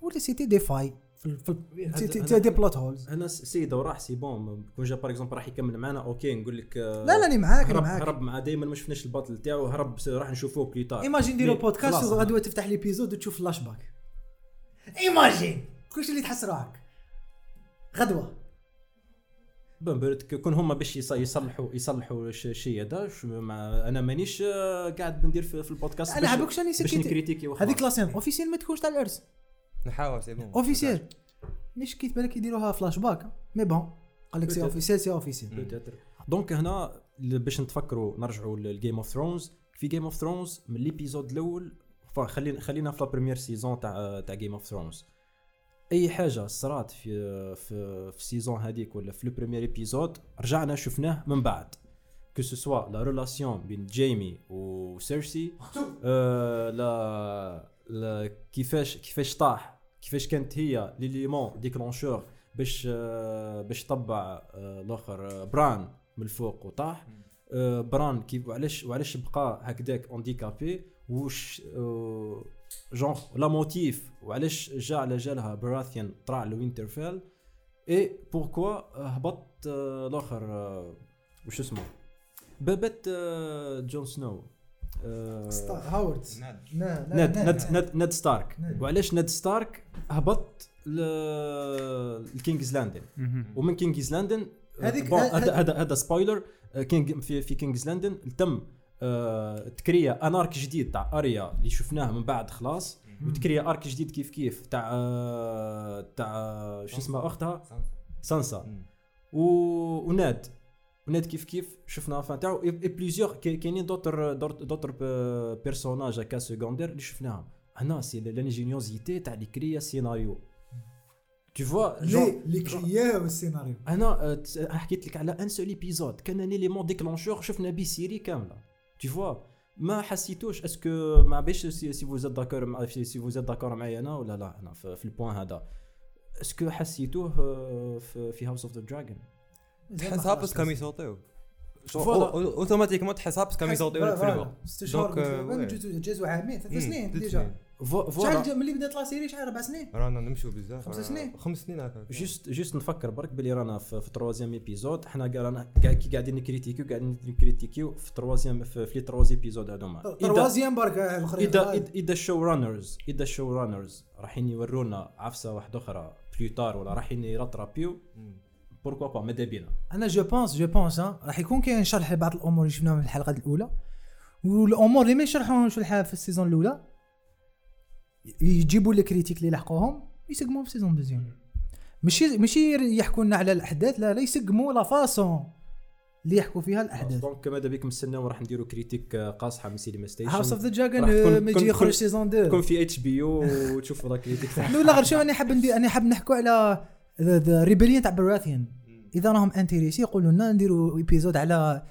Speaker 1: ولا سيتي دي فاي في- في-
Speaker 4: هذا-
Speaker 1: سيتي
Speaker 4: هذا-
Speaker 1: سيتي دي بلوت هولز
Speaker 4: هنا س- سيده وراح سي بون كون جا باغ اكزومبل راح يكمل معنا اوكي نقول لك آه،
Speaker 1: لا لا انا معاك انا
Speaker 4: هرب
Speaker 1: معاك
Speaker 4: هرب مع دائما ما شفناش البطل تاعو هرب س- راح نشوفوه بليتار
Speaker 1: ايماجين ديروا
Speaker 4: مي-
Speaker 1: بودكاست
Speaker 4: خلاص
Speaker 1: وغدوه تفتح ليبيزود وتشوف فلاش باك ايماجين كلشي اللي تحس روحك غدوه
Speaker 4: بون برد ك- كون هما باش يص- يصلحوا يصلحوا ش- الشيء هذا ش- مع- انا مانيش آه، قاعد ندير في, في البودكاست
Speaker 1: انا
Speaker 4: باش-
Speaker 1: عبوك شاني
Speaker 4: باش
Speaker 1: سكيت
Speaker 4: نكريتيكي وخلاص.
Speaker 1: هذيك لاسين اوفيسيال ما تكونش تاع الارث
Speaker 3: نحاول سي بون
Speaker 1: اوفيسيال مش كيت بالك يديروها فلاش باك مي بون قال لك سي
Speaker 4: Peut-être.
Speaker 1: اوفيسيال سي اوفيسيال
Speaker 4: Peut-être. دونك هنا ل- باش نتفكروا نرجعوا للجيم اوف ثرونز في جيم اوف ثرونز من ليبيزود الاول ف- خلينا خلينا في لا بريمير سيزون تاع تاع جيم اوف ثرونز اي حاجه صرات في في في السيزون هذيك ولا في لو بريمير ايبيزود رجعنا شفناه من بعد كو سو سوا لا ريلاسيون بين جيمي وسيرسي آه لا, لا كيفاش كيفاش طاح كيفاش كانت هي ليليمون ديكلونشور باش آه، باش طبع آه، الاخر آه، بران من الفوق وطاح آه، بران كيف وعلاش وعلاش بقى هكذاك اونديكابي وش آه، جونغ لا موتيف وعلاش جا على جالها براثيان طلع لوينترفيل اي بوركوا هبط آه، الاخر آه، وش اسمه بابت آه، جون سنو آه،
Speaker 1: هاورد *laughs* لا لا
Speaker 4: ناد
Speaker 1: لا،
Speaker 4: ناد
Speaker 1: لا.
Speaker 4: ناد ناد ستارك
Speaker 1: ناد.
Speaker 4: وعلاش ناد ستارك هبط ل- لكينجز لاندن ومن كينجز لاندن آه،
Speaker 1: هذيك-
Speaker 4: بون،
Speaker 1: هذ-
Speaker 4: هذا هذا هذا سبويلر آه، كينج في في كينجز لاندن تم آه، تكريا ان ارك جديد تاع اريا اللي شفناه من بعد خلاص وتكريا ارك جديد كيف كيف تاع آه، تاع آه، شو اسمها اختها سانسا و... وناد وناد كيف كيف شفنا فان تاعو اي بليزيور كاينين دوتر دوتر- دوتر ب- بيرسوناج هكا سكوندير اللي شفناهم هنا سي لانجينيوزيتي تاع اللي كريا سيناريو e tu vois genre- euh,
Speaker 1: ليه اللي كرياه والسيناريو
Speaker 4: انا آه، تس- حكيت لك على ان سول ايبيزود كان ان اليمون ديكلونشور شفنا به سيري كامله tu vois ما حسيتوش اسكو ما بيش سي سي فوز داكور مع سي سي فوز داكور معايا انا ولا لا هنا في, في البوان هذا اسكو حسيتوه آه، في, في هاوس اوف ذا دراجون
Speaker 3: تحسها بس كم يصوتيو
Speaker 4: فوالا.
Speaker 3: اوتوماتيكمون تحسها بس كم يصوتيو لك في الوقت
Speaker 1: ست شهور
Speaker 3: دونك،
Speaker 4: euh,
Speaker 3: آه،
Speaker 1: مثلاً،
Speaker 3: وي.
Speaker 1: جزء- جزء عامين ثلاث
Speaker 3: مم،
Speaker 4: Hmm,
Speaker 1: سنين
Speaker 3: ثلاث
Speaker 1: ديجا
Speaker 4: فو- فوالا
Speaker 1: شحال ملي بدا يطلع سيري شحال اربع سنين
Speaker 3: رانا نمشوا بزاف
Speaker 1: خمس
Speaker 3: رانا-
Speaker 1: سنين.
Speaker 3: خمس سنين هكا
Speaker 4: جست جست نفكر برك بلي رانا في, في تروازيام ايبيزود حنا قا- رانا قا- كي قاعدين نكريتيكيو قاعدين نكريتيكيو في تروازيام في, في لي تروازيام ايبيزود هذوما إذا-
Speaker 1: تروازيام برك آه، الاخرين
Speaker 4: اذا
Speaker 1: آه،
Speaker 4: اذا اذا الشو رانرز اذا الشو رانرز رايحين يورونا عفسه واحده اخرى بلوتار ولا رايحين يرطرابيو بوركوا با ماذا بينا
Speaker 1: انا جو بونس جو بونس ها، راح يكون كاين شرح لبعض الامور اللي شفناهم في الحلقه الاولى والامور اللي ما يشرحوهمش في الح- في السيزون الاولى يجيبوا لي كريتيك اللي لحقوهم يسقموهم في السيزون دوزيام ماشي ماشي يحكوا لنا على الاحداث لا لا يسقموا لا فاسون اللي يحكوا فيها الاحداث
Speaker 4: دونك ماذا بيكم نستناو راح نديرو كريتيك آه، قاصحه من سينما ستيشن
Speaker 1: هاوس اوف ذا
Speaker 4: راح تكون-
Speaker 1: دراجون ما يجي
Speaker 4: تكون-
Speaker 1: يخرج
Speaker 4: تكون-
Speaker 1: سيزون 2
Speaker 4: تكون في اتش بي *laughs* يو وتشوفوا ذا كريتيك تاعها.
Speaker 1: لا غير شوف انا حاب ندير انا حاب نحكوا على ذا ريبليون تاع براثيان اذا راهم انتيريسي يقولوا لنا نديروا ايبيزود على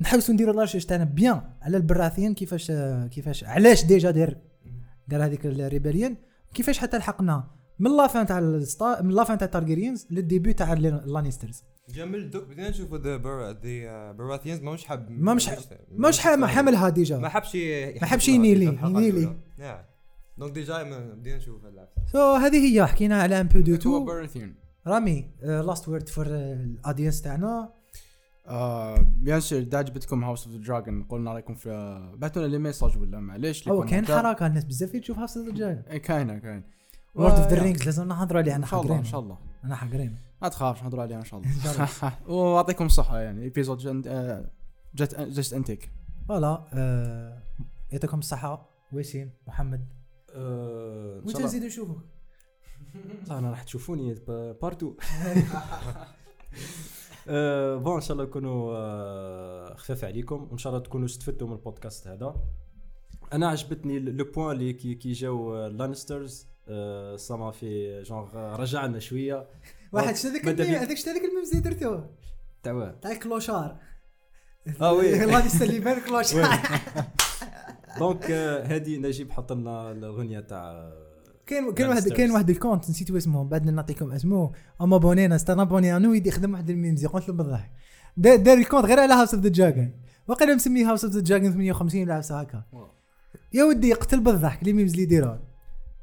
Speaker 1: نحوسوا نديروا لا ريشيرش تاعنا بيان على البراثيين كيفاش كيفاش علاش ديجا دار دار هذيك الريبليون كيفاش حتى لحقنا من لافان تاع الستا من لافان تاع التارجيريانز للديبي تاع اللانيسترز
Speaker 3: جا من الدوك بدينا نشوفوا ذا ذا براثيانز ما مش حاب
Speaker 1: ما مش
Speaker 3: euh,
Speaker 1: ماش ح- ما حملها
Speaker 3: ما
Speaker 1: ديجا
Speaker 3: حبش
Speaker 1: ما حبش ينيلي، ينيلي.
Speaker 3: دونك ديجا من- بدينا نشوف اللعب
Speaker 1: سو هذه هي حكينا على ان بو دو
Speaker 2: هو
Speaker 1: تو
Speaker 2: براثيون
Speaker 1: رامي آه، لاست وورد فور الاودينس تاعنا
Speaker 2: بيان سور اذا عجبتكم هاوس اوف ذا دراجون قولنا رايكم في بعثونا لي ميساج ولا معليش لي
Speaker 1: هو كاين
Speaker 2: كومنتار.
Speaker 1: حركه الناس بزاف تشوف هاوس اوف ذا دراجون
Speaker 2: إيه، كاينه كاين
Speaker 1: وورد اوف ذا
Speaker 2: ويا.
Speaker 1: رينجز لازم نهضروا عليه
Speaker 2: ان
Speaker 1: انا
Speaker 2: شاء الله ان
Speaker 1: حقرين
Speaker 2: شاء الله
Speaker 1: انا حقرين
Speaker 2: ما تخافش نهضروا عليها ان شاء *laughs* الله واعطيكم الصحه يعني آه، ايبيزود جت جست انتيك
Speaker 1: فوالا آه، يعطيكم الصحة وسيم محمد
Speaker 4: آه، ان
Speaker 1: وانت
Speaker 4: شاء الله
Speaker 1: نزيد نشوفك
Speaker 4: لا، انا راح تشوفوني ب- بارتو *laughs* آه، بون ان شاء الله يكونوا آه، خفاف عليكم وان شاء الله تكونوا استفدتوا من البودكاست هذا انا عجبتني ال- لو بوان اللي كي كي جاو آه، لانسترز آه، سما في جونغ آه، رجعنا *laughs* شويه
Speaker 1: واحد شتا هذاك
Speaker 4: مادا
Speaker 1: الميم
Speaker 4: بيك.
Speaker 1: هذاك شتا هذاك الميم زيد درتوه
Speaker 4: تعواه
Speaker 1: تاع الكلوشار
Speaker 2: آه،
Speaker 4: اه
Speaker 1: *laughs*
Speaker 4: وي
Speaker 1: الله يسلم هذا الكلوشار
Speaker 4: دونك آه، هادي نجيب حط لنا الاغنيه تاع آه،
Speaker 1: كاين كاين واحد
Speaker 4: Lannisters.
Speaker 1: كاين واحد الكونت نسيت اسمه بعد نعطيكم اسمه اما بونينا ستان ابوني انو يدي يخدم واحد الميمز قلت له بالضحك دا- دار الكونت غير على هاوس اوف ذا دراجون واقيلا مسميه هاوس اوف ذا دراجون 58 ولا عفسه هكا يا ودي يقتل بالضحك لي ميمز اللي يديروها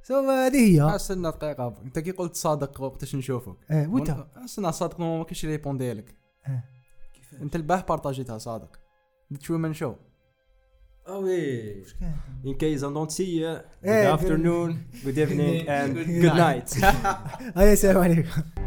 Speaker 1: سو هذه هي
Speaker 2: استنى دقيقه انت كي قلت صادق وقتاش نشوفك
Speaker 1: آه، وانت
Speaker 2: استنى صادق ما كاينش اللي يبوندي لك
Speaker 1: آه.
Speaker 2: انت الباه بارطاجيتها صادق درت شوي من شو
Speaker 4: اه وي
Speaker 1: واش كان
Speaker 4: In case I don't see you,
Speaker 1: Eh,
Speaker 4: *laughs* good afternoon, good evening and
Speaker 1: Good
Speaker 4: good night.
Speaker 1: هيا السلام عليكم